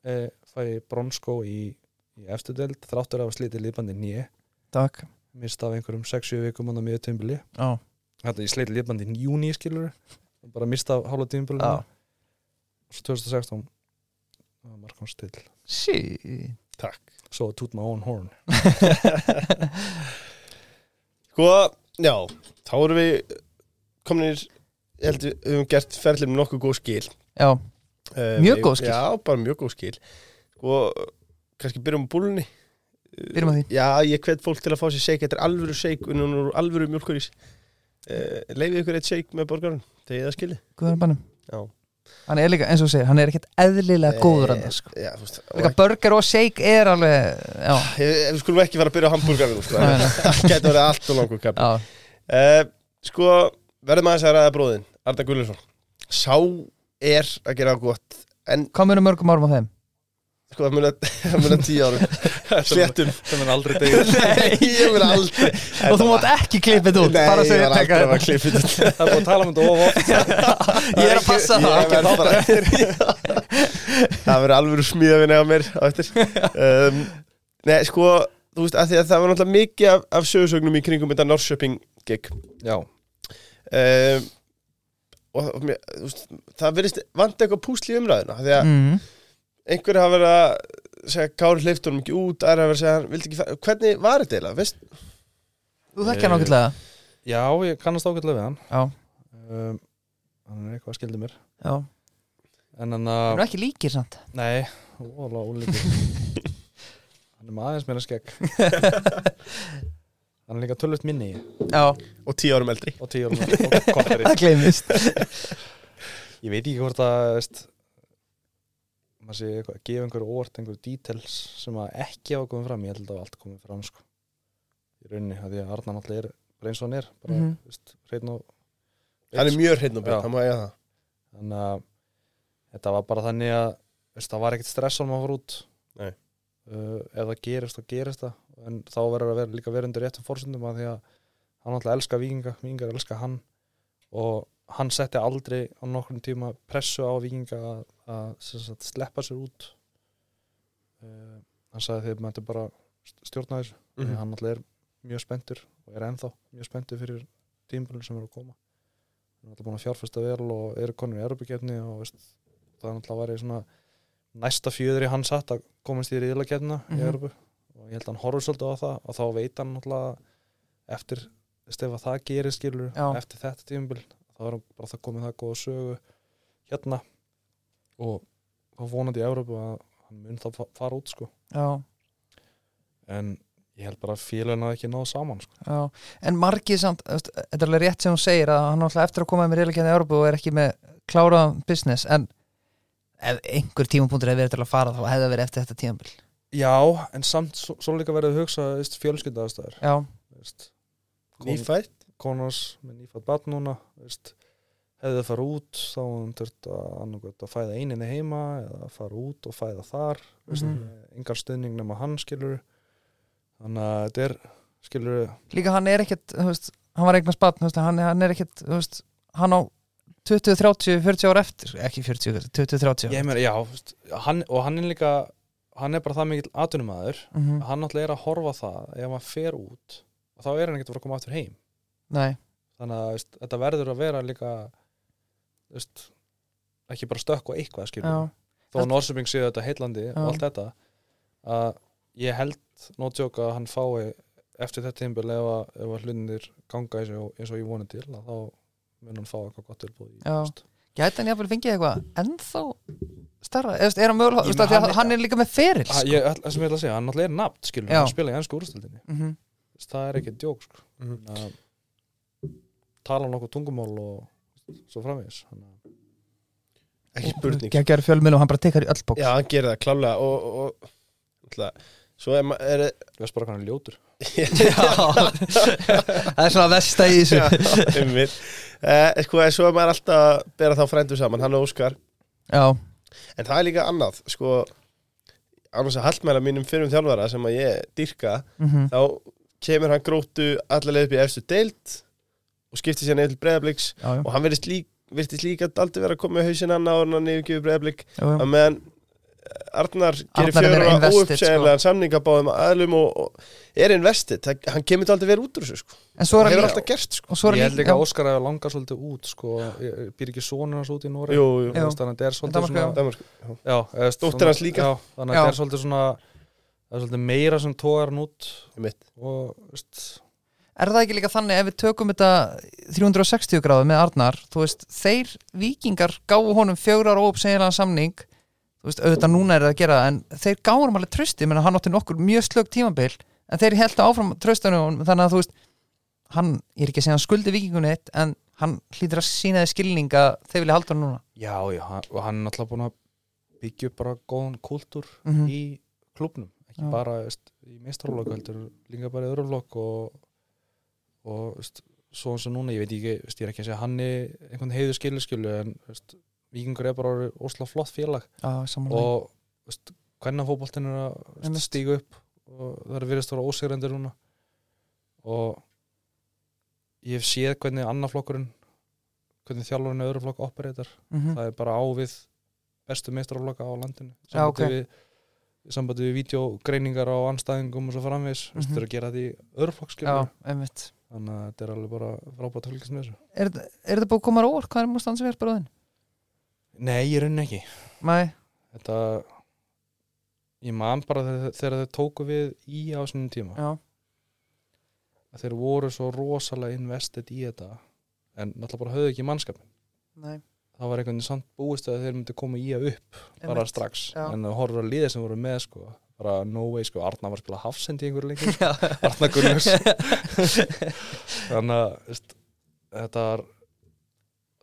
S3: eh, fæ ég bronskó í, í eftirdeld þráttur af slítið lífbandi nýje
S2: takk
S3: mista af einhverjum 6-7 vikum á miðið tímbili
S2: já,
S3: Þetta ég sleit lifandi í júni skilur bara mista af hálfa tímabilið
S2: já,
S3: svo 2016 það var Markon Still
S2: sí
S1: Takk
S3: svo að tút my own horn
S1: Sko, já, þá erum við kominir, ég held við við höfum gert ferðlum nokkuð góð skil
S2: Já,
S1: Eh,
S2: Mjög
S1: við-
S2: góð skil.
S1: Já, bara mjög góð skil Sko, kannski byrjum á búlunni
S2: byrjum að því
S1: Já, ég hvet fólk til að fá sér shake Þetta er alvöru shake og núna er alvöru mjölkurís uh, Leifið ykkur eitt shake með borgarinn Þegar það skili
S2: Guðan Bannum
S1: Já,
S2: Hann er líka, eins og þú segir, hann er ekkert eðlilega góður hann sko.
S1: já þú veist
S2: Líka burger og shake er alveg Já,
S1: Við skulum ekki fara að byrja á hambúrgarinn sko.
S2: Nei, nei.
S1: Það gæti verið allt og langur kapi
S2: já,
S1: uh, Sko, verðum aðeins að ræða bróðin Arda Gulluðsson Sá er að gera gott En
S2: hvað munum mörgum árum á þeim?
S1: sko, það muna, *laughs* það muna tíu árum Sléttum
S3: *laughs* sem er aldrei *laughs* degið
S1: Nei, ég mun aldrei
S2: og þú mátt ekki klippa þetta út
S1: Nei,
S2: bara
S1: ég
S2: segja
S1: var
S2: taka
S1: aldrei að
S2: þetta
S1: klippa þetta
S3: það er búin að tala um þetta of oft
S2: *laughs* Ég er að passa
S1: Ég
S2: það
S1: verð bara eftir *laughs* Það verður alveg smíðavinni á mér á eftir um, Nei, sko, þú veist, að því að það var náttúrulega mikið af, af sögursögnum í kringum þetta Norrköping gig
S3: já,
S1: um, og og mér, þú veist, það verðist vant eitthvað púsli í umræðuna af því að
S2: Mm,
S1: einhverju hafa verið að segja Kári hleyft honum ekki út, aðra hafa verið að segja hann vildi ekki fara, hvernig var þetta eiginlega, veist?
S2: Þú þekkja hann ákveðlega
S3: já, ég kannast ágætlega við hann
S2: Já,
S3: um, hann er eitthvað að skildi mér
S2: já,
S3: en hann
S2: það
S3: að,
S2: eru ekki líkir samt
S3: nei, ólega ólíkur hann er með aðeins meira skegg hann er líka tölvöld minni í
S2: Já,
S1: Og tíu árum eldri
S3: og tíu árum og kortari
S2: það gleymist
S3: ég veit ekki hvort að veist, maður sé eitthvað að gefa einhverju orð, einhverju details sem að ekki hafa komið fram, ég held að hafa allt komið fram sko. í rauninni, af því að Arnar náttúrulega er bara eins og hann er bara,
S2: Mhm.
S3: veist, hreinn og
S1: Hann er mjög hreinn og
S3: Já.
S1: byrð, hann má eiga það
S3: þannig að þetta var bara þannig að veist, það var ekkert stress að maður fór út
S1: Nei.
S3: uh, ef það gerist þá gerist það en þá verður að vera líka verið undir réttum fórsöndum að því að hann alltaf elska vikinga vikingar elska hann og hann setti aldrei á nokkrum tíma pressu á vikinga að, að sem sagt, sleppa sér út uh, hann sagði þeir mættu bara st- stjórna þessu mm
S1: Mhm.
S3: hann alltaf er mjög spenntur og er ennþá mjög spenntur fyrir tímabölinn sem er að koma hann er alltaf búin að fjárfesta vel og eru konum í Europakefni og veist, það er alltaf að vera svona næsta fjöður í hans hatt að komast í riðlakefna í
S2: Mhm.
S3: Europu og ég held að hann horfur svolítið á það og þá veit hann alltaf eftir veist, ef að það gerir skilur
S2: Já.
S3: eftir þetta tímabil þá er hann bara það komið það góða sögu hérna og þá vonandi í Európa að hann mun þá fa- fara út sko
S2: já,
S3: en ég held bara að félagin að ekki náð saman sko.
S2: já en margir samt, þú veist, þetta er alveg rétt sem hún segir að hann alltaf eftir að koma með reyðleikjandi Európu og er ekki með kláraðan business en ef einhver tímapunktur hefði verið til að fara þá hefði það verið eftir þetta tímabil
S3: já, en samt svo, svo líka verið að hugsa veist, fjölskylda aðstæður
S2: já,
S3: veist,
S1: Nýfætt
S3: konars með nýfætt barn núna veist, hefði það fara út þá hann þurft að, annarkvæmt að fæða eininni heima eða fara út og fæða þar veist,
S2: Mhm.
S3: engar stuðning nema hann skilur þannig að þetta er skilur
S2: líka hann er ekkert þú veist, hann var eignast batn, hann, hann er ekkert þú veist, hann á 20, 30, 40 ára eftir ekki 40, 20, 30
S3: ég meira, já, veist, hann, og hann er líka hann er bara það mikill atvinnumæður
S2: mm
S3: mm. hann náttúrulega er að horfa á það ef hann fer út og þá er hann ekkert að fara að koma aftur heim
S2: nei,
S3: þannig að veist, þetta verður að vera líka veist, ekki bara stökk og eitthvað skilur
S2: já,
S3: þó að Norsubing séu þetta heillandi og
S2: Já.
S3: allt þetta að ég held nótjóka að hann fái eftir þetta tímbil ef að, ef að hlunnir ganga eins og, eins og ég vonið til að þá mun hann fá eitthvað gott tilbúð í
S2: Já.
S3: haust.
S2: gæti hann jáfnvel fengið eitthvað ennþá starra, eða þú veist, er hann mögulega
S3: Ég
S2: þú veist,
S3: meina,
S2: af því
S3: hann
S2: að
S3: er-
S2: hann er líka með feril
S3: Að
S2: sko.
S3: Ah, ég- það sem ég ætla að segja, hann náttúrulega er nabt skilur,
S2: Já.
S3: hann spila í ennsku úrstöldinni
S2: mhm
S3: það er ekki djók sko.
S1: Mhm.
S3: Þannig að tala um nokkuð tungumál og svo framvegis Þannig að-
S1: Ekki spurning
S2: Gægjar fjölmjöl og hann bara tekkar í öll bók
S1: Já, hann gerir það klálega og, og, og ætla, Svo er, ma- er
S3: þú veist bara hvað hann er ljótur
S2: það er svona vest að í þessu
S1: Já, um mér eh, sko, en Svo er maður alltaf að bera þá frændu saman Hann og Óskar
S2: já,
S1: En það er líka annað sko, Annars að hallmæla mínum fyrir um þjálfara sem að ég dyrka
S2: mhm,
S1: Þá kemur hann gróttu allarleið upp í efstu deild og skiptir sér nefn til breyðabliks
S2: já, já,
S1: og hann virðist líka, virðist líka aldrei vera að koma í hausinn hann á hann yfirgjöfu breyðablik
S2: já, já.
S1: að meðan Arnar gerir
S2: Arnar er
S1: fjögur og
S2: invested,
S1: óuppsegjanlegan sko. samning að báðum aðlum og, og er investið, það, hann kemur þetta aldrei verið út úr þessu sko,
S2: en svo er
S1: það
S2: hann
S1: hefur
S2: líka
S1: alltaf gerst sko
S2: og svo er
S3: ég
S2: hann
S3: held líka að
S2: líka
S3: Óskar hefur langað svolítið út sko. Ég- ég- býr ekki sonur hans út í Nóri
S1: Jú, jú,
S2: Já.
S3: þannig að þetta er svolítið
S2: Danmark,
S3: svona,
S1: Danmark,
S3: já, eða veist,
S1: Dóttir
S3: svona-
S1: hans líka.
S3: já, þannig að þetta
S2: Já.
S3: er svolítið svona það er svolítið meira sem tógar hann út
S1: mitt
S3: og veist,
S2: er það ekki líka þannig ef við tökum þetta 360 gráðu með Arnar þú veist, þeir vikingar gáðu honum fjórar óuppsegjanlega samning þú veist, auðvitað núna er það að gera það, en þeir gáðu honum alveg trösti, menn að hann átti nokkur mjög slög tímabil, en þeir held áfram tröstunum, þannig að þú veist hann, ég er ekki að segja hann skuldi vikingunni eitt en hann hlýtur að sína þið skilning að þeir vilja halda hann núna
S3: já, já, hann, og hann er náttúrulega búin að byggja upp bara góðan kúltúr
S2: mm
S3: í klubnum ekki
S2: Já.
S3: bara veist, í meistarflokk heldur líka bara í öðrum flokk og, og veist, svo eins og núna ég veit ekki, veist, ég er ekki að segja hann er einhvern heiðu skilu skilu en veist, vikingur er bara orðið óslega flott félag
S2: Já, sammála
S3: og veist, hvernig fótboltinn er að veist,
S2: Einmitt.
S3: stíga upp og það er virðist að vera ósigrendir núna og ég hef séð hvernig annar flokkurinn hvernig þjálfurinn öðru flokk operétar
S2: Mhm.
S3: það er bara á við bestu meistraflokka á landinu
S2: Já,
S3: sambandi
S2: ok.
S3: við í sambandi við vídeogreiningar á anstæðingum og svo framvegis, mm -hmm.
S2: Mhm.
S3: þetta er að gera þetta í örflokkskilur,
S2: Já, einmitt
S3: þannig að þetta er alveg bara frábært að fylgjast með þessu.
S2: Er, er þetta búið að koma á óvart? Hvað er múst hans verið bara á þinn?
S3: Nei, ég raun ekki
S2: Nei,
S3: þetta, ég man bara þegar, þegar þau tóku við í á sinni tíma
S2: já,
S3: að þeir voru svo rosalega invested í þetta en náttúrulega bara höfðu ekki mannskapin
S2: nei
S3: það var einhvern veginn samt búist að þeir myndi koma í að upp bara
S2: einmitt.
S3: strax,
S2: Já.
S3: en þú horfður að liða sem voru með sko, bara no way sko, Arna var að spila hafsend í einhverju lengi
S2: Já,
S3: Arna Gunnars
S2: *laughs*
S3: þannig að veist, þetta var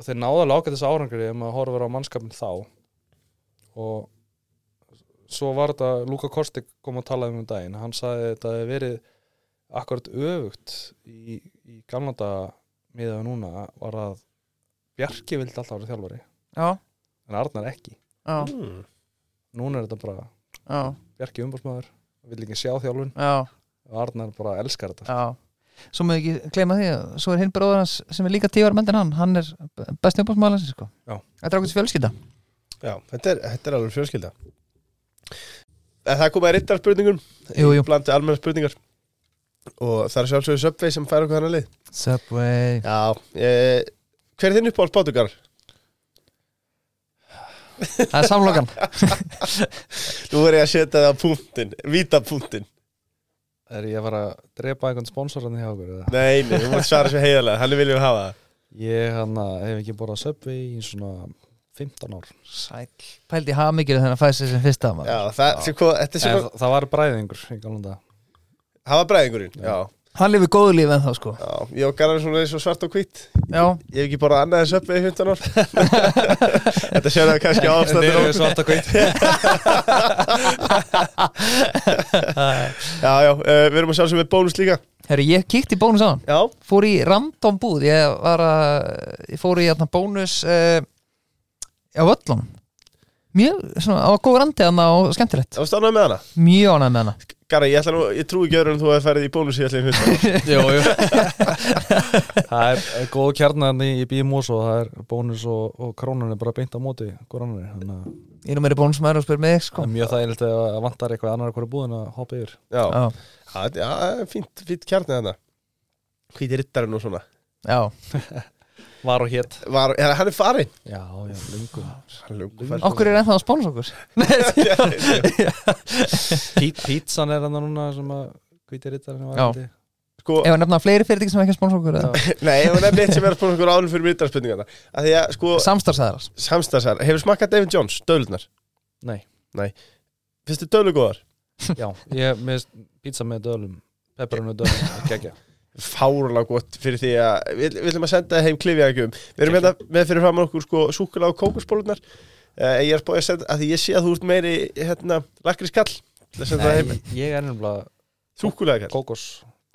S3: þeir náðu alveg ágætis árangri ef maður horfir á mannskapin þá og svo var þetta, Luka Kostik kom að tala um um daginn, hann sagði að þetta hefði verið akkurat öfugt í, í gamla daga miðað við núna var að Bjarki vildi alltaf vera þjálfari
S2: já,
S3: en Arnar ekki
S2: já,
S1: Hmm.
S3: núna er þetta bara
S2: já,
S3: Bjarki umbásmaður vill ekki sjá þjálfun
S2: já,
S3: og Arnar bara elskar þetta
S2: já Svo maður ekki gleyma því að svo er hinn bróður hans sem er líka tíu ára menn en hann hann er besti uppáðsmálan sko.
S3: Já.
S2: Þetta er okkur fjölskylda
S1: Já, þetta er, þetta er alveg fjölskylda En það komaði rittar spurningum
S2: Jú, jú.
S1: Blandi almenna spurningar Og það er sjálfsögur Subway sem fær okkur hann að lið
S2: Subway
S1: Já eh, Hver er þinn uppáhalds bátugar?
S2: Það er samlokan
S1: Nú er ég að setja það á punktin Víta punktin
S3: Er ég að fara að drepa einhvern sponsoran hjá okkur? Eða?
S1: Nei, nei, þú mátt svara svo heiðalega Þannig viljum við hafa það
S3: Ég hana, hef ekki borðað Subway í svona 15 ár
S2: Sæl Pældi hafa mikið þegar hann fæði sér sem fyrsta maður
S1: Já, það, sem hvað, þetta er sem
S3: en,
S1: hvað
S3: Það var bræðingur í galum dag
S1: Hafa bræðingurinn Já,
S2: Hann lifið góðu lífi en þá sko
S1: já, ég og Garðar svona eins og svart og hvít
S2: Já,
S1: Ég hef ekki borðað annað en Subway í 15 ár *laughs* Þetta sér það kannski á ástæður
S3: við svarta kveit
S1: Já, já, eh, við erum að sjá sem við bónus líka
S2: herru, ég kíkti í bónus á hann
S1: Já,
S2: Fór í random búð Ég var að Ég fór í hérna bónus uh, Á völlum Mjög, svona, á góð randi hann og skemmtilegt
S1: það var stannað með hana
S2: Mjög ánægð með hana
S1: Garri, ég, ætla nú, ég trúi ekki öðru en þú hefði færið í bónus í allir fyrst
S3: Jú, jú Það er er góð kjarnan í, í BMOS og það er bónus og, og krónan er bara beint á móti krónan er, þannig að
S2: Ég er nú meiri bónusmaður og spyr mig sko
S3: það er mjög þægilegt ef að vantar eitthvað annar hverju búðin að hoppa yfir
S1: Já,
S2: Já,
S1: Já, þetta- já, það er fínt, fínt kjarnið þarna Hvíti rittarinn og svona
S2: já
S3: Var og hét
S1: Var, ja, Hann er farinn
S3: Já, já, löngu
S2: Okkur er ennþá að spónus okkur
S3: Pít, Pítsan er hann núna sem að hvíti rittarinn var
S2: Já.
S3: hendi.
S1: Sko,
S2: Ef hann nefna fleiri fyrirtæki sem ekki að spónus okkur eða-
S1: nei, ef hún er neitt sem er að spóna okkur álum fyrir rittarspurningarna að Því að, sko,
S2: Samstarfsaðilar
S1: samstagsar Hefur smakkað David Jones, dölunar
S3: Nei,
S1: Fyrstu dölu góðar?
S3: já, ég með pítsa með dölum Pepperinu dölum, geggja
S1: Fárulega gott fyrir því að Við við ætlum að senda það heim klifjaðgjum Við erum hérna með fyrir fram okkur, sko, súkulega og kókusbólunar uh, Ég er búið að senda, að því ég sé að þú ert meiri, hérna, lakri skall Það senda það heim
S3: Nei, ég er nefnilega
S1: súkulega kall
S3: kókos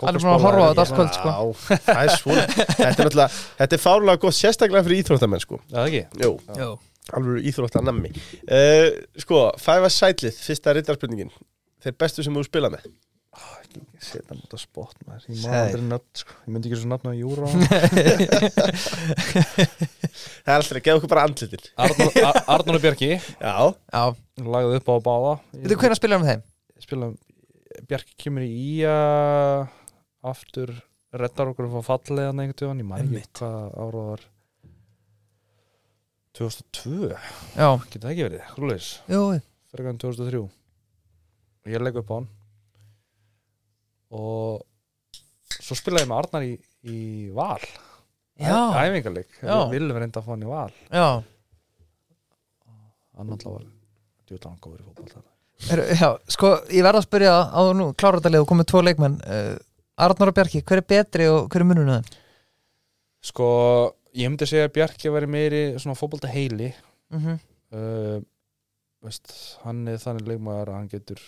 S2: Hann er búin að horfa á þetta allt kvöld sko
S1: Já, það er svona Þetta er náttúrulega, þetta er fárlega gott sérstaklega fyrir íþróttamenn sko
S3: Það ekki?
S1: Jú,
S2: Já
S1: alveg íþróttanammi uh, Sko, Five Eyes Sætlið, fyrsta rittarspurningin Þeir bestu sem þú spila með
S3: Seta múta spott maður Ég
S2: Sæl.
S3: maður aldrei nöfn sko Ég myndi ekki þessu nöfn á *laughs* júra
S1: Það er alltaf að gefa okkur bara andlitin
S3: Arnóru Bjarki
S1: Já,
S2: Já
S3: Lagði upp á báða
S2: Veitu hvernig spilar hann með þeim?
S3: Ég spila um- Bjarki kemur í að Aftur Reddar okkur að fá fallið hann einhvern tíðan Ég maður ekki hvað ára var 2002
S2: Já
S3: Getur það ekki verið? Húleis
S2: Jú, jú.
S3: fyrir hann 2003 og ég legg upp á hann og svo spilaði ég með Arnar í, í val
S2: já,
S3: æfingarleik,
S2: Já.
S3: við viljum reynda að fá hann í val
S2: já,
S3: hann alltaf var djúðlega hann góður í fótball
S2: er, já Sko, ég verð að spyrja á þú nú klára þetta leið og komið tvo leikmenn uh, Arnar og Bjarki, hver er betri og hver er mununum þeim?
S3: sko, ég myndi segja að Bjarki væri meiri svona fótballta heili
S2: Mm -hmm.
S3: uh, veist, hann er þannig leikmaður að hann getur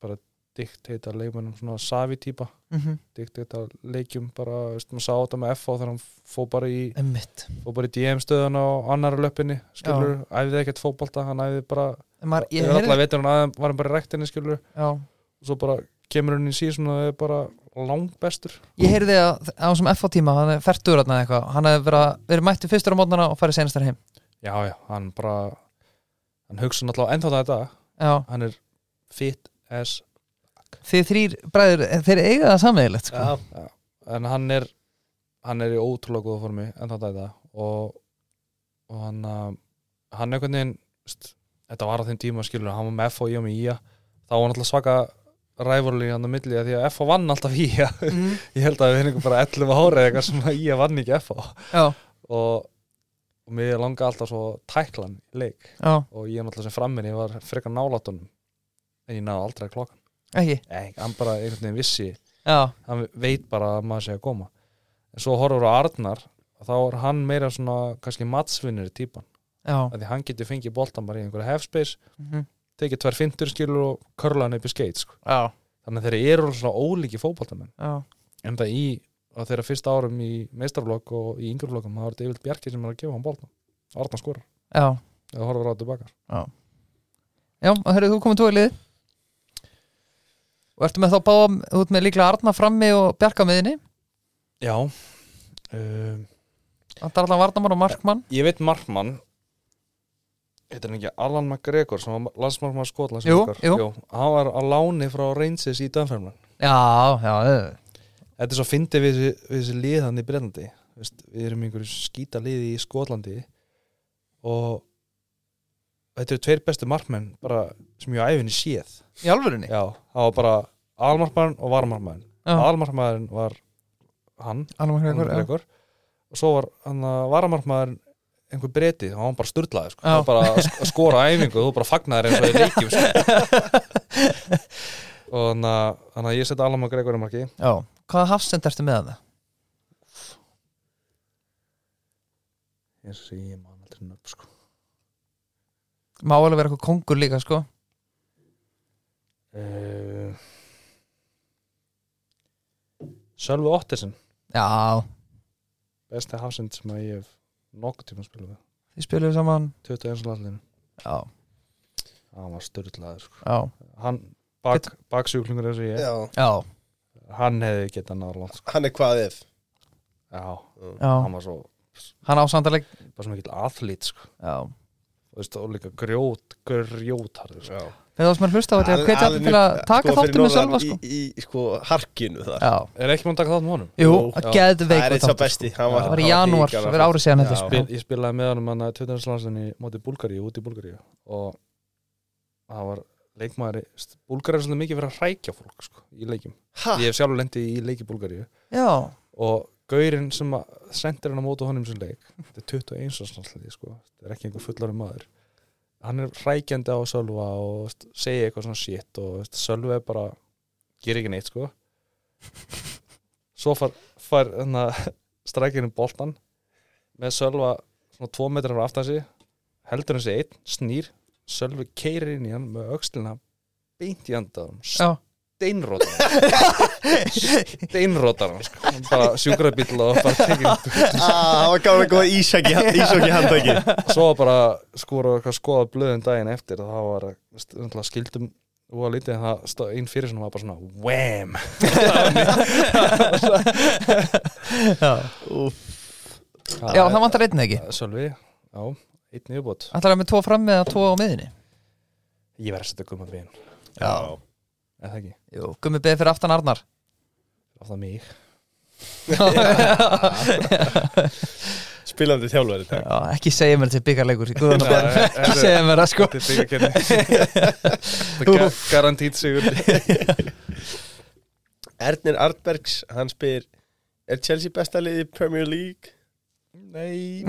S3: bara diktata leikmannum svona savi típa
S2: Mm -hmm.
S3: diktata leikjum bara, veist, maður sá þetta með FH þegar hann fó bara í
S2: Emmitt
S3: og bara í DM stöðan á annar löppinni skilur, æfði ekkert fótbolta hann æfði bara,
S2: Mar,
S3: ég
S2: Ég
S3: er alltaf
S2: heyrði
S3: veitur hann aðeins var hann bara í rektinni skilur,
S2: Já,
S3: og svo bara kemur hann í síðan og það er bara langbestur
S2: ég heyrði að á þessum FH tíma, hann er fertur þarna eða eitthvað Hann hefði verið, verið mættu fyrstur á mótnana og farið senastar heim
S3: já já, hann bara hann hugsa náttúrulega ennþá þetta
S2: Já,
S3: hann er fit as
S2: þið þrýr bræður, eh, þeir eiga það sammeðilegt sko.
S1: já,
S3: en hann er hann er í ótrúlega góða formi ennþá þetta og, og hann að- hann einhvern veginn st, þetta var á þeim tíma skilur, hann var með FH og ég og með IA þá var hann alltaf svaka rævorli hann á milli af því að FH vann alltaf IA
S2: mm.
S3: *laughs* ég held að við finnum bara 11 ára eða eitthvað sem að ég vann ekki F á
S2: Já,
S3: og, og mér langa alltaf svo tæklan í leik
S2: já,
S3: og ég er náttúrulega sem framminni ég var frekar nálátunum en ég náði aldrei klokkan
S2: ekki
S3: Nei, hann bara einhvern veginn vissi
S2: Já,
S3: hann veit bara að maður sé að koma en svo horfur á Arnar þá er hann meira svona kannski matsvinnir típan,
S2: já
S3: af því hann getur fengið boltan bara í einhverja halfspace,
S2: mm
S3: tekið tvær fintur skilur og körla hann upp í skeitt sko.
S2: Já,
S3: þannig að þeir eru svona ólíki fótboltamenn
S2: já,
S3: enda í á þeirra fyrsta árum í meistarflokk og í yngjurflokkum þá er þetta yfirlt Bjarki sem er að gefa hann bólna Arna skorar
S2: já
S3: eða horfður á þetta tilbaka
S2: Já, og herrið, þú komið tvo í lið Og ertu með þá báða Þú ert með líklega Arna frammi og Bjarka miðinni
S3: Já um,
S2: Það er allan Varnamann og Markmann
S3: Ég veit markmann Þetta er ekki Alan McGregor sem var landsmarkmann Skotlands
S2: Jú,
S3: okkar.
S2: jú.
S3: Hann var á láni frá Reinsis í Danfermlan
S2: Já, já, eh,
S3: Þetta er svo fyndið við, þessi- við þessi lið hann í Bretlandi Veist, Við erum einhverju skýta liði í Skotlandi og þetta eru tveir bestu markmenn bara sem ég á æfinni séð
S2: í alvörunni
S3: Já, það var bara almarkmann og varmarkmann
S2: Já,
S3: Almarkmann var hann
S2: Arna Gregor, já.
S3: Gregor og svo var hann að varamarkmaður einhver breytið, hann var bara sturlaði sko.
S2: Já.
S3: hann var bara að sk- að skora á æfingu og þú bara fagnaðir eins og þið leikjum sko.
S2: *laughs*
S3: og þannig að- þannig að ég seti Alama Gregor í marki
S2: já Hvaða hafsend ertu með það?
S3: ég sé ég man aldrei nöfn sko.
S2: Má alveg vera eitthvað kongur líka, sko
S3: uh, Sölvi Ottesen
S2: Já,
S3: besti hafsend sem að ég hef nokkuð tíma spilað við
S2: þið spilum saman
S3: 21. landinu,
S2: Já,
S3: hann var sturlaði sko.
S2: já,
S3: hann bak, baksjúklingur eins og ég,
S1: Já,
S2: já,
S3: hann hefði getað náður langt sko.
S1: hann er hvað ef
S3: já,
S2: já.
S3: hann var svo
S2: Hann ásandarleg
S3: bara svona ekki aðlít sko.
S2: Já
S3: og veist, og líka grjót, grjótharður sko.
S1: Já.
S2: Þegar þú sem er hlusta á þetta, ég hvetja
S1: Hann-
S2: alltaf
S1: hann
S2: til að
S1: er-
S2: taka
S1: sko fyrir
S2: þáttum með
S1: norðan
S2: sjálfa, sko.
S1: Í, í sko, harkinu það
S2: Já,
S3: er ekki mann að taka þátt með honum
S2: jú,
S1: Jú,
S3: já.
S2: geðveik
S1: Það er eitt sá besti hann
S3: Já.
S2: sko. Það var í janúar,
S1: hrikalega
S2: fyrir árið síðan
S1: Já.
S2: þetta
S3: Spil, ég spilaði með honum hann að 20. landslunni móti Búlgaríu, úti í Búlgaríu og það var leikmaður Búlgaríu er svolítið mikið fyrir að hrækja fólk sko, í leikjum,
S1: Ha?
S3: ég hef sjálfur lendið í leiki Búlgaríu
S2: Já,
S3: og gaurinn sem að sendir hann á mótu honum sem leik þetta er 21. landslunni sko, þetta er ekki einhver fullari maður hann er hrækjandi á Sölva og veist, segir eitthvað svona shit og veist, Sölva er bara gerir ekki neitt sko svo far, far hana, strækirinn boltan með Sölva svona tvo metrar frá aftan sig heldur hann sig einn, snýr Sölvi keirir inn í hann með öxlina beint í andaðum,
S2: já
S3: steinrótar hann. steinrótar hann sko. Hann bara sjúkrabíl og bara tekið út.
S1: Ah, *laughs* Það var gaman að góða ísaki
S2: *laughs*
S1: Ísaki handtæki
S3: svo bara skora eitthvað skoða blöðum daginn eftir og það var veist, náttúrulega skildum og lítið en það stóð einn fyrir svona var bara svona wham
S2: *laughs* Já, það vantar einnig ekki
S3: eh, Sölvi, já, einn yfirbót
S2: Ætlar það með tvo fram eða tvo á miðinni?
S3: Ég verði að setja gumma bein,
S1: Já
S3: eða það ekki
S2: Jú, gummi beðið fyrir aftan *laughs* Arnar
S3: Af það mig
S1: Spilandi þjálfari takk.
S2: Já, ekki segja mér þetta er byggarleikur í guðan
S3: Nei, þetta
S2: Ekki
S3: er-
S2: segja mér það sko
S3: Þetta er
S2: *laughs*
S3: byggakenni Það er garantít sigur
S1: Ernir Artbergs, hann spyr Er Chelsea besta liði í Premier League?
S3: Nei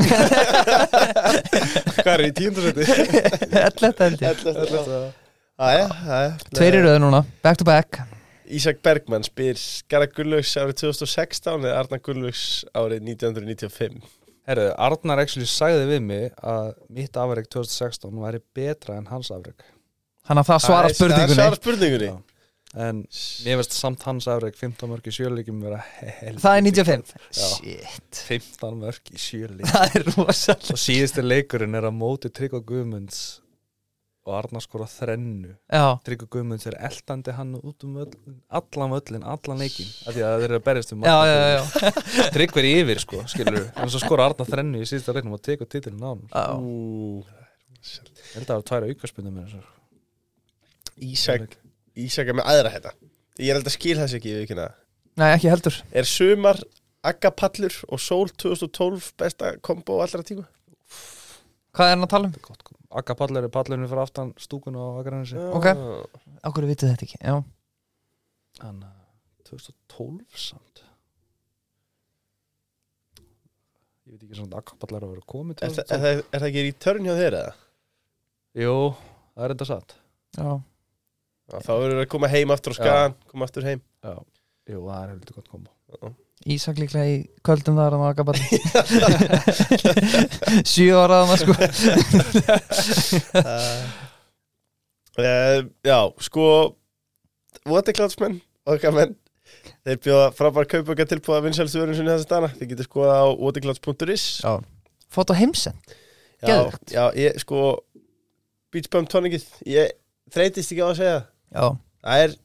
S3: Hvað er í tíundarsetti?
S2: *laughs* Ellert held ég
S1: Æja, æja
S2: Tveir í röðu núna, back to back
S1: Ísak Bergmann spyr Skara Gullauks árið 2016 eða Arna Gullauks árið 1995
S3: Herru, Arnar actually sagði við mig að mitt afreg 2016 væri betra en hans afreg
S2: Hann að það svara
S1: Það
S2: spurningunni
S1: svarar spurningunni
S3: Já. En mér veist samt hans afreg 15 mörg í sjöleikjum vera helviti
S2: Það er 95
S3: Já.
S2: Shit,
S3: 15 mörg í sjöleikjum
S2: það er rosalega
S3: Og síðusti leikurinn er að móti Tryggva Guðmunds og Arnar skora þrennu
S2: Já,
S3: Tryggva Guðmunds er eldandi hann út um öll, allan völlin, allan leikin af því að þeir eru að berjast um
S2: já, já, já, já.
S3: Tryggva er yfir sko, skilur við en svo skora Arna þrennu í síðustu leiknum og tekur titilin á hann
S2: já.
S1: Ú,
S3: held að það var tværa aukarspunum með þessar
S1: Ísak, Ísak er með aðra þetta Ég er held að skil þess ekki við ekki
S2: Nei, ekki heldur
S1: Er sumar, agapallur og sól 2012 besta kombo allra tíma?
S2: Hvað er hann að tala um?
S3: Akka pallar er pallarinn fyrir aftan stúkun og Akarnansi
S2: Ok.
S1: Ah,
S2: Á hverju vitið þetta ekki? Já,
S3: hann uh, 2012 samt ég veit ekki samt að Akka pallar að vera komið
S1: Er,
S3: 2012
S1: þa er, það, er það ekki í törn hjá þeir eða?
S3: Jú, það er enda satt
S2: já
S1: Já, Þá verður að koma heim aftur á
S3: Já.
S1: skagan Koma aftur
S2: *laughs*
S1: heim
S3: Jú, það er heldur gott kombo
S2: Ísak líklega í kvöldum þar að maga bara *laughs* Sjö ára að maður sko
S1: uh, Ah. Já, sko Votiklátsmenn, okkar menn Þeir bjóða frábær kaupöka tilbúða vinsælstu verðum sinni þessa dana Þið getur skoða á votikláts.is
S2: Fótt á heimsend
S1: Já,
S2: Geðveikt.
S1: já, ég sko Beach Bum tónikið, ég þreytist ekki á að segja það.
S2: Já,
S1: það er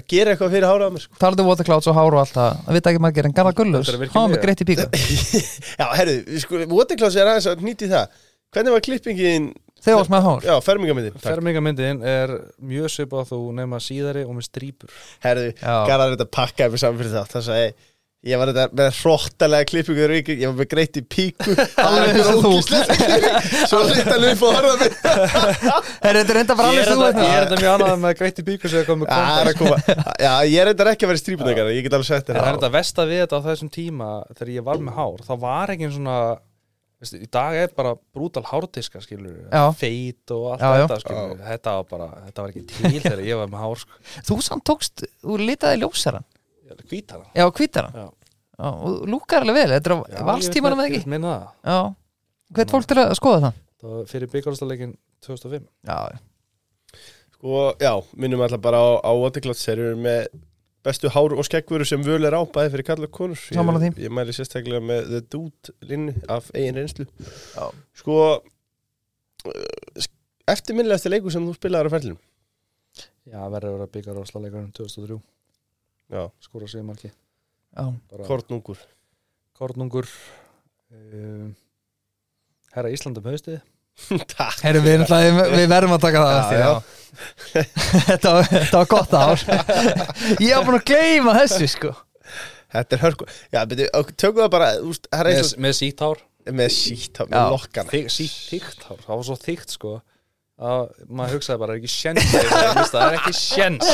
S1: að gera eitthvað fyrir hárað á mér sko.
S2: talaðu um waterclouds og hár og allt það Það vita ekki margir en Garðar Gullus
S3: Þetta er
S2: Há
S3: virkilega.
S2: var með greitt í píka
S1: Já, herðu, við sko, Waterclaws er aðeins að nýti það Hvernig var klippingin,
S2: Þegar varst með hár
S1: já, fermingamindin Fer...
S3: Fermingamyndin er mjög svipað þú nema síðari og með strípur
S1: Herðu,
S2: Já,
S1: Garðar þetta pakkaði mér saman fyrir það Það sagði, ég var þetta með hróttalega klippingu þegar ég- Ég var með greitt í píku Það var
S2: Alveg eins og
S1: eitthvað
S2: þú.
S1: ógíslega klipping *laughs* Svo hlýtt alveg upp á hárað mér
S2: Herri, þetta er enda bara alveg
S3: Ég er
S2: þú
S3: þetta-
S2: þetta
S3: ég er þetta mjög annað *laughs* með greitt í bíkur sem kom með
S1: Það er
S3: kontrast.
S1: að koma Já, ég er þetta ekki að vera í strípuna, Garðar Ég get alveg sett
S3: En sko. Það er
S1: þetta
S3: þetta vest að við þetta á þessum tíma þegar ég var með hár, það var ekki svona veist, í dag er bara brútal hárdiska skilur,
S2: Já.
S3: feit og allt
S2: Já, já.
S3: þetta skilur, þetta var bara þetta var ekki til þegar ég var með hár sko.
S2: Þú samt tókst, þú litaði ljósaran
S3: hvítar það
S2: Já, hvítaran
S3: Já.
S2: Já, og lúkar alveg vel, þetta er á valstímanum eða ekki
S3: minna það,
S2: Já, hvert fólk til að skoða það
S3: það var fyrir byggarústaleikin 2005
S2: Já,
S1: Sko, já, minnum alltaf bara á, á Waterclouds þeir eru með bestu hár og skeggvöru sem völu er á bæði fyrir kallar konur
S2: Sammála
S1: ég, ég mæli sérstaklega með The Dude linni af eigin reynslu
S2: Já.
S1: Sko uh, eftirminnilegasti leiku sem þú spilaðar á ferlinum
S3: já, verður að vera byggarústaleikurinn 2003
S1: Já.
S3: skóra sig marki
S2: já,
S1: Kortnungur
S3: Kornungur um, Herra Íslandum haustið
S1: Takk
S2: Heru, við, erum alltaf, við- við verðum að taka það
S1: Já,
S2: eftir, Ah, já. þetta, var, þetta var gott ár *laughs* Ég var búin að gleyma þessu sko
S1: Þetta er hörku Já, beti, tökum það bara úst,
S3: með,
S1: með,
S3: með sítt hár
S1: með sítt
S2: Já.
S1: með lokkana
S3: Þyk- sí- þykkt hár, það var svo þykkt sko að maður hugsaði bara, það er ekki sjens þegar ég missti, það er ekki sjens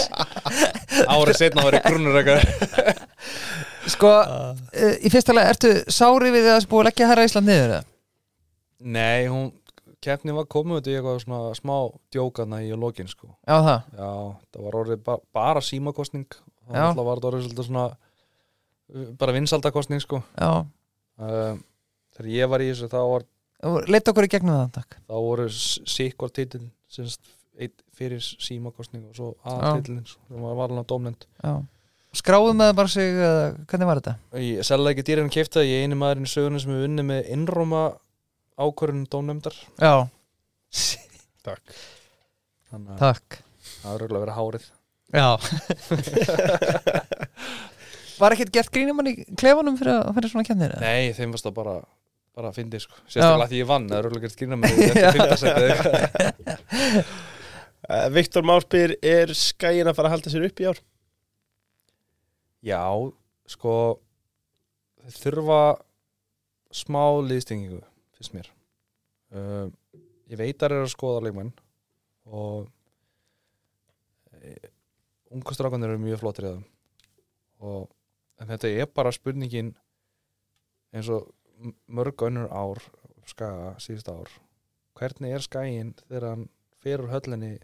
S3: *laughs* árið setna var ég grunnur eitthvað
S2: Sko, uh, í fyrsta lega, ertu sári við það sem búið að leggja herra Ísland niður eða?
S3: nei, hún, keppni var komið út í eitthvað svona smá djókana í lokin sko,
S2: Já, það,
S3: já, það var orðið ba bara símakostning,
S2: Já.
S3: það var þetta orðið svolítið svona uh, bara vinsaldakostning sko
S2: já
S3: um, þegar ég var í þessu þá var
S2: Leitt okkur í gegnum það, takk
S3: þá voru sikvar titil semst, einn fyrir símakostning og svo
S2: Já.
S3: A-titilin sem var varlega domnend
S2: já. Skráðum með bara sig, uh, hvernig var þetta?
S3: Ég selða ekki dýrin kefta, ég er eini maðurinn í sögunum sem hefur unnið með innróma ákvörðunum dómnefndar.
S2: Já,
S1: Takk
S3: Þannig að
S2: takk
S3: það er auðvitað að vera hárið.
S2: Já *laughs* Var ekkert gert grínum hann í klefanum fyrir að fyrir svona kemnir?
S3: Nei, þeim varst það bara, bara að fyndi, sko.
S2: Já.
S3: Sérstaklega að því ég vann, það er auðvitað að grína með því *laughs* eftir fyrtasættið.
S1: uh, Viktor Márbyr er skæin að fara að halda sér upp í ár
S3: Já, sko, þeir þurfa smá liðstengingu, finnst mér. Um, ég veit að þeir eru að skoða leikmenn og ungastrákanir eru mjög flottir í þeim. Og, en þetta er bara spurningin eins og m- mörg önnur ár, skaga, síðust ár. Hvernig er skaginn þegar hann ferur höllinni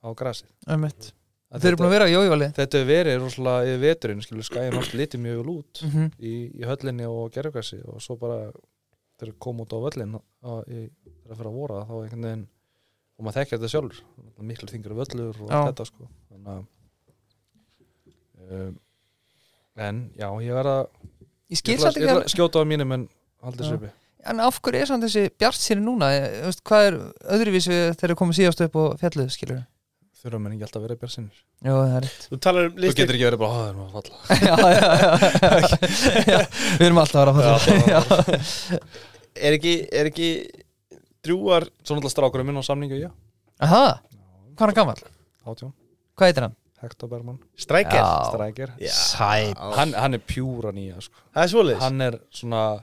S3: á grasið?
S2: Einmitt. Þau eru búin að vera á jójúvali
S3: Þetta hefur verið rosalega yfir veturinn, skilur skæðin allt litið mjög vel út
S2: mm -hmm.
S3: í, í höllinni og gerðugræsi og svo bara þegar kom út á völlin á- í- þegar fyrir að voru þá einhvern veginn og maður þekkir þetta sjálfur miklu þingur völlur og
S2: Já.
S3: allt þetta sko þannig að um, en já, ég verða
S2: Ég skil
S3: ég ætla-
S2: samt
S3: ég
S2: ekki
S3: ætla
S2: að
S3: að skjóta á mínum en haldið
S2: Já.
S3: sér uppi
S2: En af hverju er samt þessi bjart sér núna? Ég- þú Veist, hvað er öðruvísu þegar komið síðast upp og fjalluð, skilur?
S3: þurfa menn ekki alltaf að vera björnsinnir
S2: Jó, það er rétt.
S1: Þú talar um
S3: þú
S1: listin
S3: getur ekki verið bara, "Ó, það er maður að falla
S2: *laughs* já, já, já, já. Við erum alltaf að vera að
S3: Já, alltaf að
S2: falla. Já.
S1: er, ekki, er ekki drúar
S3: svo náttúrulega strákurum minn á samningu, já,
S2: Aha, hvað er hann gammal?
S3: 18,
S2: Hvað heitir hann?
S3: Hector Bergman
S1: strækir
S3: strækir,
S1: Já.
S2: Sæt.
S3: hann, hann er pjúra nýja sko
S1: Það er svoleiðis
S3: hann er svona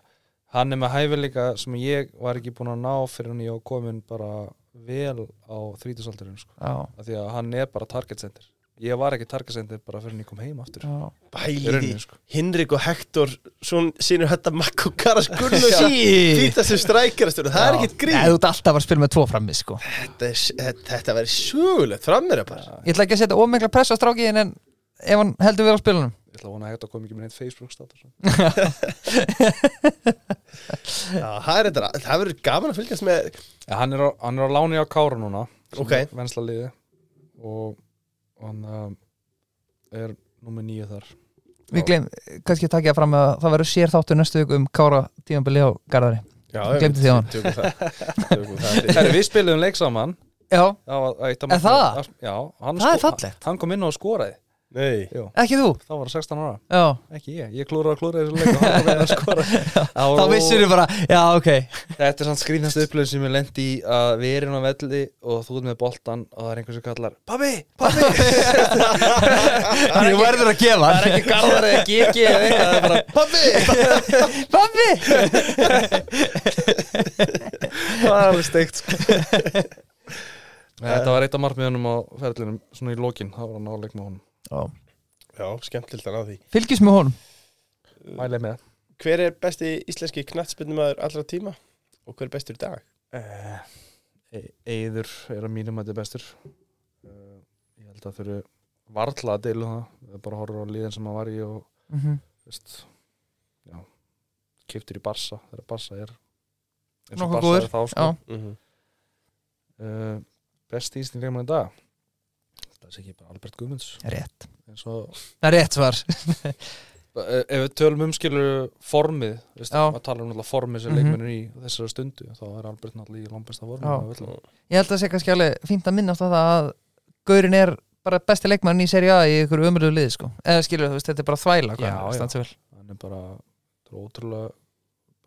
S3: hann er með hæfileika sem ég var ekki búin að ná fyrir hann ég var komin bara vel á þrítusaldurinn sko.
S2: Já,
S3: af því að hann er bara target center ég var ekki target center bara fyrir hann ég kom heim aftur sko,
S2: já.
S3: í
S1: Bæli
S3: rauninni sko.
S1: Hinrik og Hector Svon sínur þetta makk og karas Gunnars
S2: Sí.
S1: Týta sem strækjarastur Það er ekkit
S2: Nei,
S1: grín
S2: þú ert alltaf að spila með tvo frammi, sko.
S1: Þetta, er- þetta, þetta verið sögulegt frammeira bara
S2: Ég ætla ekki að setja ómengla press á strákiðin en ef hann heldur við á spilunum.
S3: ég ætla að vona að þetta kom ekki með neitt Facebook status sko.
S1: Já, Það er þetta Það verður gaman að fylgjast með
S3: ja, hann, er á, hann er á láni á Kára núna
S1: Ok.
S3: vensla liði og og hann um, er númer nýju þar
S2: Við gleym, kannski að takja fram að það verður sér þáttur næstu viku um Kára tímanbili á Garðari.
S1: Já,
S2: Gleymdu því á hann.
S1: Tökum það, tökum það fyrir.
S3: Herri, við spilum leik saman
S2: Já,
S3: það var eitt af
S2: Er það?
S3: markmiðum- Já, hann
S2: Það er
S3: sko-
S2: fallegt.
S3: Hann kom inn og skoraði
S1: Nei,
S2: ekki þú
S3: Þá var hann 16 ára
S2: Já,
S3: Ekki ég, ég klúraði og klúraði þessu leik og hann var með að *laughs* skora Það
S2: þá
S3: var-
S2: vissir þú bara Já, ok
S3: Þetta er sann skrýnast upplöðin sem ég lendi í að við erum á velli og þú ert með boltan og það er einhver sem kallar Pabbi, pabbi
S2: Ég verður að gefa
S3: Það er ekki garðar eða gigi eða eitthvað Það er bara pabbi
S2: *laughs* Pabbi
S3: *laughs* Það er alveg steikt sko. *laughs* Þetta var eitt af margmiðunum á ferðlinum svona í lokin, þá var hann áleik með honum
S1: já, skemmtilegt að ná því
S2: Fylgjist með honum
S3: Mælið með
S1: Hver er besti íslenski knattspyrnumæður allra tíma? Og hver er bestur í dag?
S3: Eh, E- Eiður er að mínum að þetta er bestur Eh, Ég held að þau eru varla að deilu það Við bara horfum á liðin sem hann var í og
S2: Mhm.
S3: veist, já, kiptur í Barsa þegar Barsa er eins og
S2: Nokkuð
S3: Barsa
S2: góður,
S3: er þá sko.
S2: Já,
S1: Mm -hmm.
S3: uh, besti íslenski leikmann í dag það sé ekki bara Albert Guðmunds
S2: rétt
S3: eins og
S2: Það er rétt svar
S3: Eh, ef við tölum umskilur formið veist,
S2: Já.
S3: maður tala um alltaf formið sem
S2: Mhm.
S3: mm -hmm. leikmennir í þessari stundu þá er Albert náttúrulega í langbesta
S2: Já.
S3: formið
S1: Sko,
S2: Ég held að sé kannski alveg fínt að minnast á það að Gaurin er bara besti leikmann í seri A í ykkur umröðu liði sko Eða skilur þú veist, þetta er bara þvæla
S3: Já, já.
S2: já
S3: hann er bara þetta er ótrúlega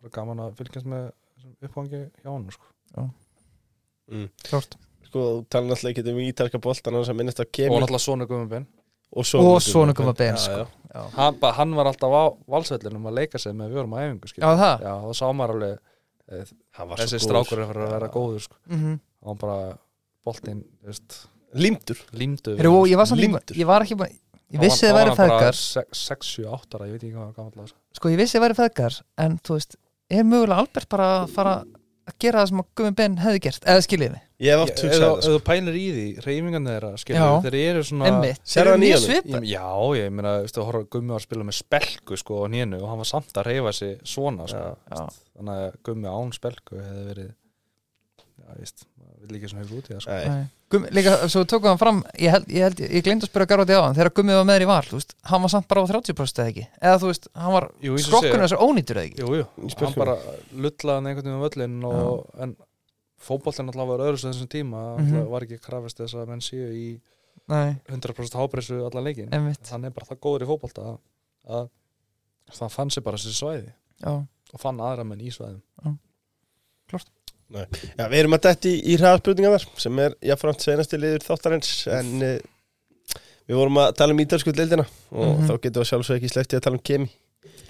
S3: bara gaman að fylgjast með þessum uppgangi hjá hann sko.
S2: Klárt
S1: Sko, þú tala náttúrulega ekki um ítalska boltan hans að minnast á
S3: og
S1: kemi
S3: náttúrulega Sónu Guðmundsson
S1: og
S2: Og svona koma ben
S1: Já,
S2: sko
S1: já.
S2: Já,
S3: hann, bara- hann var alltaf á valsvellinum að leika sig með við vorum að æfingu skilur.
S2: já það
S3: Já, það sá maður alveg eh,
S1: Hann var svo
S3: þessi
S1: góður.
S3: strákur er fyrir að vera góður sko.
S2: Mhm.
S3: og hann bara boltinn þú veist,
S1: Límdur
S3: límdu
S2: Heyrðu, og ég var samt
S1: Lindur.
S2: ekki Ég var ekki bara Ég vissi það væri feðgar
S3: 6, 7, 8 ára, ég veit ekki hvað hann gammal var
S2: Sko ég vissi það væri feðgar En þú veist Er mögulega Albert bara að fara að gera það sem að Gummi Ben hefði gert Eða skiljiði
S1: Ég hef
S3: Ég-
S1: átt
S3: ef þú-
S1: hugsaði
S3: ef
S1: það sko.
S3: þú pælir í því, reyfingan þeirra skilur,
S2: Já.
S3: þeir eru svona
S2: Emmitt
S1: Sérðu hann í honum?
S3: Ég- Já, ég meina, þú veist, þú horfður að Gummi var að spila með spelku sko á nénu og hann var samt að reyfa sig svona sko.
S2: Já.
S3: þannig að Gummi án spelku hefði verið já, víst, maður vil ekki svona hefur út í það sko.
S1: Nei.
S2: Nei. Gummi, líka, svo tókum hann fram ég, held, ég, held, ég glemt að spyrja Garðóti á hann þegar Gummi var með þér í val, þú veist, hann var samt bara á 30% eða ekki, eða þú veist, hann var
S3: Jú, eins og
S2: skrokkunum
S3: segja.
S2: þessar ónýtur eða ekki
S3: Jú,
S1: Í
S3: jú, hann
S1: spjörkum.
S3: bara lullaði hann einhvern veginn á völlin og, en fótboltinn alltaf var öðru sem þessum tíma mm
S2: Mhm.
S3: var ekki krafist þess að menn séu í
S2: Nei,
S3: 100% hápressu allan leikin
S2: einmitt
S3: hann er bara það góður í fótbolta að, að það fann sér bara þessi svæði
S2: Já,
S3: og fann aðra menn í svæðum
S1: Já, við erum að detti í hraðspurningarnar sem er jafnframt senasti liður þáttarins en uh, við vorum að tala um ítalsku deildina og
S2: Mhm.
S1: þá getum við sjálfsög ekki sleppti að tala um kemi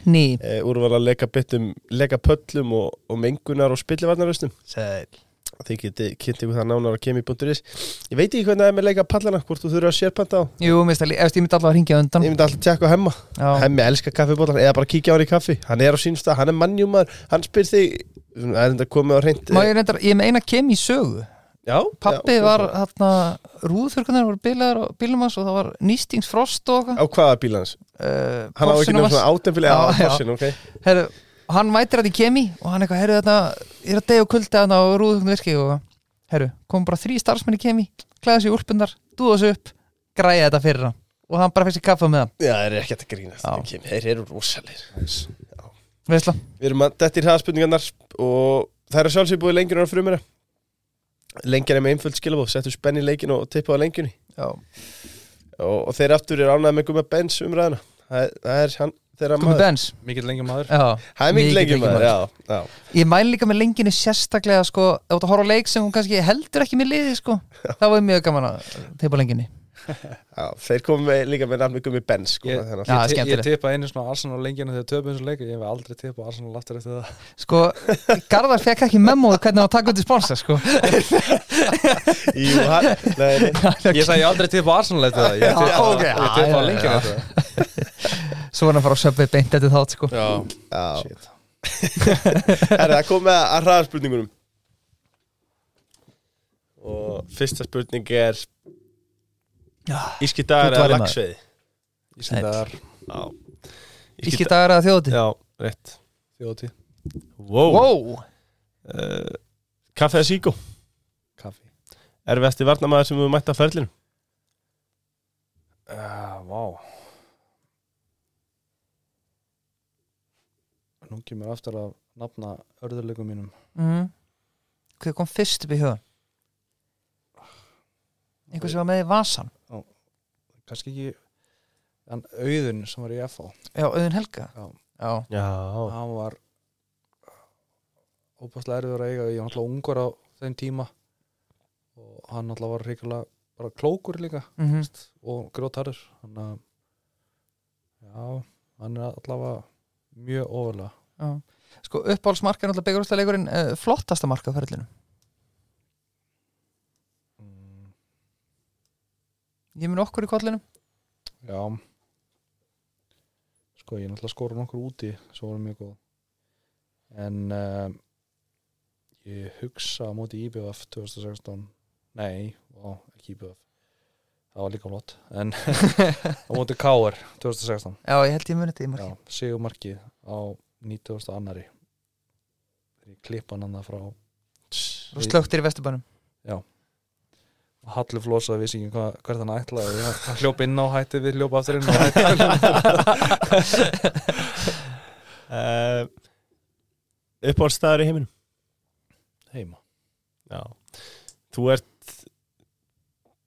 S2: ný
S1: uh, úrval að leika byttum, leika pöllum og, og mengunar og spillivarnarustum
S2: Sæl
S1: þið getið kynnt ykkur það nánar á kemi.is Ég veit ekki hvernig það er með leika pallana hvort þú þurfa að sérpanta á
S2: Jú, minnst að, eftir ég myndi allavega að hringja á undan
S1: Ég myndi alltaf tjekka á hemma
S2: Já,
S1: Hemmi elskar kaffibólan eða bara kíkja á hann í kaffi Hann er á sínum stað, hann er mannjúmaður Hann spyr þig, það er enda komið á reynd
S2: má ég reyndar, ég meina kem í sögu
S1: Já,
S2: Pappi
S1: já,
S2: var, hérna, rúðþurkunar voru bilaðar og bílum hans og það var nýstingsfrost og
S1: Á hvaða bíl hans?
S2: eitthvað uh,
S1: Hann á ekki
S2: Porschenum
S1: nefnum svona átemfili
S2: Já,
S1: á
S2: já.
S1: Porsin, ok
S2: Heru, hann mætir þetta í kemi og hann eitthvað, heyrðu þetta, ég er að degja og kulda þarna og rúðugnum virki og heyrðu, kom bara þrý starfsmenn í kemi, klæða sér úlpundar, dúða sér upp, græja þetta fyrir hann og hann bara fyrst í kaffa með hann,
S1: Já, það er ekkert að grínast
S2: Já.
S1: Kim, Þeir eru rosalir
S3: nice.
S2: veistla
S1: Við erum að detti í hraðspurningarnar og það er að sjálfsög búið lengjur á frumina Lengjan er með einföld skilabóð Settu spenn í leikin og tippa á lengjunni
S2: Já,
S1: og, og þeir aftur eru ánægð með Guma Benz umræðina Það er, það er hann, þeirra
S2: komið
S1: maður
S2: bens
S3: mikill lengi maður
S2: Sko, Já.
S1: Það er mikið
S2: Mikill
S1: lengjum maður, já, já
S2: Ég mæli líka með lenginu sérstaklega sko, ef þú ert að horfa á leik sem hún kannski heldur ekki með liði sko, þá var mjög gaman að teipa lenginni
S1: Já, þeir komum með, líka með nafni Gumi Benz sko,
S3: Ég-
S1: þannig að-
S2: Já,
S3: ég, te- ég
S2: skemmtilegt.
S3: tipa einu svona Arsenal lengina þegar töpum þessu leik og ég hef aldrei tipa Arsenal aftur
S2: *laughs*
S3: eftir það
S2: Sko, Garðar fekk ekki memóðu hvernig hann var að taka undir sponsa sko
S1: Jú, hann, nei, nei.
S3: ég sagði ég hef aldrei tipa Arsenal eftir það ég tipa,
S2: ok,
S3: ég
S2: já,
S3: tipa
S2: já,
S3: lengina
S2: já.
S3: eftir það
S2: Svo var hann að fara á söpvið beint eftir þátt sko
S3: já,
S1: Já,
S3: shit
S1: herra, það kom með að hraða spurningunum Og fyrsta spurning er
S2: Já.
S1: Íski dagar
S2: Gull
S1: eða
S2: valið maður.
S1: lagsveiði
S3: ég sem það er
S1: Já
S2: Íski dagar að þjóðið
S1: Já, rétt
S3: þjóti
S1: Wow,
S2: Wow,
S1: Uh, Kaffe eða síkó
S3: kaffi
S1: Erfiðasti varnamaður sem við mætt á ferlinu
S3: Ah, uh, vá nú kemur aftur að nafna örðurleikum mínum
S2: mm. Hver kom fyrst upp í hugan? Einhver sem var með í vasan
S3: kannski ekki en auðun sem var í FH
S2: Já, auðin helga
S3: Já.
S2: Já.
S1: Já,
S3: hann var óbærslega erfiður að eiga ég var náttúrulega ungur á þeim tíma og hann náttúrulega var ríkulega bara klókur líka
S2: Mhm.
S3: og grótarur þannig að já, hann er allavega mjög ofalega
S2: Já. Sko uppáhaldsmarka er náttúrulega byggarústaleikurinn uh, flottasta marka á ferðlinum Ég mun okkur í kollinum
S3: já sko ég náttúrulega skora nokkur úti svo voru mjög góð en um, ég hugsa á móti IBF 2016 nei, ó, ekki IBF það var líka flott en *laughs* á móti KR 2016
S2: Já, ég held ég muni þetta í
S3: já,
S2: marki
S3: sigumarkið á 90. annari ég klippa hann annað frá
S2: Þú slögtir í vesturbænum
S3: Hallur flosaði vissi ekki hvað, hvert hann ætlaði Ég- hann hljóp inn á hætti við hljóp aftur inn
S1: *laughs*
S3: á hætti
S1: uh, uppáhaldstæður í heiminum
S3: heima
S1: Já, þú ert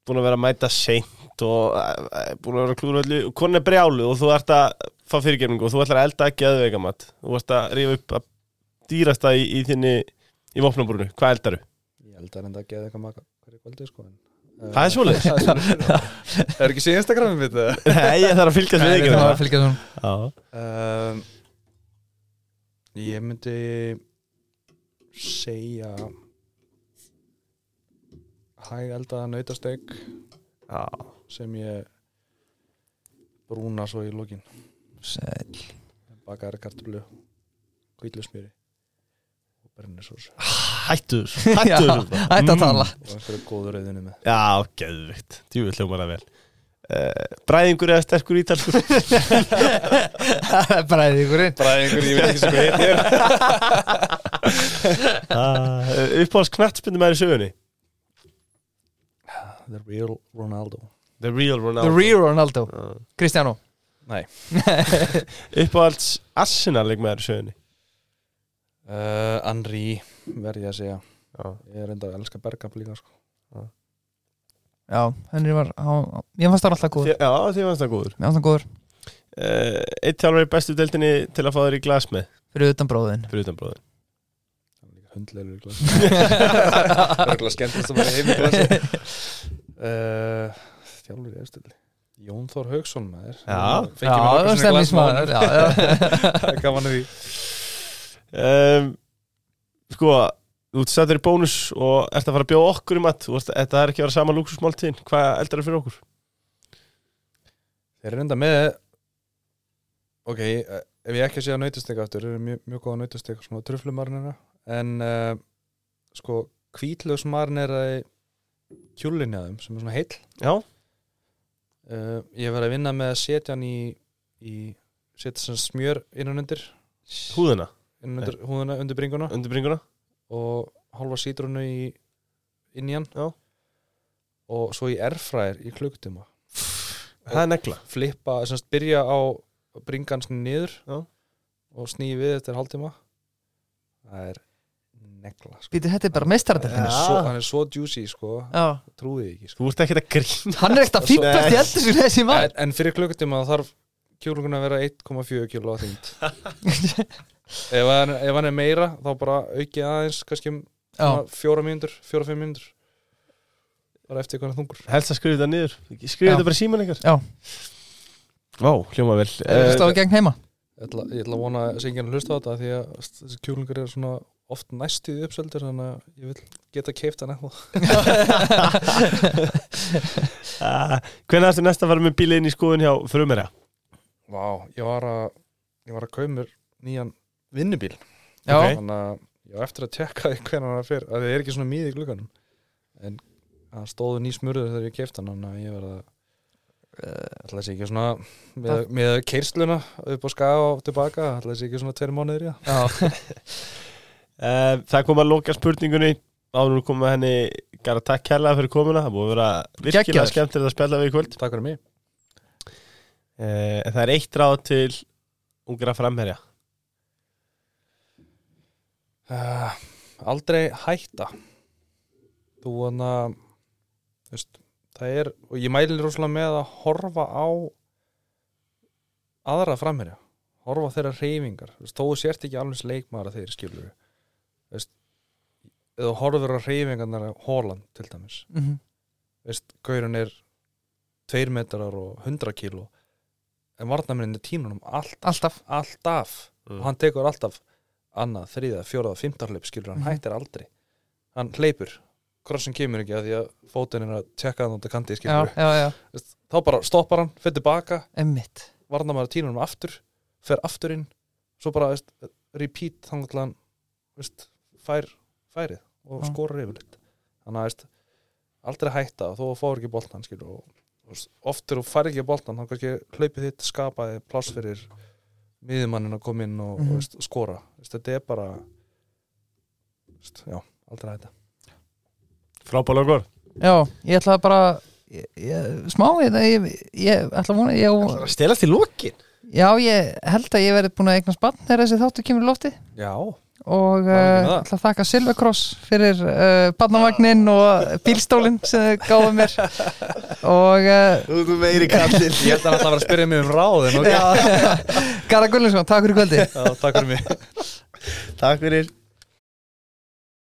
S1: búin að vera að mæta seint og eh, búin að vera að klúra öllu konin er brjálu og þú ert að fá fyrirgefningu og þú ætlar að elda ekki aðveikamat þú ert að rífa upp að dýrasta í, í þinni í vopnabrúnu, hvað eldaru?
S3: ég held að reynda að geða eitthvað maka hverju kvöldi sko en,
S1: Það er
S3: *laughs*
S1: svoleiðis.
S3: svoleiðis *laughs* er ekki síðan Instagramið mitt eða?
S1: Nei, ég þarf að fylgjast við
S2: Nei,
S1: ekki
S2: við
S1: með
S2: þurfum að
S1: það.
S2: fylgja svona.
S1: Já,
S3: um, ég myndi segja hæg eldaða nautasteg
S1: já,
S3: sem ég brúna svo í lokin
S2: Sæll.
S3: bakaðar kartablu kvítlöfsmjöri og brennisós
S1: hættu þessu Hættu
S2: Já,
S1: þessu bara.
S2: Hætt að
S1: Mm.
S2: tala *laughs*
S3: og einhverju góður rauðinu með
S1: Já, geðvikt, djúvill hljómar það vel uh, Bræðingur eða sterkur ítalskur
S2: Bræðingurinn
S3: Bræðingur, ég veit ekki sem hvað
S1: *laughs*
S3: heitir
S1: uh, Uppáhalds knattspindum er í sögunni
S3: The Real Ronaldo
S1: The real
S2: The
S1: Ronaldo
S2: real Ronaldo
S3: Ah.
S1: Uh,
S2: Cristiano
S3: Nei
S1: Uppáhalds Arsenal leikmaður í sögunni
S3: uh, Andri, verði ég að segja
S1: Já,
S3: Ég er enda að elska Bergkamp líka sko.
S2: *laughs* Já, henni var á, Ég fannst það alltaf góður
S1: Þi- já því fannst það góður
S2: Mér fannst það góður
S1: uh, Eitt þjálfur í bestu deildinni til að fá þér í glas með
S2: Fyrir utan bróðin
S1: fyrir utan bróðin
S3: Hann er líka hundleilu
S2: *laughs*
S3: Örgulega skemmtist að vera heim í glasi uh, Þjálfur í efstilli Jón Þór Hauksson maður
S1: Já.
S3: Fengi mér nokkra sinni glas með honum.
S2: Já, *laughs* já.
S3: Það er gaman að því
S1: um, Sko, þú ert sættur í bónus og ert að fara að bjóða okkur í mat Þú ert- Þetta er ekki að vera sama lúksusmáltíðin Hvað eldar er fyrir okkur?
S3: Þeir eru enda með Ok, eh, ef ég ekki sé að nautasteg aftur eru mjög, mjög góða nautasteg svona truflumarnina en uh, sko kvítlausmarn er að kjúlinni að þeim sem er svona heill
S1: Já,
S3: uh, Ég hef verið að vinna með að setja hann í, í setja sem smjör innan undir,
S1: húðina,
S3: innan undir húðuna undir bringuna
S1: undir bringuna
S3: og hálfa sítrunu í inn í hann
S1: Já.
S3: og svo í erfræðir í klukkutíma
S1: Það er negla
S3: flippa, sem sagt byrja á bringans niður
S1: Já.
S3: og snýi við eftir hálftíma það er negla sko.
S2: Býtu, þetta er bara meistarðar
S3: hann, er
S1: Já.
S3: svo, hann er svo juicy sko,
S2: Já
S3: trúið ekki sko.
S1: Þú ert ekkert að grína
S2: Hann er ekkert að fýta eftir eldur sem þessi
S3: en,
S2: maður
S3: en fyrir klukkutíma þá þarf kjúlungun að vera 1,4 kjúlu á þyngd ef, hann- ef hann er meira þá bara auki aðeins kannski um
S2: Já,
S3: svona fjóra mínútur, fjóra-fimm mínútur bara eftir hvernig þungur
S1: Helst að skrifa þetta niður Skrifa
S2: Já.
S1: þetta bara síman ykkar
S2: Já.
S1: Vá, hljóma vel
S2: þú
S1: Eh,
S2: veist á gegn heima
S3: ég ætla, ég ætla að vona að syngja hann hlusta á þetta því að þessi kjúlingur er svona oft næstu í uppseldir þannig að ég vil geta keift hann eða
S1: Ah, Hvenær ertu næst að fara með bílið inn í skoðun hjá frumera?
S3: Vá, ég var að ég var að kaupa mér nýjan vinnubíl
S2: Já,
S1: Ok.
S3: þannig að ég var eftir að tekka því hvernig hann er fyrr að það er ekki svona mýði í glugganum en hann stóðu ný smurður þegar ég kefti hann þannig að ég verð að ætla þessi ekki svona með, með keirsluna upp á skaga og tilbaka ætla þessi ekki svona tveir mánuðir í það
S1: *laughs*
S2: já,
S1: Uh, það kom að loka spurningunni Ánur kom að henni Gara takk kærlega fyrir komuna Það búið að vera virkilega
S2: Geggjaður.
S1: skemmtilegt að spjalla við í kvöld Eh,
S3: Takk fyrir mig
S1: uh, En það er eitt ráð til Ungra framherja
S3: uh, aldrei hætta þú hann að veist, það er og ég mæli rosalega með að horfa á aðra framherja horfa á þeirra reyfingar veist, þó þú sért ekki alveg eins leikmaður að þeir skilur veist, eða þú horfir á reyfingarnar á Holland til dæmis
S2: mm -hmm.
S3: veist, gaurun er 2 metrar og 100 kíló en varnamennin er tímanum allt,
S2: alltaf
S3: alltaf
S1: Mm.
S3: og hann tekur alltaf annað, þriða, fjóraða, fimmtarleip skilur hann
S2: Mhm.
S3: hættir aldrei hann hleypur, krossin kemur ekki að því að fótinn er að tjekka hann út að kandi
S2: já,
S3: skilur
S2: já, já,
S3: Veist, þá bara stoppar hann, fyrir tilbaka
S2: emmitt
S3: varnar maður tímanum aftur fer aftur inn, svo bara veist, repeat þannig að hann veist, fær, færið og
S2: Já.
S3: skorar yfirleitt þannig að veist, aldrei hætta og þú fáir ekki boltan skilur, og, og s- oft þegar þú fær ekki boltan þá kannski hlaupið þitt skapaði pláss fyrir miðumannin að koma inn og,
S2: Mhm.
S3: og veist, skora veist, þetta er bara veist, já, aldrei hætta
S1: Frábælokur
S2: Já, ég ætla bara ég, ég, smá, ég, ég, ég ætla að vona ég,
S1: Stelast í lokin
S2: Já, ég held að ég verið búin að eignast bann þegar þessi þáttu kemur í lofti
S3: já,
S2: og
S3: er ekki með
S2: uh,
S3: það.
S2: ætla að þakka Silvercross fyrir uh, barnavagnin og bílstólinn sem þau gáðu mér og uh,
S1: Þú þú meiri kallinn
S3: ég held að hann alltaf að vera að spyrja mig um ráðin okay?
S2: já, Garðar Gullinsson, takk fyrir kvöldi
S3: já, takk fyrir mig
S1: Takk fyrir